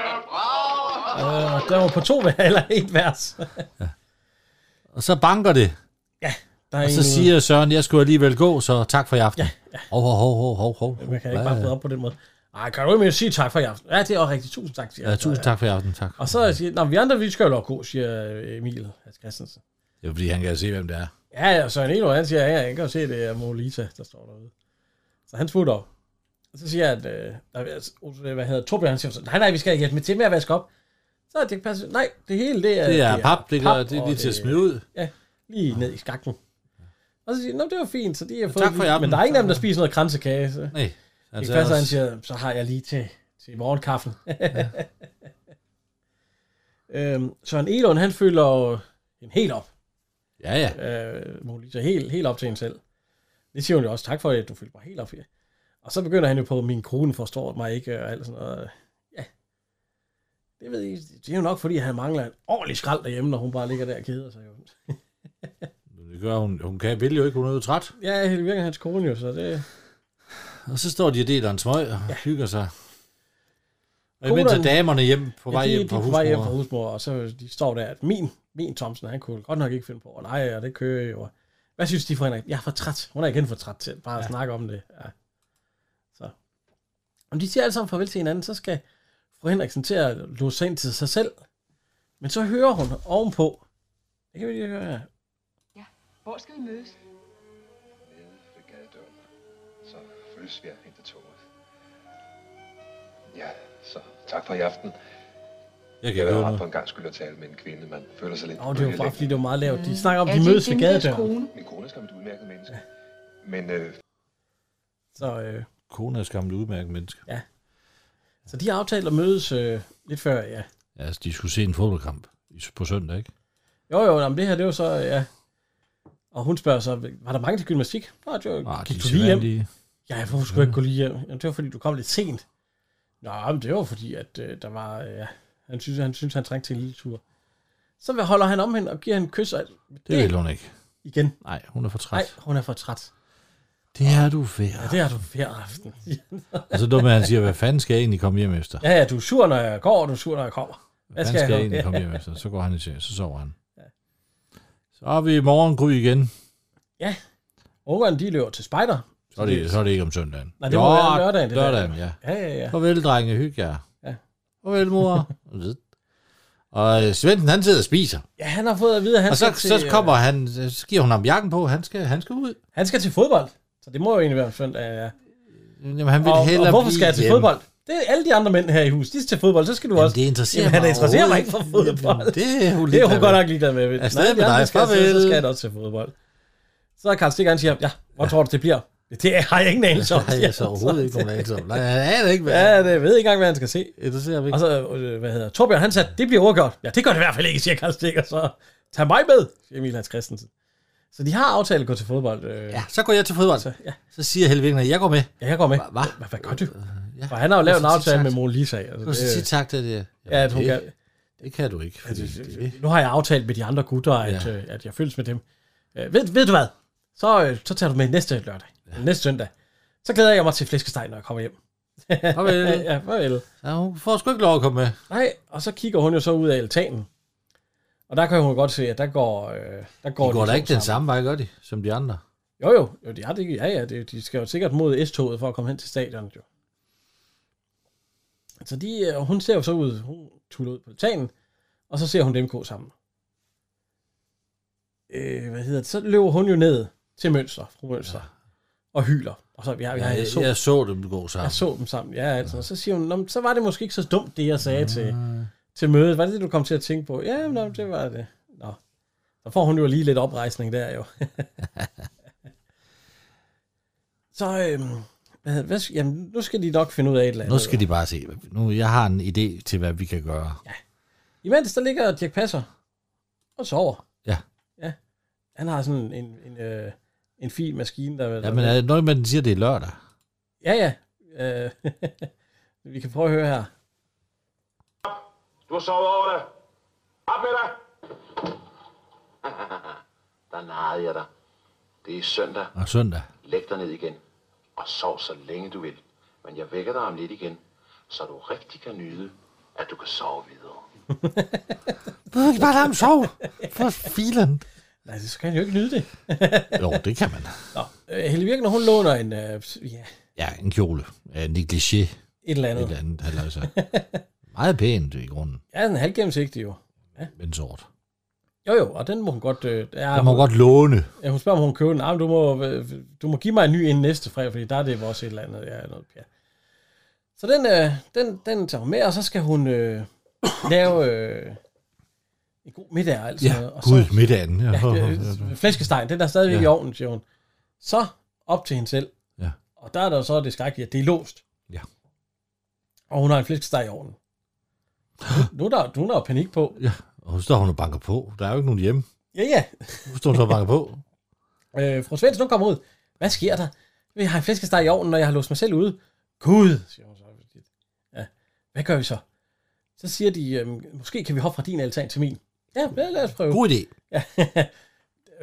[SPEAKER 2] Øh, der var på to eller et vers.
[SPEAKER 3] Og så banker det.
[SPEAKER 2] Der er
[SPEAKER 3] Og så
[SPEAKER 2] en-
[SPEAKER 3] siger Søren, jeg skulle alligevel gå, så tak for i aften. Hov, hov, hov, hov, hov, hov.
[SPEAKER 2] Man kan ikke bare bryde op på den måde. Ej, kan du ikke mere sige tak for i aften? Ja, det er også rigtigt. Tusind tak, siger
[SPEAKER 3] Ja,
[SPEAKER 2] han så,
[SPEAKER 3] tusind tak for i aften, tak.
[SPEAKER 2] Og så siger Nå, vi andre, vi skal jo lov gå, siger øh, Emil Hans Christensen.
[SPEAKER 3] Det er fordi, han kan se, hvem det er.
[SPEAKER 2] Ja, ja, og Søren Eno, han siger, ja, jeg kan jo se, det er Molita, der står derude. Så han smutter op. Og så siger jeg, at, øh, nej, altså, Otto, hvad hedder Torbjørn, han siger så, nej, nej, vi skal hjælpe med til med at vaske op. Så det passer, nej, det hele, det er...
[SPEAKER 3] Det er pap, det, gør, det er
[SPEAKER 2] og
[SPEAKER 3] lige til at
[SPEAKER 2] det-
[SPEAKER 3] smide ud.
[SPEAKER 2] Ja, lige ned i skakten. Og så siger jeg, nå, det var fint, så de har fået...
[SPEAKER 3] tak for i aften.
[SPEAKER 2] Men der er ingen af dem, der spiser noget kransekage, så...
[SPEAKER 3] Nej.
[SPEAKER 2] Ikke
[SPEAKER 3] Altså,
[SPEAKER 2] passer, han siger, så har jeg lige til, til morgenkaffen. Ja. øhm, Søren Elon, han føler jo en helt op.
[SPEAKER 3] Ja, ja.
[SPEAKER 2] Øh, Mona Lisa, helt, helt op til hende selv. Det siger hun jo også, tak for, at du følte mig helt op. Ja. Og så begynder han jo på, min kone forstår mig ikke, og alt sådan noget. Ja. Det ved jeg, det er jo nok, fordi han mangler en ordentlig skrald derhjemme, når hun bare ligger der og keder sig. Jo.
[SPEAKER 3] Det gør hun. Hun kan, vil jo ikke, hun er jo træt.
[SPEAKER 2] Ja, helt virkelig hans kone jo, så det...
[SPEAKER 3] Og så står de og deler en smøg og hygger sig. Og imens
[SPEAKER 2] Kolon-
[SPEAKER 3] er damerne hjem på vej
[SPEAKER 2] ja, de,
[SPEAKER 3] hjem fra
[SPEAKER 2] de er på vej hjem fra
[SPEAKER 3] husmor.
[SPEAKER 2] husmor, og så de står der, at min, min Thomsen, han kunne godt nok ikke finde på at lege, og det kører jo. Hvad synes de for Henrik? Jeg er for træt. Hun er igen for træt til bare at ja. snakke om det. Ja. Så. Om de siger alle sammen farvel til hinanden, så skal fru Henriksen til at låse sig ind til sig selv. Men så hører hun ovenpå. Det kan vi lige høre her.
[SPEAKER 8] Hvor skal vi mødes?
[SPEAKER 7] ved gadedøren, så følges vi at hente toget. Ja, så tak for i aften.
[SPEAKER 3] Jeg kan
[SPEAKER 7] Jeg
[SPEAKER 3] ikke
[SPEAKER 7] var
[SPEAKER 3] høre
[SPEAKER 7] ret
[SPEAKER 3] noget.
[SPEAKER 7] for en gang skulle jeg tale med en kvinde, man føler sig lidt...
[SPEAKER 2] Åh, oh, det var bare,
[SPEAKER 7] bølgelængde.
[SPEAKER 2] fordi det var meget lavt. De snakker om,
[SPEAKER 8] Er
[SPEAKER 2] de
[SPEAKER 8] det
[SPEAKER 2] mødes ved
[SPEAKER 8] din
[SPEAKER 2] gadedøren.
[SPEAKER 8] kone?
[SPEAKER 7] Min kone er skam et udmærket menneske. Men øh,
[SPEAKER 2] Så, øh,
[SPEAKER 3] Kone er skamt udmærket menneske.
[SPEAKER 2] så de har aftalt at mødes øh, lidt før, ja.
[SPEAKER 3] Ja, altså, de skulle se en fodboldkamp i- på søndag, ikke?
[SPEAKER 2] Jo, jo, jamen, det her, det var så, ja. Og hun spørger så, var der mange til gymnastik? Nej, det var,
[SPEAKER 3] Ah,
[SPEAKER 2] gik
[SPEAKER 3] de
[SPEAKER 2] du lige hjem?
[SPEAKER 3] sædvanlige.
[SPEAKER 2] Ja, hvorfor skulle jeg ikke gå lige hjem? Jamen, det var, fordi du kom lidt sent. Nå, men det var fordi, at øh, der var, øh, ja, han synes, han synes, han trængte til en lille tur. Så hvad holder han om hende og giver hende et kys og alt.
[SPEAKER 3] Det vil hun ikke.
[SPEAKER 2] igen.
[SPEAKER 3] Nej, hun er for træt.
[SPEAKER 2] Nej, hun er for træt.
[SPEAKER 3] Det er du
[SPEAKER 2] Ja,
[SPEAKER 3] værd.
[SPEAKER 2] det har du hver aften.
[SPEAKER 3] Og så dumme, han siger, hvad fanden skal jeg egentlig komme hjem efter?
[SPEAKER 2] Ja, ja, du er sur, når jeg går, og du er sur, når jeg kommer.
[SPEAKER 3] Hvad
[SPEAKER 2] skal
[SPEAKER 3] skal,
[SPEAKER 2] jeg
[SPEAKER 3] skal jeg
[SPEAKER 2] nu?
[SPEAKER 3] egentlig komme hjem efter? Så går han i seng, så sover han. Så er vi i morgen gry igen.
[SPEAKER 2] Ungerne, de løber til spejder.
[SPEAKER 3] Så er, det, så er det ikke om søndagen.
[SPEAKER 2] Nej, det må være lørdagen, det der.
[SPEAKER 3] lørdagen, ja.
[SPEAKER 2] Ja, ja, ja.
[SPEAKER 3] Farvel, drenge, hygge jer.
[SPEAKER 2] Ja.
[SPEAKER 3] Farvel, mor. og øh, Svendsen, han sidder og spiser.
[SPEAKER 2] Ja, han har fået at vide, at han
[SPEAKER 3] Og så,
[SPEAKER 2] til,
[SPEAKER 3] så
[SPEAKER 2] øh,
[SPEAKER 3] kommer han, så giver hun ham jakken på, han skal, han skal ud.
[SPEAKER 2] Han skal til fodbold. Så det må jo egentlig være en søndag, ja.
[SPEAKER 3] Jamen, han vil
[SPEAKER 2] Og,
[SPEAKER 3] hellere
[SPEAKER 2] og hvorfor
[SPEAKER 3] blive
[SPEAKER 2] skal jeg til
[SPEAKER 3] hjemme.
[SPEAKER 2] fodbold? Det er alle de andre mænd her i huset. De skal til fodbold, så skal du
[SPEAKER 3] Jamen,
[SPEAKER 2] også.
[SPEAKER 3] det interesserer
[SPEAKER 2] Jamen,
[SPEAKER 3] mig
[SPEAKER 2] han interesserer mig ikke for
[SPEAKER 3] overhovedet ikke.
[SPEAKER 2] fodbold.
[SPEAKER 3] Jamen, det er hun,
[SPEAKER 2] Det er hun
[SPEAKER 3] ligeglad
[SPEAKER 2] godt
[SPEAKER 3] med.
[SPEAKER 2] nok ligeglad med. Ved.
[SPEAKER 3] Afsted med
[SPEAKER 2] de andre
[SPEAKER 3] dig.
[SPEAKER 2] skal, så, så
[SPEAKER 3] Farvel.
[SPEAKER 2] skal jeg da også til fodbold. Så er Karl Stikker, han siger, ja, hvor tror du, det bliver? Det har jeg ingen anelse om.
[SPEAKER 3] Nej,
[SPEAKER 2] siger
[SPEAKER 3] jeg så
[SPEAKER 2] han
[SPEAKER 3] overhovedet ikke nogen anelse om. Nej, han aner ikke, hvad
[SPEAKER 2] Ja, det jeg ved ikke engang, hvad han skal se.
[SPEAKER 3] interesserer mig
[SPEAKER 2] Og
[SPEAKER 3] ikke.
[SPEAKER 2] så, øh, hvad hedder Torbjørn, han sagde, det bliver overgjort. Ja, det gør det i hvert fald ikke, siger Karl Stikker, så tag mig med, siger Emil Hans Christensen. Så de har aftalt at gå til fodbold. Øh,
[SPEAKER 3] Ja, så går jeg til fodbold.
[SPEAKER 2] Så, ja.
[SPEAKER 3] Så siger Helge Wigner, jeg går med.
[SPEAKER 2] ja, jeg går med.
[SPEAKER 3] Hvad?
[SPEAKER 2] Hvad, hvad gør du?
[SPEAKER 3] Øh, Ja.
[SPEAKER 2] Og han har jo lavet en
[SPEAKER 3] så sige
[SPEAKER 2] aftale
[SPEAKER 3] tak.
[SPEAKER 2] med Mona Lisa. Altså,
[SPEAKER 3] Du skal sige
[SPEAKER 2] det,
[SPEAKER 3] tak til det.
[SPEAKER 2] ja, at hun
[SPEAKER 3] det,
[SPEAKER 2] kan,
[SPEAKER 3] det kan du ikke. Fordi det,
[SPEAKER 2] Altså, nu har jeg aftalt med de andre gutter, at, ja. øh, at jeg føles med dem. Øh, ved, ved du hvad? Så, øh, så tager du med næste lørdag. Ja. Næste søndag. Så glæder jeg mig til flæskesteg, når jeg kommer hjem.
[SPEAKER 3] Farvel.
[SPEAKER 2] Ja, ja, farvel.
[SPEAKER 3] ja, hun får sgu ikke lov at komme med.
[SPEAKER 2] Nej, og så kigger hun jo så ud af altanen. Og der kan hun godt se, at der går... Øh, der går
[SPEAKER 3] De går
[SPEAKER 2] to
[SPEAKER 3] da ikke den samme vej, gør de, som de andre.
[SPEAKER 2] Jo, jo. jo de, har det, ja, ja, de, de skal jo sikkert mod S-toget for at komme hen til stadion. Jo. Så de, øh, hun ser jo så ud, hun tuller ud på altanen, og så ser hun dem gå sammen. Øh, hvad hedder det? Så løber hun jo ned til Mønster, fru Mønster, ja. og hyler. Og så, ja, ja, jeg, så,
[SPEAKER 3] jeg så dem gå sammen.
[SPEAKER 2] jeg så dem sammen. Ja, Mm. altså. Så siger hun, "Nå, men så var det måske ikke så dumt, det jeg sagde til, til mødet. Var det det, du kom til at tænke på? Ja, nå, det var det. Nå. Så får hun jo lige lidt oprejsning der jo. så, øhm, hvad, hedder- hvad, jamen, nu skal de nok finde ud af et eller andet.
[SPEAKER 3] Nu skal de bare se. Nu, jeg har en idé til, hvad vi kan gøre.
[SPEAKER 2] Imens der ligger Dirk Passer og sover.
[SPEAKER 3] Ja.
[SPEAKER 2] Ja. Han har sådan en, en, øh, en fin maskine, der...
[SPEAKER 3] Ja, men er det noget med, at den siger, at det er lørdag?
[SPEAKER 2] ja, ja. Øh, vi kan prøve at høre her.
[SPEAKER 9] Du har sovet over det. Op med dig.
[SPEAKER 4] Der narrede jeg dig. Det er søndag.
[SPEAKER 3] Og søndag.
[SPEAKER 4] Læg dig ned igen. Og sov så længe du vil. Men jeg vækker dig om lidt igen, så du rigtig kan nyde, at du kan sove videre.
[SPEAKER 3] Du kan bare lade ham sove. For filen.
[SPEAKER 2] Nej, så kan han jo ikke nyde det.
[SPEAKER 3] Jo, det kan man.
[SPEAKER 2] Nå, øh, Helle Virkner, hun låner en, øh, ja,
[SPEAKER 3] Ja, en kjole. Ja, En negligé.
[SPEAKER 2] et eller
[SPEAKER 3] Et
[SPEAKER 2] andet.
[SPEAKER 3] eller andet. Eller altså. Meget pænt i grunden,
[SPEAKER 2] Ja, den er halvgennemsigtig jo.
[SPEAKER 3] men sort.
[SPEAKER 2] Jo jo, og den må hun godt... Øh, ja,
[SPEAKER 3] Jeg må godt låne.
[SPEAKER 2] Ja, hun spørger, om hun køber den. Ah, men du, må, øh, du må give mig en ny inden næste fredag, fordi der er det vores et eller andet. Ja, noget, ja. Så den, øh, den, den tager hun med, og så skal hun øh, lave øh, en god middag og alt sådan
[SPEAKER 3] Ja,
[SPEAKER 2] noget. Og
[SPEAKER 3] gud,
[SPEAKER 2] så,
[SPEAKER 3] middagen. Ja,
[SPEAKER 2] ja, øh, flæskestegen, den er stadigvæk ja.
[SPEAKER 3] Ja.
[SPEAKER 2] i ovnen, siger hun. Så op til hende selv.
[SPEAKER 3] Ja.
[SPEAKER 2] Og der er der jo så det skrækkelige, at det er låst.
[SPEAKER 3] Ja.
[SPEAKER 2] Og hun har en flæskesteg i ovnen. Nu er der, nu er der jo panik på.
[SPEAKER 3] Og så står hun og banker på. Der er jo ikke nogen hjemme.
[SPEAKER 2] Ja, ja.
[SPEAKER 3] Nu står hun så og banker på.
[SPEAKER 2] Øh, fru Svendsen, hun kommer ud. Hvad sker der? Jeg har en flæskesteg i ovnen, når jeg har låst mig selv ude. Gud, siger hun så. Ja. Hvad gør vi så? Så siger de, øhm, måske kan vi hoppe fra din altan til min. Ja, lad lad os prøve.
[SPEAKER 3] God idé.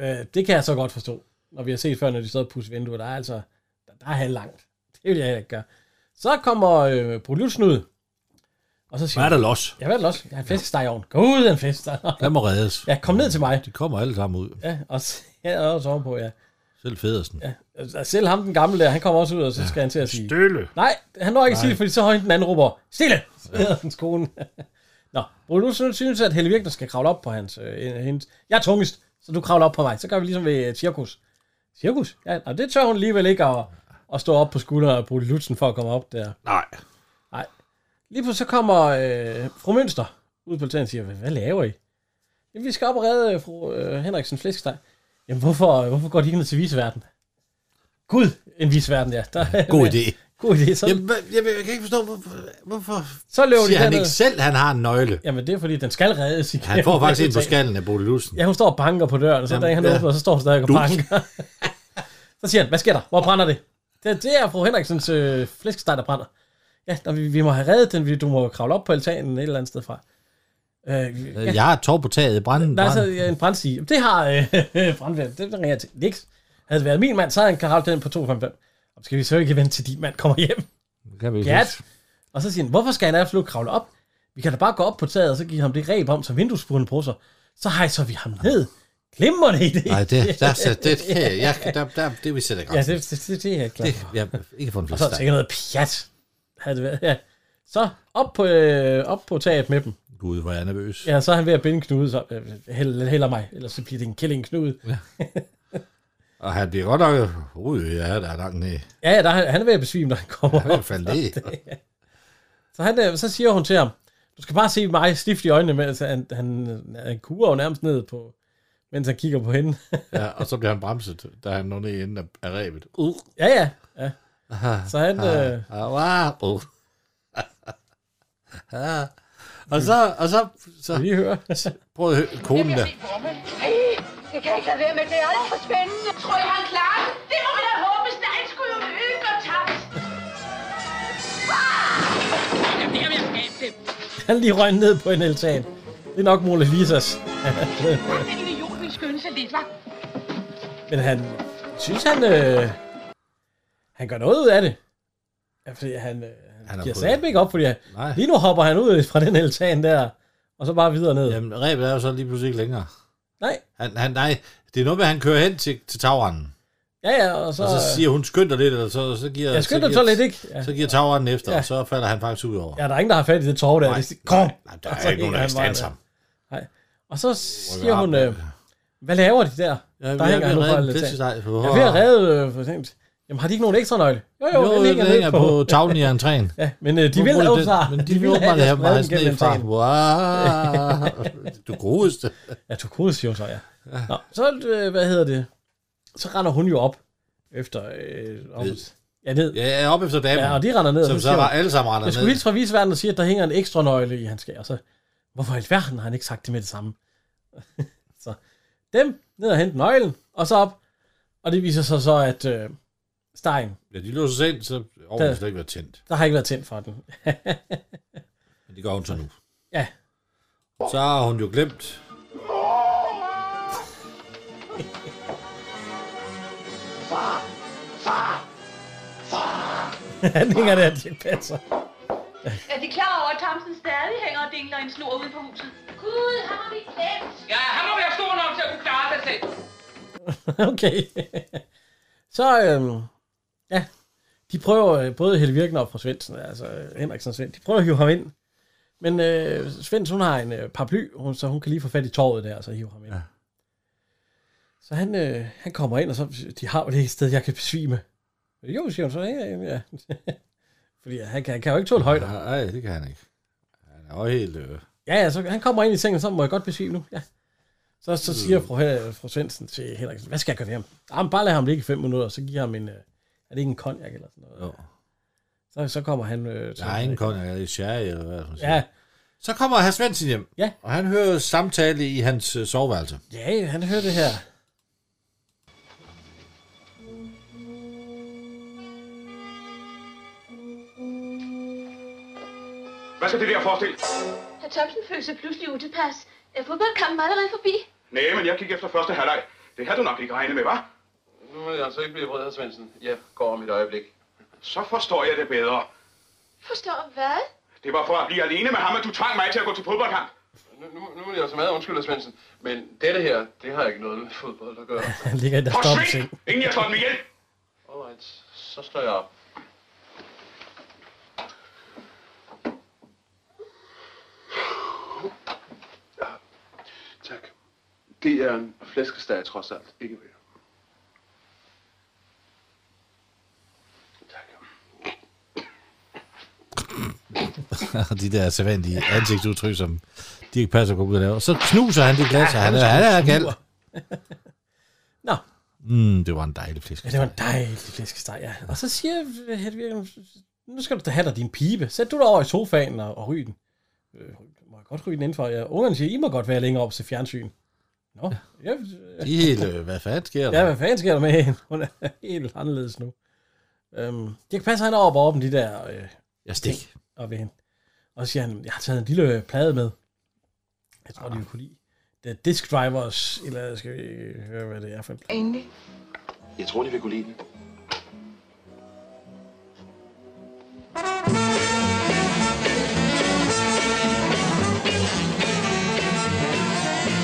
[SPEAKER 2] Øh, det kan jeg så godt forstå, når vi har set før, når de stod og pusse vinduer. Der er altså, der, der er halvlangt. det vil jeg heller ikke gøre. Så kommer øh, Bruliusen ud, og så siger
[SPEAKER 3] Hvad er
[SPEAKER 2] hun,
[SPEAKER 3] der los?
[SPEAKER 2] Ja, hvad er det også? Jeg har en flæskesteg i ovnen. Gå ud af en flæskesteg.
[SPEAKER 3] Den må reddes.
[SPEAKER 2] Ja, kom ned til mig.
[SPEAKER 3] De kommer alle sammen ud.
[SPEAKER 2] Ja, og s- ja, og også ovenpå, ja.
[SPEAKER 3] Selv Federsen. Ja.
[SPEAKER 2] Altså, Selv ham, den gamle der, han kommer også ud, og så skal han til at sige...
[SPEAKER 3] Støle.
[SPEAKER 2] Nej, han når ikke at sige det, fordi så har hende den anden råber, stille, hedder hans kone. Nå, Bruno synes, synes, at Helle Virkner skal kravle op på hans, øh, hendes. Jeg er tungest, så du kravler op på mig. Så gør vi ligesom ved øh, cirkus. Cirkus? Ja, og det tør hun alligevel ikke at, at stå op på skulderen og bruge lutsen for at komme op der.
[SPEAKER 3] Nej.
[SPEAKER 2] Lige pludselig så kommer øh, fru Mønster ud på altanen og siger, hvad, hvad laver I? Jamen, vi skal op og redde øh, fru øh, Henriksen Flæskesteg. Jamen, hvorfor, øh, hvorfor går de ikke ned til viseverden? Gud, en viseverden, ja. Der,
[SPEAKER 3] God idé.
[SPEAKER 2] God idé. Så,
[SPEAKER 3] Jamen, hvad- jeg, jeg, kan ikke forstå, hvorfor, hvorfor
[SPEAKER 2] så løber de
[SPEAKER 3] siger han
[SPEAKER 2] derned.
[SPEAKER 3] ikke selv, han har en nøgle?
[SPEAKER 2] Jamen, det er fordi, den skal reddes igen.
[SPEAKER 3] Han får faktisk en på skallen af Bodil Lutzen.
[SPEAKER 2] Ja, hun står og banker på døren, og så
[SPEAKER 3] Jamen,
[SPEAKER 2] da han
[SPEAKER 3] ja.
[SPEAKER 2] åbner, så står hun stadig og
[SPEAKER 3] Du.
[SPEAKER 2] banker. så siger han, hvad sker der? Hvor brænder det? Det, det er fru Henriksens øh, flæskesteg, der brænder. Ja, nå, vi, vi må have reddet den, vi- du må kravle op på altanen et eller andet sted fra. Øh,
[SPEAKER 3] Øh,
[SPEAKER 2] ja,
[SPEAKER 3] Jeg har et tov på taget. Branden,
[SPEAKER 2] der er så
[SPEAKER 3] branden.
[SPEAKER 2] ja, en brændstige. Jamen, Det har øh, brandværen, det ringer jeg til. Nix. Havde det været min mand, så havde han kravlet den på 255. Og Skal vi så ikke vente til din mand kommer hjem?
[SPEAKER 3] Det kan vi ikke
[SPEAKER 2] Pjat.
[SPEAKER 3] huske.
[SPEAKER 2] Og så siger han, hvorfor skal han absolut kravle op? Vi kan da bare gå op på taget, og så give ham det reb om, så vinduesbrunnen på sig. Så hejser vi ham ned. Glimrende idé.
[SPEAKER 3] Nej, det, der, der, det, kan jeg, jeg, kan- der, der, det vil sætte ikke
[SPEAKER 2] Ja, det, det, det, det er jeg klar.
[SPEAKER 3] det,
[SPEAKER 2] over.
[SPEAKER 3] jeg, ikke for en
[SPEAKER 2] Og så er der
[SPEAKER 3] flæskesteg.
[SPEAKER 2] sikkert noget pjat. Havde det været, ja. Så op på, øh, op på taget med dem.
[SPEAKER 3] Gud, hvor er jeg nervøs.
[SPEAKER 2] Ja, så er han ved at binde knude, så øh, hælder, hælder mig, ellers så bliver det en killing knude.
[SPEAKER 3] Og han bliver godt nok... Ui, ja, der er langt ned.
[SPEAKER 2] Ja, ja, der, er- han er ved at besvime, når han kommer
[SPEAKER 3] Hvad
[SPEAKER 2] op.
[SPEAKER 3] faldt det?
[SPEAKER 2] Så, han, øh, så siger hun til ham, du skal bare se mig stift i øjnene, mens han, han, øh, han kurer jo nærmest ned på, mens han kigger på hende.
[SPEAKER 3] Ja, og så bliver han bremset, da han når ned i enden af- af ræbet. Uh,
[SPEAKER 2] Ja, ja. ja. Så han... Øh,
[SPEAKER 3] ah, ah, uh. Ah. Og så, og så, så
[SPEAKER 2] kan I lige høre?
[SPEAKER 3] prøv at høre konen der.
[SPEAKER 5] Jeg kan ikke lade være med det. Det er alt for spændende.
[SPEAKER 6] Tror I, han klarer det? Det må man da håbe, Stein skulle jo øge og tabt. Jamen, det kan vi skabe det.
[SPEAKER 2] Han lige røg ned på en altan. Det er nok Mona Lisas.
[SPEAKER 6] Den idiot vil skynde sig lidt, hva'?
[SPEAKER 2] Men han synes, han, øh, han gør noget ud af det. Ja, fordi han, øh,
[SPEAKER 3] Han
[SPEAKER 2] han
[SPEAKER 3] har
[SPEAKER 2] giver
[SPEAKER 3] fået-
[SPEAKER 2] satme ikke op, fordi han,
[SPEAKER 3] Nej.
[SPEAKER 2] lige nu hopper han ud fra den altan der, og så bare videre ned.
[SPEAKER 3] Jamen, ræbet er jo så lige pludselig ikke længere.
[SPEAKER 2] Nej,
[SPEAKER 3] Han, han, nej, det er noget med, at han kører hen til, til tagranden.
[SPEAKER 2] ja, ja, og så...
[SPEAKER 3] Og så siger hun, skynd dig lidt, og så, så giver...
[SPEAKER 2] jeg skynder
[SPEAKER 3] giver-
[SPEAKER 2] så lidt, ikke? Ja.
[SPEAKER 3] Så giver tagranden efter,
[SPEAKER 2] Ja.
[SPEAKER 3] og så falder han faktisk ud over.
[SPEAKER 2] ja, der er ingen, der har fat i det tov der. Det siger, Kom!
[SPEAKER 3] Nej, der
[SPEAKER 2] Og
[SPEAKER 3] er
[SPEAKER 2] så
[SPEAKER 3] ikke nogen, der
[SPEAKER 2] gik han bare
[SPEAKER 3] kan stande
[SPEAKER 2] der.
[SPEAKER 3] sammen.
[SPEAKER 2] Og så siger hun, øh, hvad laver de der?
[SPEAKER 3] Ja,
[SPEAKER 2] der hænger han ud fra
[SPEAKER 3] det til
[SPEAKER 2] altanen.
[SPEAKER 3] dig.
[SPEAKER 2] Jeg er ved at redde, øh, for eksempel. Jamen, har de ikke nogen ekstra nøgle? Jo, jo,
[SPEAKER 3] Jo,
[SPEAKER 2] jo den hænger,
[SPEAKER 3] det hænger
[SPEAKER 2] ned
[SPEAKER 3] på
[SPEAKER 2] på.
[SPEAKER 3] tavlen i entréen.
[SPEAKER 2] Ja, men øh, de vil
[SPEAKER 3] Hvor-
[SPEAKER 2] åbne sig.
[SPEAKER 3] Men de, vil
[SPEAKER 2] at
[SPEAKER 3] åbenbart
[SPEAKER 2] jeg
[SPEAKER 3] have
[SPEAKER 2] spreder
[SPEAKER 3] mig
[SPEAKER 2] den gennem
[SPEAKER 3] ned fra.
[SPEAKER 2] altanen.
[SPEAKER 3] Wow. Du godeste.
[SPEAKER 2] Ja, Turkodes siger hun så, ja. Nå, så, øh, hvad hedder det? Så render hun jo op efter... Øh, op.
[SPEAKER 3] Ned.
[SPEAKER 2] Ja, ned.
[SPEAKER 3] Ja, jeg er op efter damen.
[SPEAKER 2] Ja, og de render ned. og
[SPEAKER 3] som så
[SPEAKER 2] siger
[SPEAKER 3] var
[SPEAKER 2] hun,
[SPEAKER 3] alle sammen render
[SPEAKER 2] Jeg skulle
[SPEAKER 3] ned.
[SPEAKER 2] hilse fra visverden og sige, at der hænger en ekstra nøgle i hans skær. Og så, hvorfor i alverden har han ikke sagt det med det samme? så dem, ned og hente nøglen, og så op. Og det viser sig så, at øh, stegen,
[SPEAKER 3] Ja, de låser sig ind, så ovnen
[SPEAKER 2] Der-
[SPEAKER 3] slet ikke været tændt.
[SPEAKER 2] der har ikke været tændt for den.
[SPEAKER 3] Men det gør hun så nu.
[SPEAKER 2] Ja,
[SPEAKER 3] Så har hun jo glemt.
[SPEAKER 2] han hænger der til passer.
[SPEAKER 8] Er de klar over, at Thomsen stadig hænger og dingler en snor ude på huset?
[SPEAKER 5] Gud, ham har vi glemt.
[SPEAKER 6] Ja, han må være stor nok til at kunne klare sig selv.
[SPEAKER 2] Okay. så, øhm, ja, de prøver, øh, både Helle Virkner og fra Svendsen, altså øh, Henriksen og Svend, de prøver at hive ham ind. Men øh, Svendsen, hun har en øh, paraply, hun, så hun kan lige få fat i torvet der, og så hive ham ind. Ja. Så han, øh, han kommer ind, og så, de har jo det et sted, jeg kan besvime. Jo, siger hun så, ja, ja, ja. Fordi han kan, han kan jo ikke tåle højder.
[SPEAKER 3] Nej, det kan han ikke. Han er jo helt... Øh,
[SPEAKER 2] Ja, ja, så han kommer ind i sengen, så må jeg godt besvime nu. Ja. Så, så siger fru, Hen- fru Svendsen til Henriksen, hvad skal jeg gøre ved ham? Jamen, bare lad ham ligge i fem minutter, og så giver ham en, øh, er det ikke en konjak eller sådan noget?
[SPEAKER 3] jo.
[SPEAKER 2] Så, så kommer han øh, til...
[SPEAKER 3] Der er ingen kong, jeg er sherry, eller hvad man siger.
[SPEAKER 2] Ja,
[SPEAKER 3] Så kommer herr Svendsen hjem,
[SPEAKER 2] Ja.
[SPEAKER 3] og han hører samtale i hans øh, soveværelse.
[SPEAKER 2] ja, han hører det her.
[SPEAKER 9] Hvad skal det der forestille?
[SPEAKER 5] Herr Thomsen følte sig pludselig utilpas. Er Altså, øh, fodboldkampen allerede forbi?
[SPEAKER 9] Nej, men jeg gik efter første halvleg. Det havde du nok ikke regnet med, hva'?
[SPEAKER 4] Nu er jeg altså ikke blive vred, Svendsen. Jeg går om et øjeblik.
[SPEAKER 9] Så forstår jeg det bedre.
[SPEAKER 5] Forstår hvad?
[SPEAKER 9] Det var for at blive alene med ham, at du tvang mig til at gå til fodboldkamp.
[SPEAKER 10] Nu, nu, nu er jeg så meget undskyld, Svendsen, men dette her, det har ikke noget med fodbold at gøre.
[SPEAKER 2] Han ligger i der stoppe ting.
[SPEAKER 9] Inden jeg slår dem ihjel!
[SPEAKER 10] Alright, så slår jeg op.
[SPEAKER 9] Tak. Det er en flæskesteg trods alt, ikke mere.
[SPEAKER 3] de der sædvanlige ansigtsudtryk, som de ikke passer på ud af. Og så knuser han det glas, ja, han, er, han er gal.
[SPEAKER 2] Nå.
[SPEAKER 3] Mm, det var en dejlig fisk.
[SPEAKER 2] Ja, det var en dejlig flæskesteg, ja. Og så siger øh, Hedvig, nu skal du da have dig din pibe. Sæt du dig over i sofaen og, og ryg den. Øh, må jeg godt ryge den indenfor? Ja, ungerne siger, I må godt være længere op til fjernsyn. Nå, ja.
[SPEAKER 3] De er helt, øh, hvad fanden sker der?
[SPEAKER 2] Ja, hvad fanden sker der med hende? Hun er helt anderledes nu. Øhm, det kan passe, at han er oppe og åbne de der... Øh,
[SPEAKER 3] Jeg stik.
[SPEAKER 2] ting op ved hende. Og så siger han, jeg har taget en lille øh, plade med. Jeg tror, ah. de vil kunne lide. The Disk Drivers, eller skal vi øh, høre, hvad det er for en plade?
[SPEAKER 8] Endelig.
[SPEAKER 4] Jeg tror, de vil kunne lide den.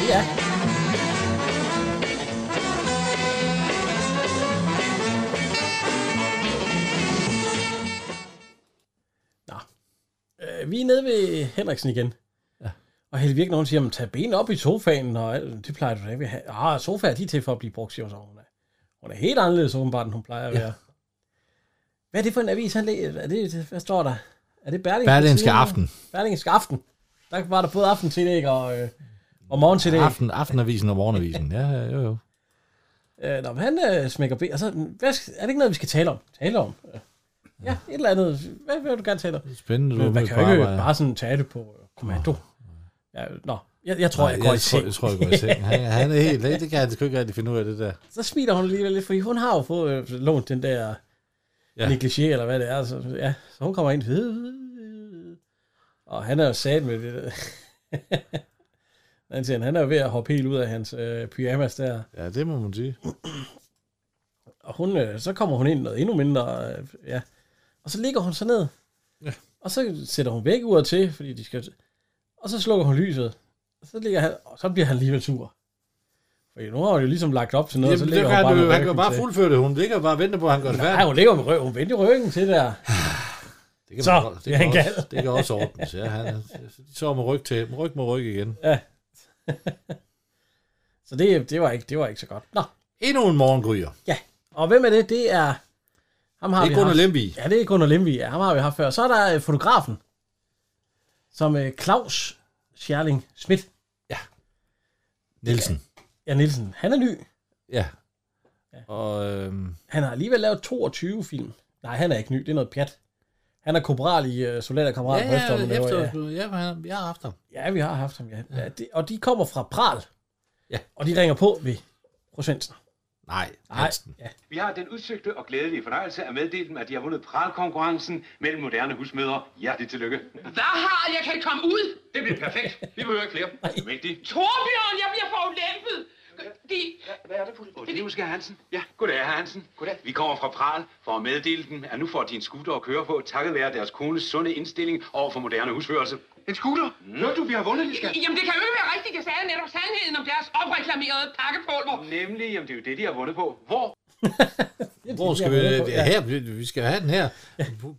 [SPEAKER 2] Ja. Nå. Øh, vi er nede ved Henriksen igen. Ja. Og Helvig, når hun siger, "Men, tag benene op i sofaen, og alt, det plejer du da ikke at have. Ah, sofaer de er til for at blive brugt, siger hun så. Hun er, hun er helt anderledes åbenbart, end hun plejer at være. Ja. Hvad er det for en avis, han læser? Er det, hvad står der? Er det Berlingske?
[SPEAKER 3] Berlingske
[SPEAKER 2] Tidende?
[SPEAKER 3] Aften.
[SPEAKER 2] Berlingske Aften. Der var der både aftentillæg og, øh, og morgentillæg.
[SPEAKER 3] Aften, aftenavisen og morgenavisen. Ja, ja, jo, jo.
[SPEAKER 2] Øh, nå, men han øh, smækker ben. Og så, hvad, skal- er det ikke noget, vi skal tale om? Tale om? Øh, Ja, et eller andet. Hvad, hvad vil du gerne tale om?
[SPEAKER 3] Spændende, du
[SPEAKER 2] Men
[SPEAKER 3] er
[SPEAKER 2] man
[SPEAKER 3] ude
[SPEAKER 2] kan
[SPEAKER 3] på
[SPEAKER 2] jo ikke
[SPEAKER 3] arbejde.
[SPEAKER 2] bare sådan tage det på øh, kommando. Ja, nå, jeg, jeg tror, jeg, går i
[SPEAKER 3] tror,
[SPEAKER 2] seng.
[SPEAKER 3] jeg tror, jeg går i seng. Han, han er helt... Det kan han sgu ikke rigtig finde ud af, det der.
[SPEAKER 2] så smiler hun alligevel lidt, fordi hun har jo fået øh, lånt den der
[SPEAKER 3] Ja.
[SPEAKER 2] ja. negligé, eller hvad det er. Så, ja, så hun kommer ind. Og han er jo sat med det der. han, siger, han er jo ved at hoppe helt ud af hans øh, pyjamas der.
[SPEAKER 3] Ja, det må man sige.
[SPEAKER 2] Og hun, øh, så kommer hun ind noget endnu mindre. Øh, ja. Og så ligger hun så ned.
[SPEAKER 3] Ja.
[SPEAKER 2] Og så sætter hun væk ud til, fordi de skal... Og så slukker hun lyset. Og så, ligger han, og så bliver han alligevel sur. Fordi nu har hun jo ligesom lagt op til noget,
[SPEAKER 3] Jamen,
[SPEAKER 2] Jamen, så
[SPEAKER 3] det
[SPEAKER 2] ligger
[SPEAKER 3] kan
[SPEAKER 2] hun
[SPEAKER 3] han,
[SPEAKER 2] bare,
[SPEAKER 3] jo,
[SPEAKER 2] med
[SPEAKER 3] han kan
[SPEAKER 2] ryggen
[SPEAKER 3] jo bare
[SPEAKER 2] til.
[SPEAKER 3] fuldføre det. Hun ligger og bare og venter på, at han gør det
[SPEAKER 2] Nej,
[SPEAKER 3] færdigt.
[SPEAKER 2] hun ligger med røven. Hun vendte ryggen til der.
[SPEAKER 3] Det kan,
[SPEAKER 2] Så,
[SPEAKER 3] man godt- det,
[SPEAKER 2] det er
[SPEAKER 3] kan
[SPEAKER 2] en
[SPEAKER 3] også,
[SPEAKER 2] gal.
[SPEAKER 3] det kan også ordnes. Ja, han, de sover med ryg til. Ryg med ryg igen.
[SPEAKER 2] Så det, det, var ikke, det var ikke så godt. Nå,
[SPEAKER 3] Endnu en morgengryger.
[SPEAKER 2] ja. Og hvem er det? Det er... Ham har
[SPEAKER 3] Det er
[SPEAKER 2] vi
[SPEAKER 3] Gunnar
[SPEAKER 2] haft.
[SPEAKER 3] Lemby.
[SPEAKER 2] Ja, det er Gunnar Lemby. Ja, ham har vi haft før. Så er der øh, fotografen, som øh, Claus Scherling Schmidt.
[SPEAKER 3] Nielsen.
[SPEAKER 2] Ja, Nielsen. Han er ny.
[SPEAKER 3] Ja. Og øhm,
[SPEAKER 2] Han har alligevel lavet 22 film. Nej, han er ikke ny. Det er noget pjat. Han er korporal i uh,
[SPEAKER 3] ja,
[SPEAKER 2] Soldaterkammerater
[SPEAKER 3] ja,
[SPEAKER 2] på Efterholm, der var-
[SPEAKER 3] efterårsmøde. Ja, han, jeg har haft ham.
[SPEAKER 2] ja. ja, vi har haft ham, ja. ja det, og de kommer fra Pral.
[SPEAKER 3] Ja.
[SPEAKER 2] Og de ringer på ved Rosensen.
[SPEAKER 3] Nej,
[SPEAKER 2] Nej,
[SPEAKER 3] Hansen.
[SPEAKER 2] ja.
[SPEAKER 10] Vi har den udsøgte og glædelige fornøjelse at meddele dem, at de har vundet pralkonkurrencen mellem moderne husmødre. Hjertelig tillykke.
[SPEAKER 6] Hvad har jeg kan komme ud?
[SPEAKER 10] Det bliver perfekt. Vi behøver ikke flere. Det er vigtigt.
[SPEAKER 6] Torbjørn, jeg bliver forulæmpet. De...
[SPEAKER 10] Hvad er det, på det? er måske Hansen. Ja, goddag, herr Hansen. Goddag. Vi kommer fra Pral for at meddele dem, at nu får de en scooter at køre på, takket være deres kones sunde indstilling over for moderne husførelse. En scooter? Mm. Hørte du, vi har vundet, de
[SPEAKER 6] Jamen, det kan jo ikke være rigtigt. Jeg sagde netop sandheden om deres opreklamerede pakkepulver.
[SPEAKER 10] Nemlig, jamen det er jo det, de har vundet på. Hvor?
[SPEAKER 3] Hvor skal vi,
[SPEAKER 2] Jeg er med på,
[SPEAKER 3] ja. her, vi- vi skal have den her.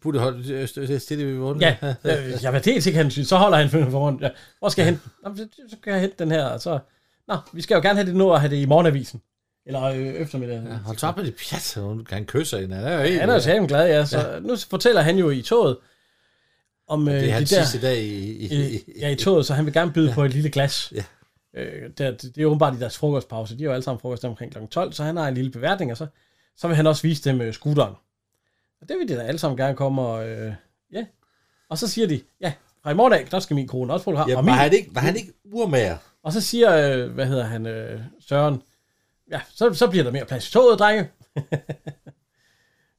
[SPEAKER 3] Putte hold, øh, stå stille ved vunden.
[SPEAKER 2] Ja, øh, jeg var dels ikke hensyn. Så holder han filmen foran. Ja. Hvor skal jeg hente? Nå, men så- så kan jeg hente den her. og Så... Nå, vi skal jo gerne have det nu og have det i morgenavisen. Eller øh, eftermiddagen. Ja,
[SPEAKER 3] Hold så op med det pjat, hun kan kysse hende. Han er jo helt,
[SPEAKER 2] han er jo sammen glad, ja. Så ja. nu fortæller han jo i toget om øh,
[SPEAKER 3] det er
[SPEAKER 2] de
[SPEAKER 3] hans
[SPEAKER 2] der...
[SPEAKER 3] sidste dag i, i, i,
[SPEAKER 2] øh, ja, i toget, så han vil gerne byde ja. på et lille glas.
[SPEAKER 3] Ja.
[SPEAKER 2] Øh, der, det, det er jo åbenbart i deres frokostpause. De er jo alle sammen frokost omkring kl. 12, så han har en lille beværtning, og så, så vil han også vise dem øh, scooteren. Og det vil de da alle sammen gerne komme og... Øh, ja. Og så siger de, ja, fra i morgen af, der skal min kone også få det her.
[SPEAKER 3] ja,
[SPEAKER 2] og, min,
[SPEAKER 3] var, han ikke, var han ikke urmager?
[SPEAKER 2] og så siger, øh, hvad hedder han, øh, Søren, ja, så, så bliver der mere plads i toget, drenge.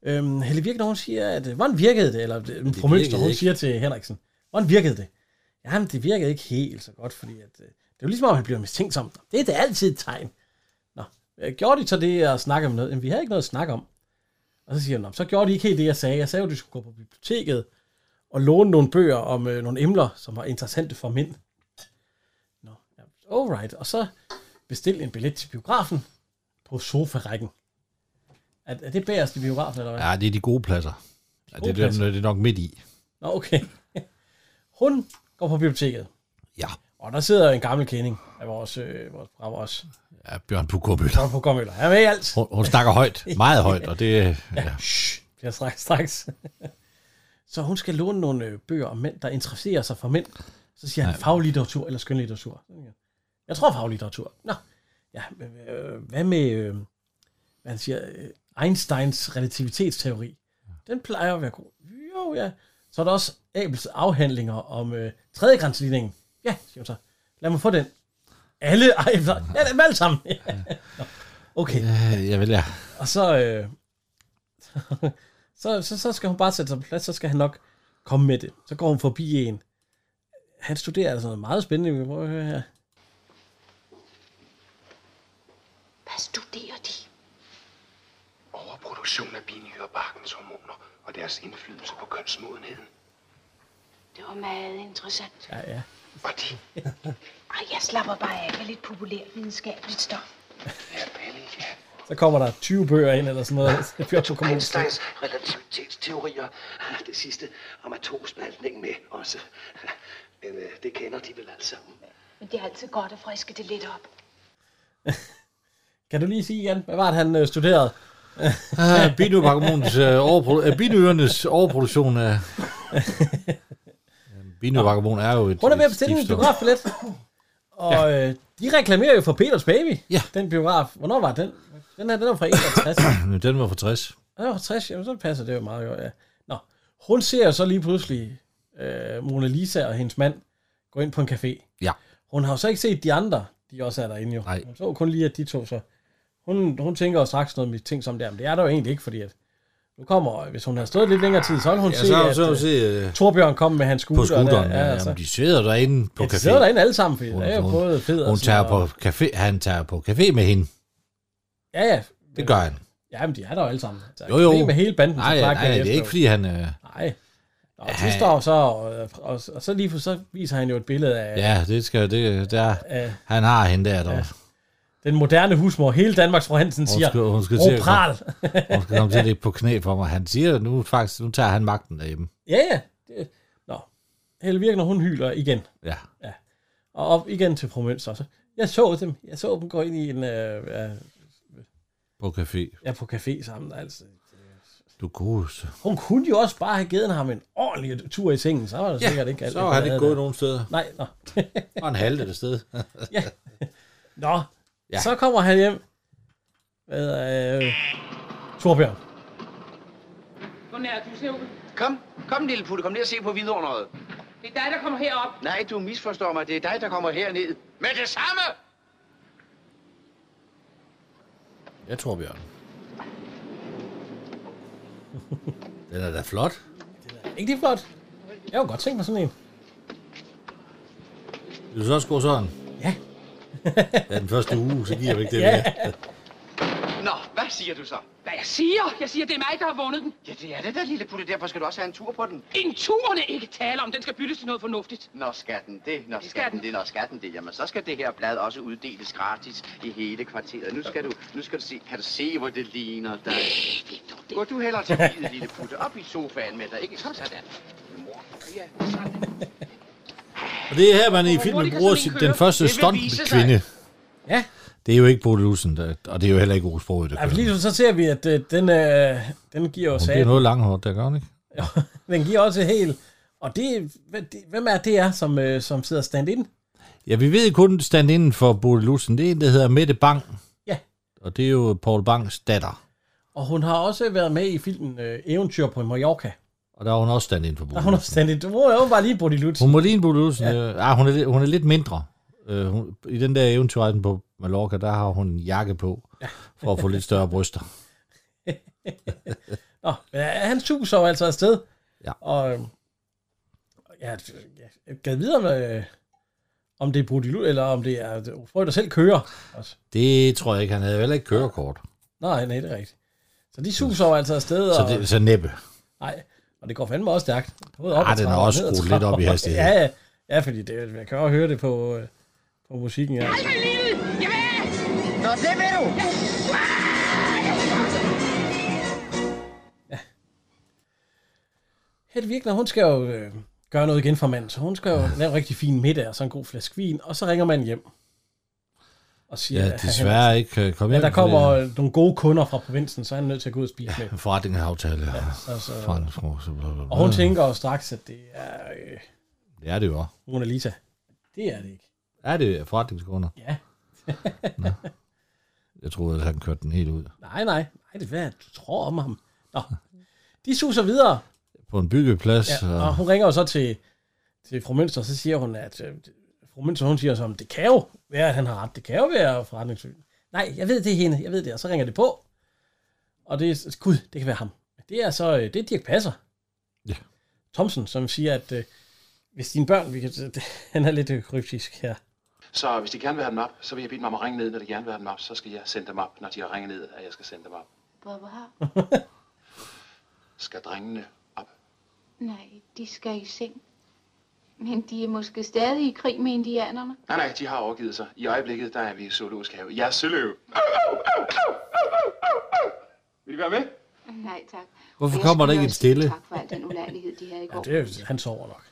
[SPEAKER 2] øhm, Helle Virkner, hun siger, at øh, hvordan virkede det? Eller øh, fru Mønster,
[SPEAKER 3] virkede
[SPEAKER 2] hun
[SPEAKER 3] ikke.
[SPEAKER 2] siger til Henriksen, hvordan virkede det? Jamen, det virkede ikke helt så godt, fordi at, øh, det er jo ligesom, om han bliver mistænksom. Det er da altid et tegn. Nå, øh, gjorde de så det at snakke om noget? Jamen, vi havde ikke noget at snakke om. Og så siger han, "Nå, så gjorde de ikke helt det, jeg sagde. Jeg sagde jo, at de skulle gå på biblioteket og låne nogle bøger om øh, nogle emner, som var interessante for mænd. Nå, ja, alright. Og så bestil en billet til biografen på sofarækken. Er, er det bagerst i biografen, eller hvad?
[SPEAKER 3] Ja, det er de gode pladser. Ja, det,
[SPEAKER 2] gode
[SPEAKER 3] er dem,
[SPEAKER 2] pladser.
[SPEAKER 3] det er nok midt i.
[SPEAKER 2] Nå, okay. Hun går på biblioteket.
[SPEAKER 3] Ja.
[SPEAKER 2] Og der sidder en gammel kending af vores, øh, vores program også.
[SPEAKER 3] Ja, Bjørn Pukobøl.
[SPEAKER 2] Bjørn Pukobøller. Han er med i alt.
[SPEAKER 3] Hun, hun snakker højt, meget højt, og det... Ja.
[SPEAKER 2] Det er straks, straks. Så hun skal låne nogle øh, bøger om mænd, der interesserer sig for mænd. Så siger han faglitteratur eller skønlitteratur. Jeg tror faglitteratur. Nå, ja, men, øh, hvad med, øh, hvad han siger, øh, Einsteins relativitetsteori? Den plejer at være god. Jo, ja. Så er der også Abels afhandlinger om øh, tredjegransligningen. Ja, siger hun så. Lad mig få den. Alle Abels, ja, dem alle sammen. Ja. Nå, Okay.
[SPEAKER 3] Øh, Jeg vil, ja.
[SPEAKER 2] Og så, øh, så, så, så skal hun bare sætte sig på plads, så skal han nok komme med det. Så går hun forbi en. Han studerer altså noget meget spændende, vi kan prøve at høre her.
[SPEAKER 5] Hvad studerer de?
[SPEAKER 9] Overproduktion af binyrebarkens hormoner og deres indflydelse på kønsmodenheden.
[SPEAKER 5] Det var meget interessant.
[SPEAKER 2] Ja, ja.
[SPEAKER 9] Og de
[SPEAKER 5] Ej, jeg slapper bare af med lidt populært videnskabeligt stof.
[SPEAKER 2] Så kommer der 20 bøger ind, eller sådan noget. Så bliver du kommer ud.
[SPEAKER 11] Einsteins relativitetsteorier. Ah, Det sidste om atomspaltning med også. Men øh, det kender de vel alle sammen.
[SPEAKER 5] Men det er altid godt at friske det lidt op.
[SPEAKER 2] Kan du lige sige, Jan, hvad var det, han øh, studerede?
[SPEAKER 3] Uh, Binøvarkomonens uh, overprodu- uh, binøernes overproduktion af... Binøvarkomon er jo et...
[SPEAKER 2] Hun er ved at
[SPEAKER 3] et
[SPEAKER 2] bestille en
[SPEAKER 3] giftstof.
[SPEAKER 2] biografbillet. Og ja. øh, de reklamerer jo for Peters Baby, ja. den biograf. Hvornår var den? Den her, den er fra 61.
[SPEAKER 3] Den var for 60.
[SPEAKER 2] Ja, det var 60, jamen, så passer det jo meget godt, ja. Nå, hun ser jo så lige pludselig øh, Mona Lisa og hendes mand gå ind på en café.
[SPEAKER 3] Ja.
[SPEAKER 2] Hun har jo så ikke set de andre, de også er derinde jo. Nej. Hun så kun lige, at de to så... Hun, hun tænker jo straks noget med ting som det, er, men det er der jo egentlig ikke, fordi at nu kommer, hvis hun har stået lidt længere tid, så vil hun
[SPEAKER 3] Ja,
[SPEAKER 2] se,
[SPEAKER 3] så-
[SPEAKER 2] at
[SPEAKER 3] så vil hun
[SPEAKER 2] øh,
[SPEAKER 3] se, øh,
[SPEAKER 2] Torbjørn kom med hans scooter.
[SPEAKER 3] På scooteren.
[SPEAKER 2] der,
[SPEAKER 3] Ja,
[SPEAKER 2] altså.
[SPEAKER 3] Jamen, de sidder derinde på
[SPEAKER 2] Ja,
[SPEAKER 3] café.
[SPEAKER 2] de sidder derinde altså. alle sammen, fordi
[SPEAKER 3] Hun-
[SPEAKER 2] der er jo
[SPEAKER 3] hun-
[SPEAKER 2] både Feddersen
[SPEAKER 3] Hun tager på
[SPEAKER 2] og-
[SPEAKER 3] café, han tager på café med hende.
[SPEAKER 2] Ja, ja.
[SPEAKER 3] Det gør han.
[SPEAKER 2] Ja, men de er der jo alle sammen. Der er
[SPEAKER 3] Jo, jo.
[SPEAKER 2] café med hele banden. som
[SPEAKER 3] Nej,
[SPEAKER 2] bare
[SPEAKER 3] nej,
[SPEAKER 2] kan
[SPEAKER 3] nej, det
[SPEAKER 2] efter
[SPEAKER 3] er
[SPEAKER 2] jo.
[SPEAKER 3] ikke, fordi han... Øh,
[SPEAKER 2] Nej. Og de står så, og, og, og så lige for, så viser han jo et billede af ja.
[SPEAKER 3] ja, det skal... Det, der,
[SPEAKER 2] Ja.
[SPEAKER 3] han har hende der, der.
[SPEAKER 2] den moderne husmor. Hele Danmarks fru Hansen siger, "Åh,
[SPEAKER 3] til at
[SPEAKER 2] pral.
[SPEAKER 3] komme- hun skal komme til at ligge på knæ for mig. Han siger nu faktisk, nu tager han magten derhjemme.
[SPEAKER 2] ja, ja. Det, nå. Helle Virk, når hun hyler igen.
[SPEAKER 3] Ja.
[SPEAKER 2] ja. Og op igen til promøns også. Jeg så dem. Jeg så dem gå ind i en... Øh, øh,
[SPEAKER 3] På café.
[SPEAKER 2] ja, på café sammen. Altså.
[SPEAKER 3] Du godeste.
[SPEAKER 2] Hun kunne jo også bare have givet ham en ordentlig tur i sengen. Så var det
[SPEAKER 3] Ja,
[SPEAKER 2] sikkert ikke alt.
[SPEAKER 3] så
[SPEAKER 2] det
[SPEAKER 3] var han
[SPEAKER 2] ballade
[SPEAKER 3] ikke gået
[SPEAKER 2] der.
[SPEAKER 3] nogen steder.
[SPEAKER 2] Nej, nå.
[SPEAKER 3] Og en halvdel af sted.
[SPEAKER 2] ja. Nå, ja.
[SPEAKER 3] Ja.
[SPEAKER 2] så kommer han hjem. Hvad er... Øh, Torbjørn.
[SPEAKER 6] Hvor nær du, Snævkel?
[SPEAKER 11] Kom, kom lille putte, kom ned og se på vidunderet.
[SPEAKER 6] Det er dig, der kommer herop.
[SPEAKER 11] Nej, du misforstår mig. Det er dig, der kommer herned. Med det samme!
[SPEAKER 3] Jeg tror, Bjørn. Den er da flot.
[SPEAKER 2] Ikke det flot? Jeg kunne godt tænke mig sådan en.
[SPEAKER 3] Vil du så også gå sådan?
[SPEAKER 2] Ja.
[SPEAKER 3] Ja, den første uge, så giver vi ikke det
[SPEAKER 6] Ja.
[SPEAKER 3] mere.
[SPEAKER 11] Nå, hvad siger du så?
[SPEAKER 6] Hvad jeg siger? Jeg siger, det er mig, der har vundet den.
[SPEAKER 11] Ja, det er det der, lille putte. Derfor skal du også have en tur på den.
[SPEAKER 6] En turene ikke tale om. Den skal byttes til noget fornuftigt.
[SPEAKER 11] Når skatten det, når skatten det, når skatten det, jamen så skal det her blad også uddeles gratis i hele kvarteret. Nu skal du, nu skal du se, kan du se, hvor det ligner dig? Gå du heller til bilen, lille putte, op i sofaen med dig, ikke? Kom sådan. Mor, ja, sådan.
[SPEAKER 3] Og det er her, man i filmen bruger sin, den første stunt-kvinde.
[SPEAKER 2] Ja.
[SPEAKER 3] Det er jo ikke Bodil Olsen, der, og det er jo heller ikke Ove Sprogøe, der
[SPEAKER 2] Ja, for
[SPEAKER 3] kører.
[SPEAKER 2] lige nu så ser vi, at øh, den, øh, den giver jo
[SPEAKER 3] Hun bliver
[SPEAKER 2] saten.
[SPEAKER 3] noget langhårdt, der gør hun ikke?
[SPEAKER 2] Den giver også helt... Og det, hvad- det, hvem er det er, som, øh, som sidder stand-in?
[SPEAKER 3] Ja, vi ved kun stand inden for Bodil Olsen. Det er en, der hedder Mette Bang.
[SPEAKER 2] Ja.
[SPEAKER 3] Og det er jo Paul Bangs datter.
[SPEAKER 2] Og hun har også været med i filmen øh, Eventyr på Mallorca.
[SPEAKER 3] Og der er hun også stand inden for Bodil
[SPEAKER 2] Der er hun også stand-in. Du må jo bare lige bruge de lut.
[SPEAKER 3] Hun må lige en Bodil Olsen. Ja. Ah, hun, er, lidt- hun er lidt mindre. Uh, hun, I den der eventyrrejden på Mallorca, der har hun en jakke på, for at få lidt større bryster.
[SPEAKER 2] Nå, men, øh, han suser jo altså afsted.
[SPEAKER 3] Ja.
[SPEAKER 2] Og øh, ja, jeg gad videre, om, øh, om det er Brudi Lut, eller om det er øh, Ove Sprogøe, der selv kører. Også.
[SPEAKER 3] Det tror jeg ikke. Han havde heller ikke kørekort.
[SPEAKER 2] Nej, nej, det er rigtigt. Så de suser jo altså afsted. Og...
[SPEAKER 3] Så, det, så næppe.
[SPEAKER 2] Nej, og det går fandme også stærkt. Både
[SPEAKER 3] Ah,
[SPEAKER 2] ad
[SPEAKER 3] den er
[SPEAKER 2] trapper,
[SPEAKER 3] også
[SPEAKER 2] ned ad
[SPEAKER 3] skruet lidt
[SPEAKER 2] trapper.
[SPEAKER 3] op i hastighed.
[SPEAKER 2] Ja, ja. ja fordi det, jeg kan også høre det på, øh, på musikken. Ja.
[SPEAKER 12] Nå, det ved du.
[SPEAKER 2] Hedvig, når hun skal jo øh, gøre noget igen for manden, så hun skal jo lave en rigtig fin middag og så en god flaske vin, og så ringer man hjem. Og siger,
[SPEAKER 3] Ja,
[SPEAKER 2] at han-
[SPEAKER 3] desværre ikke, øh, kom
[SPEAKER 2] ja,
[SPEAKER 3] hjem,
[SPEAKER 2] der kommer
[SPEAKER 3] fordi-
[SPEAKER 2] øh, nogle gode kunder fra provinsen, så er han nødt til at gå ud og spise ja. med.
[SPEAKER 3] Forretning og aftale. Ja,
[SPEAKER 2] altså-
[SPEAKER 3] Forretning, små, så bla, bla, bla.
[SPEAKER 2] Og hun tænker jo straks, at det er øh,
[SPEAKER 3] Det er det jo også.
[SPEAKER 2] Mona Lisa. Det er det ikke.
[SPEAKER 3] Er det forretningskunder?
[SPEAKER 2] Ja.
[SPEAKER 3] Nå. Jeg troede, at han kørte den helt ud.
[SPEAKER 2] Nej, nej. Nej, det er hvad du tror om ham. Nå. De suser videre.
[SPEAKER 3] På en byggeplads.
[SPEAKER 2] Ja,
[SPEAKER 3] og-
[SPEAKER 2] og hun ringer jo så til, til fru Mønster, og så siger hun, at øh, fru Mønster, hun siger som, det kan jo være, at han har ret. Det kan jo være forretningssyn. Nej, jeg ved det er hende. Jeg ved det. Og så ringer det på. Og det er, gud, det kan være ham. Det er så, øh, det er Dirk Passer.
[SPEAKER 3] Ja.
[SPEAKER 2] Thomsen, som siger, at øh, hvis dine børn, vi kan, han er lidt øh, kryptisk her.
[SPEAKER 9] Så hvis de gerne vil have dem op, så vil jeg bede dem om at ringe ned. Når de gerne vil have dem op, så skal jeg sende dem op. Når de har ringet ned, at jeg skal sende dem op.
[SPEAKER 5] Hvor har?
[SPEAKER 9] Skal drengene
[SPEAKER 5] Nej, de skal i seng. Men de er måske stadig i krig med indianerne.
[SPEAKER 9] Nej, nej, de har overgivet sig. I øjeblikket, der er vi i zoologisk have. Jeg er søløv. Vil I være med?
[SPEAKER 5] Nej, tak.
[SPEAKER 3] Hvorfor
[SPEAKER 5] Og jeg
[SPEAKER 3] kommer der
[SPEAKER 5] skylder
[SPEAKER 3] ikke en
[SPEAKER 5] også dem
[SPEAKER 3] stille?
[SPEAKER 5] Tak for al den ulejlighed, de havde i går.
[SPEAKER 2] Det er, jo- han sover nok.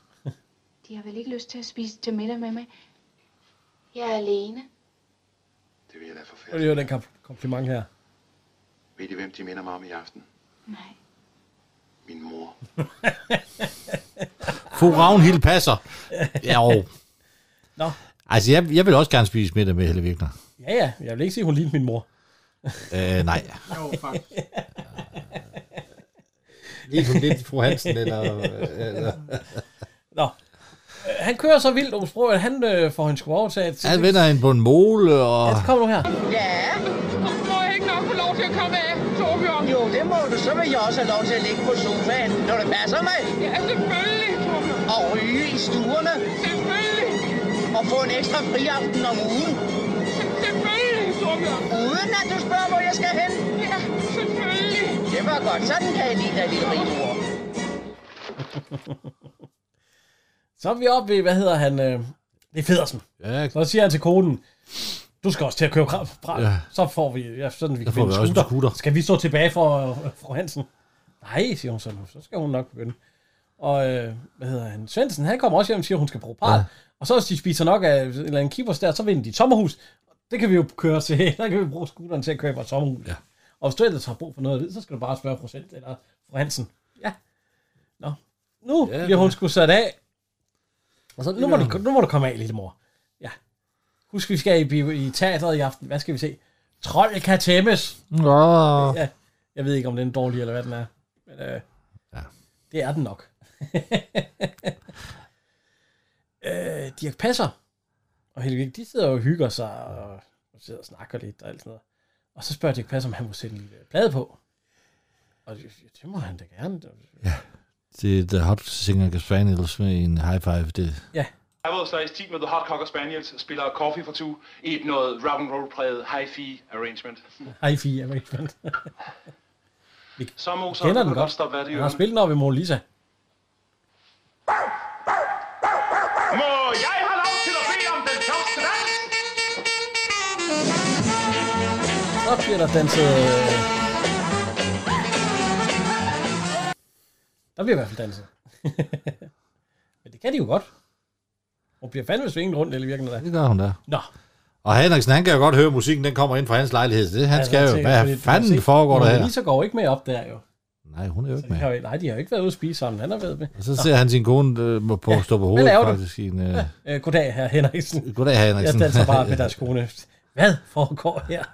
[SPEAKER 5] De har vel ikke lyst til at spise til middag med mig. Jeg er alene.
[SPEAKER 9] Det vil jeg da for
[SPEAKER 2] Og det er jo den kom- kompliment her.
[SPEAKER 9] Ved I, hvem de minder mig om i aften?
[SPEAKER 5] Nej.
[SPEAKER 9] Min mor.
[SPEAKER 3] Fru Ravnhild passer. Ja, jo.
[SPEAKER 2] Nå.
[SPEAKER 3] Altså, jeg, jeg vil også gerne spise middag med Helle Virkner.
[SPEAKER 2] Ja, ja. Jeg vil ikke sige, at hun lignede min mor.
[SPEAKER 3] Øh, nej.
[SPEAKER 2] Jo, faktisk.
[SPEAKER 3] Lige sådan lidt fru Hansen, eller... eller.
[SPEAKER 2] Nå. Øh, Han kører så vildt om sproget, at han øh, får hende sgu overtaget. til-
[SPEAKER 3] Han vender hende på en mole, og...
[SPEAKER 2] Ja, så kommer du her.
[SPEAKER 12] Ja.
[SPEAKER 6] Må jeg ikke nok få lov til at komme af, Torbjørn?
[SPEAKER 12] Jo, det må du. Så vil jeg også have lov til at ligge på sofaen, når det passer mig.
[SPEAKER 6] Ja, selvfølgelig, Torbjørn.
[SPEAKER 12] Og ryge i stuerne.
[SPEAKER 6] Selvfølgelig.
[SPEAKER 12] Og få en ekstra friaften om ugen.
[SPEAKER 6] Selvfølgelig, Torbjørn.
[SPEAKER 12] Uden at du spørger, hvor jeg skal hen.
[SPEAKER 6] Ja, selvfølgelig.
[SPEAKER 12] Det var godt. Sådan kan jeg lide dig, lille rigmor.
[SPEAKER 2] Så er vi oppe ved, hvad hedder han? Øh, det er Federsen.
[SPEAKER 3] Ja,
[SPEAKER 2] så siger han til konen, du skal også til at køre krav. Ja.
[SPEAKER 3] Ja.
[SPEAKER 2] Så får vi, ja, sådan vi
[SPEAKER 3] Så
[SPEAKER 2] kan
[SPEAKER 3] får
[SPEAKER 2] vinde
[SPEAKER 3] vi også en
[SPEAKER 2] scooter.
[SPEAKER 3] scooter.
[SPEAKER 2] Skal vi stå tilbage for øh, fru Hansen? Nej, siger hun så nu. Så skal hun nok begynde. Og øh, hvad hedder han? Svendsen, han kommer også hjem og siger, at hun skal bruge par. Ja. Og så hvis de spiser nok af en eller anden keepers der, så vinder de et sommerhus. Det kan vi jo køre til. Der kan vi bruge scooteren til at købe et sommerhus. Ja. Og hvis du ellers har brug for noget at vide, så skal du bare spørge procent eller fru Hansen. Ja. Nå. Nu ja, bliver hun sgu sat af. Og så, nu, må du, nu må du komme af, lille mor. Ja. Husk, vi skal i, bio- i teateret i aften. Hvad skal vi se? Trold kan tæmmes.
[SPEAKER 3] Nå.
[SPEAKER 2] Ja. Jeg ved ikke, om den er dårlig, eller hvad den er. Men øh, ja. det er den nok. øh, Dirk Passer og Helvig, de sidder og hygger sig og, og sidder og snakker lidt og alt sådan noget. Og så spørger Dirk Passer, om han må sætte en lille plade på. Og det, det må han da gerne.
[SPEAKER 3] Det er The Hot Singer Spaniels med en high five. Det,
[SPEAKER 9] Apple Slice 10 med The Hot Cocker Spaniels spiller Coffee for Two i et noget rock'n'roll præget hi-fi arrangement.
[SPEAKER 2] Hej, Fie, jeg er Vi
[SPEAKER 9] Sommerhuset,
[SPEAKER 2] kender
[SPEAKER 9] du
[SPEAKER 2] den
[SPEAKER 9] kan
[SPEAKER 2] godt.
[SPEAKER 9] stoppe, hvad det
[SPEAKER 2] Han har spillet den op i Mona Lisa.
[SPEAKER 9] Må jeg have lov til at bede om den første dans?
[SPEAKER 2] Så bliver der danset... øh. Der bliver i hvert fald danset. Men det kan de jo godt. Hun bliver fandme svinget rundt, eller virkende der.
[SPEAKER 3] det gør hun der.
[SPEAKER 2] Nå.
[SPEAKER 3] Og Henriksen, han kan jo godt høre musikken, den kommer ind fra hans lejlighed. så Det, han
[SPEAKER 2] Altså,
[SPEAKER 3] skal jo. Hvad fanden foregår der her?
[SPEAKER 2] Lisa går jo ikke med op der jo.
[SPEAKER 3] Nej, hun er jo ikke
[SPEAKER 2] De
[SPEAKER 3] med.
[SPEAKER 2] har, jo- nej, de har jo ikke været ude at spise sammen. Han har været med.
[SPEAKER 3] Og så ser han sin kone øh, må på stå på hovedet
[SPEAKER 2] laver du?
[SPEAKER 3] faktisk. i En, øh,
[SPEAKER 2] Ja. Øh, goddag, herr Henriksen.
[SPEAKER 3] Goddag, hr. Henriksen.
[SPEAKER 2] Jeg danser bare med
[SPEAKER 3] Ja.
[SPEAKER 2] deres kone. Hvad foregår her?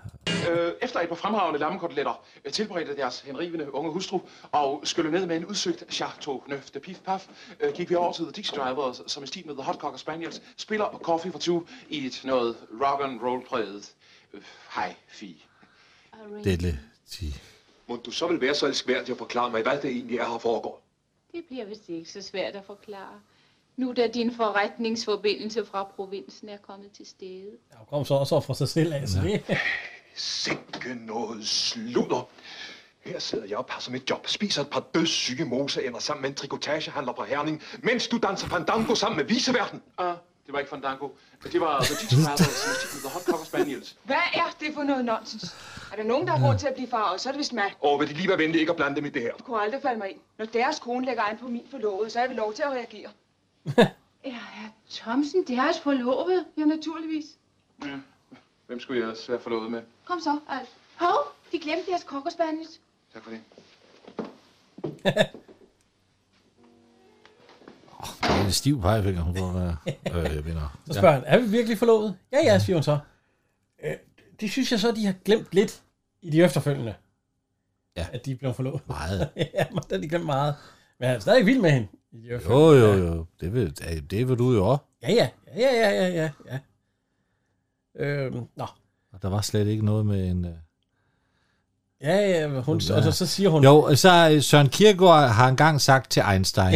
[SPEAKER 9] Øh, efter et par fremragende lammekoteletter øh, tilberedte deres henrivende unge hustru og skyllede ned med en udsøgt chateauneuf de pif paf, øh, gik vi over til The Dixie Drivers, som i stil med The Hot Cocker Spaniels spiller Coffee for Two i et noget rock and roll præget øh, hi-fi.
[SPEAKER 3] Delle. Ti.
[SPEAKER 13] Må du så vil være så elskværdig at forklare mig, hvad det egentlig er, her foregår?
[SPEAKER 5] Det bliver vist ikke så svært at forklare. Nu da din forretningsforbindelse fra provinsen er kommet til stede.
[SPEAKER 2] Hun altså. kom så også fra sig selv af, så det...
[SPEAKER 13] Sikke noget sludder. Her sidder jeg og passer mit job, spiser et par dødssyge moseænder sammen med en trikotagehandler på Herning, mens du danser fandango sammen med viseverden.
[SPEAKER 9] Ah, det var ikke Fandango. Det var The Teacher Brothers Mystic The Hot Cocker Spaniels.
[SPEAKER 6] Hvad er det for noget nonsens? Er der nogen, der har råd til at blive farvet, så er det vist mig.
[SPEAKER 13] Og vil de lige være venlige ikke at blande dem i det her?
[SPEAKER 6] Du kunne aldrig falde mig ind. Når deres kone lægger an på min forlovede, så er vi lov til at reagere.
[SPEAKER 5] Ja, herr Thomsen, det er også forlovet, ja naturligvis.
[SPEAKER 9] Ja. Hvem skulle jeg ellers være forlovet med?
[SPEAKER 5] Kom så, Alf. Hov, de glemte deres kokkerspaniels.
[SPEAKER 9] Tak for det.
[SPEAKER 3] Det er en stiv pegefinger, hun får. Øh, jeg mener.
[SPEAKER 2] Så spørger ja. han, er vi virkelig forlovet? Ja, ja, siger hun så. Øh, det synes jeg så, de har glemt lidt i de efterfølgende.
[SPEAKER 3] Ja.
[SPEAKER 2] At de er blevet forlovet.
[SPEAKER 3] Meget.
[SPEAKER 2] ja, men det har de glemt meget. Men han er stadig vild med hende. I de
[SPEAKER 3] Jo,
[SPEAKER 2] efterfølgende.
[SPEAKER 3] jo, jo. Det vil, ja, det vil du jo også.
[SPEAKER 2] Ja, ja, ja, ja, ja, ja, ja. Øhm, nå.
[SPEAKER 3] Og der var slet ikke noget med en... Øh...
[SPEAKER 2] Ja, ja, men hun, og så, så siger hun...
[SPEAKER 3] Jo, så øh, Søren Kierkegaard har engang sagt til Einstein,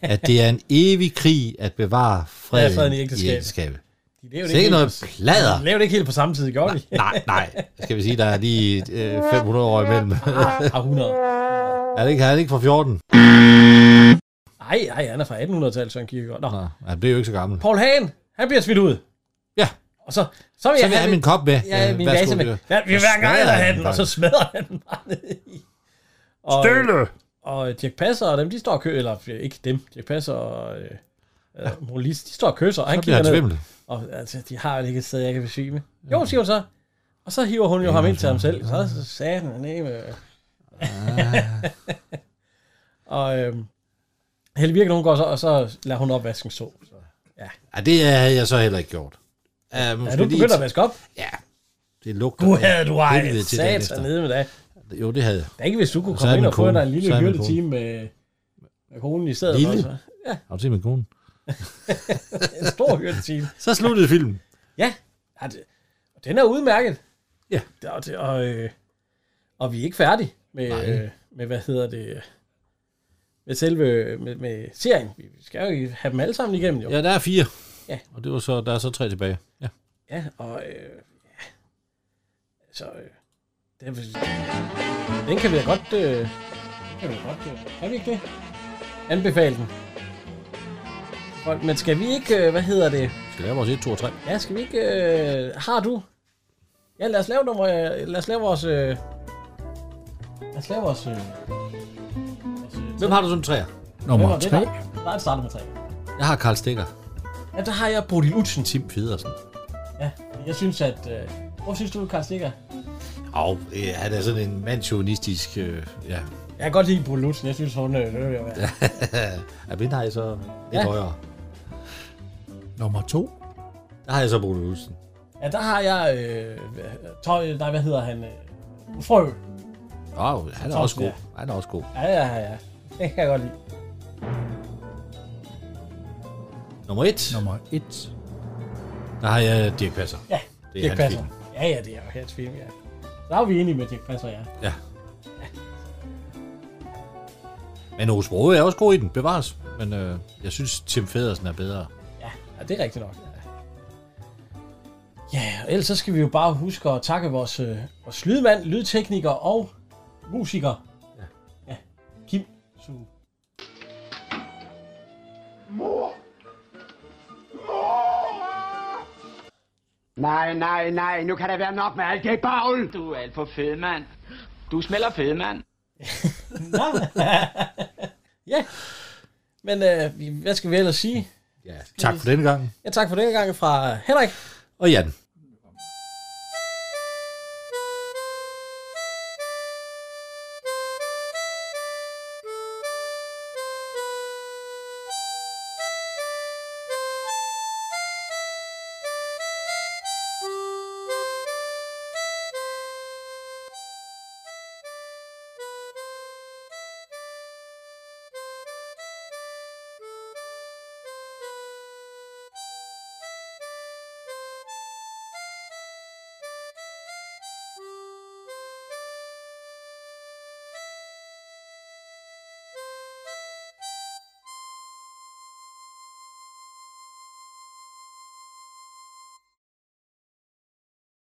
[SPEAKER 3] at det er en evig krig at bevare freden,
[SPEAKER 2] Ja, freden i ægteskabet. De lavede
[SPEAKER 3] Det er ikke noget
[SPEAKER 2] helt-
[SPEAKER 3] plader.
[SPEAKER 2] De lavede det ikke helt på samme tid, gjorde de?
[SPEAKER 3] Nej, nej. Skal vi sige, der er lige øh, 500 år imellem.
[SPEAKER 2] Par hundrede.
[SPEAKER 3] er det ikke, er det ikke fra 14?
[SPEAKER 2] Nej, nej, han er fra 1800-tallet, Søren Kierkegaard. Nå. Nå.
[SPEAKER 3] Ja, det er jo ikke så gammel.
[SPEAKER 2] Paul Hagen, han bliver smidt ud.
[SPEAKER 3] Ja.
[SPEAKER 2] Og så, så vil
[SPEAKER 3] Så
[SPEAKER 2] jeg
[SPEAKER 3] vil jeg have min kop med.
[SPEAKER 2] Ja,
[SPEAKER 3] Øh,
[SPEAKER 2] min
[SPEAKER 3] værsgo,
[SPEAKER 2] vase med.
[SPEAKER 3] det-
[SPEAKER 2] Ja, vi vil
[SPEAKER 3] Så
[SPEAKER 2] hver gang
[SPEAKER 3] smadrer
[SPEAKER 2] eller
[SPEAKER 3] han
[SPEAKER 2] have
[SPEAKER 3] den
[SPEAKER 2] den, og så
[SPEAKER 3] bare.
[SPEAKER 2] smadrer han den bare ned i. Og, Stille! Og Dirk Passer og dem, de står og kører, eller øh, ikke dem, Dirk Passer og øh, ja. Molis, de står og kysser, og han
[SPEAKER 3] bliver
[SPEAKER 2] kigger
[SPEAKER 3] han
[SPEAKER 2] ned.
[SPEAKER 3] svimmel.
[SPEAKER 2] Og altså, de har jo ikke et sted, jeg kan besvime. Jo, siger hun så. Og så hiver hun jo ham ind til ham selv. Så, så sagde han, nej, men...
[SPEAKER 3] Ah.
[SPEAKER 2] og øhm, Helle Virken, hun går så, og så lader hun opvasken stå. Så.
[SPEAKER 3] Ja, det havde jeg så heller ikke gjort. Uh, er
[SPEAKER 2] Er du begyndt at vaske op?
[SPEAKER 3] Ja. Det lugter.
[SPEAKER 2] Du havde du
[SPEAKER 3] af
[SPEAKER 2] ej,
[SPEAKER 3] helvede til dagen
[SPEAKER 2] satan
[SPEAKER 3] efter.
[SPEAKER 2] nede med dig.
[SPEAKER 3] Jo, det havde jeg.
[SPEAKER 2] Der er ikke, hvis du kunne
[SPEAKER 3] Så
[SPEAKER 2] komme
[SPEAKER 3] havde
[SPEAKER 2] ind
[SPEAKER 3] min
[SPEAKER 2] og få
[SPEAKER 3] kone.
[SPEAKER 2] dig en
[SPEAKER 3] Så
[SPEAKER 2] lille
[SPEAKER 3] havde min
[SPEAKER 2] hyrtetime med, med konen i stedet.
[SPEAKER 3] Lille?
[SPEAKER 2] for, så. Ja,
[SPEAKER 3] Har du set min kone?
[SPEAKER 2] en stor hyrtetime.
[SPEAKER 3] Så sluttede filmen.
[SPEAKER 2] Ja, ja det, og den er udmærket.
[SPEAKER 3] Ja.
[SPEAKER 2] Og, det, og, øh, og vi er ikke færdige med,
[SPEAKER 3] Nej.
[SPEAKER 2] øh, med hvad hedder det, øh, med selve med, med serien. Vi skal jo have dem alle sammen igennem, jo.
[SPEAKER 3] Ja, der er fire.
[SPEAKER 2] Ja.
[SPEAKER 3] Og det var så, der er så tre tilbage. Ja.
[SPEAKER 2] Ja, og øh, ja. Så øh, det er, vel- den kan vi da godt... Øh, den kan vi da godt... Øh, kan vi ikke det? Anbefale den. Folk, Men skal vi ikke... Øh, hvad hedder det?
[SPEAKER 3] Skal lave vores 1, 2 og 3.
[SPEAKER 2] Ja, skal vi ikke... Øh, har du? Ja, lad os lave, nummer, øh, lad os lave vores... Øh, lad os lave vores... Øh,
[SPEAKER 3] Hvem har du som træer?
[SPEAKER 2] nummer det, der? Nej, det starter med tre.
[SPEAKER 3] Jeg har Karl Stikker.
[SPEAKER 2] Ja, der har jeg Bodil Utsen.
[SPEAKER 3] Tim Pedersen.
[SPEAKER 2] Ja, jeg synes, at... Øh, hvor synes du, Karl Stikker?
[SPEAKER 3] Og øh, han er sådan en mandsjonistisk... Øh, ja.
[SPEAKER 2] Jeg kan godt lide Bodil Utsen. Jeg synes, hun... Øh, det vil jeg være.
[SPEAKER 3] ja, men har jeg så lidt
[SPEAKER 2] Ja.
[SPEAKER 3] ja. højere.
[SPEAKER 1] Nummer to.
[SPEAKER 3] Der har jeg så Bruno Olsen.
[SPEAKER 2] Ja, der har jeg... Øh, tøj, nej, hvad hedder han? Øh, frø.
[SPEAKER 3] Åh, han er
[SPEAKER 2] Thomsen,
[SPEAKER 3] også god.
[SPEAKER 2] ja.
[SPEAKER 3] Han er også god.
[SPEAKER 2] Ja, ja, ja, ja. Det kan jeg godt lide.
[SPEAKER 3] Nummer 1. Nummer 1. Der har jeg Dirk Passer.
[SPEAKER 2] Ja,
[SPEAKER 3] det
[SPEAKER 2] Dirch
[SPEAKER 3] er hans
[SPEAKER 2] Passer.
[SPEAKER 3] film.
[SPEAKER 2] Ja, ja, det er jo hans film, ja. Så er vi enige med Dirk Passer, ja.
[SPEAKER 3] Ja. Men Ove Sprogøe er også god i den, bevares. Men øh, jeg synes, Tim Federsen er bedre.
[SPEAKER 2] Ja, ja det er rigtigt nok. Ja. Ja, og ellers så skal vi jo bare huske at takke vores, øh, vores lydmand, lydtekniker og musiker. Ja. ja. Kim Su.
[SPEAKER 12] Mor! Nej, nej, nej, nu kan det være nok med alt det bagl! Du er alt for fed, mand. Du smelter fed, mand.
[SPEAKER 2] Ja. Men øh, vi- hvad skal vi ellers sige?
[SPEAKER 3] Ja, tak for denne gang.
[SPEAKER 2] Ja, tak for denne gang fra Henrik.
[SPEAKER 3] Og Jan.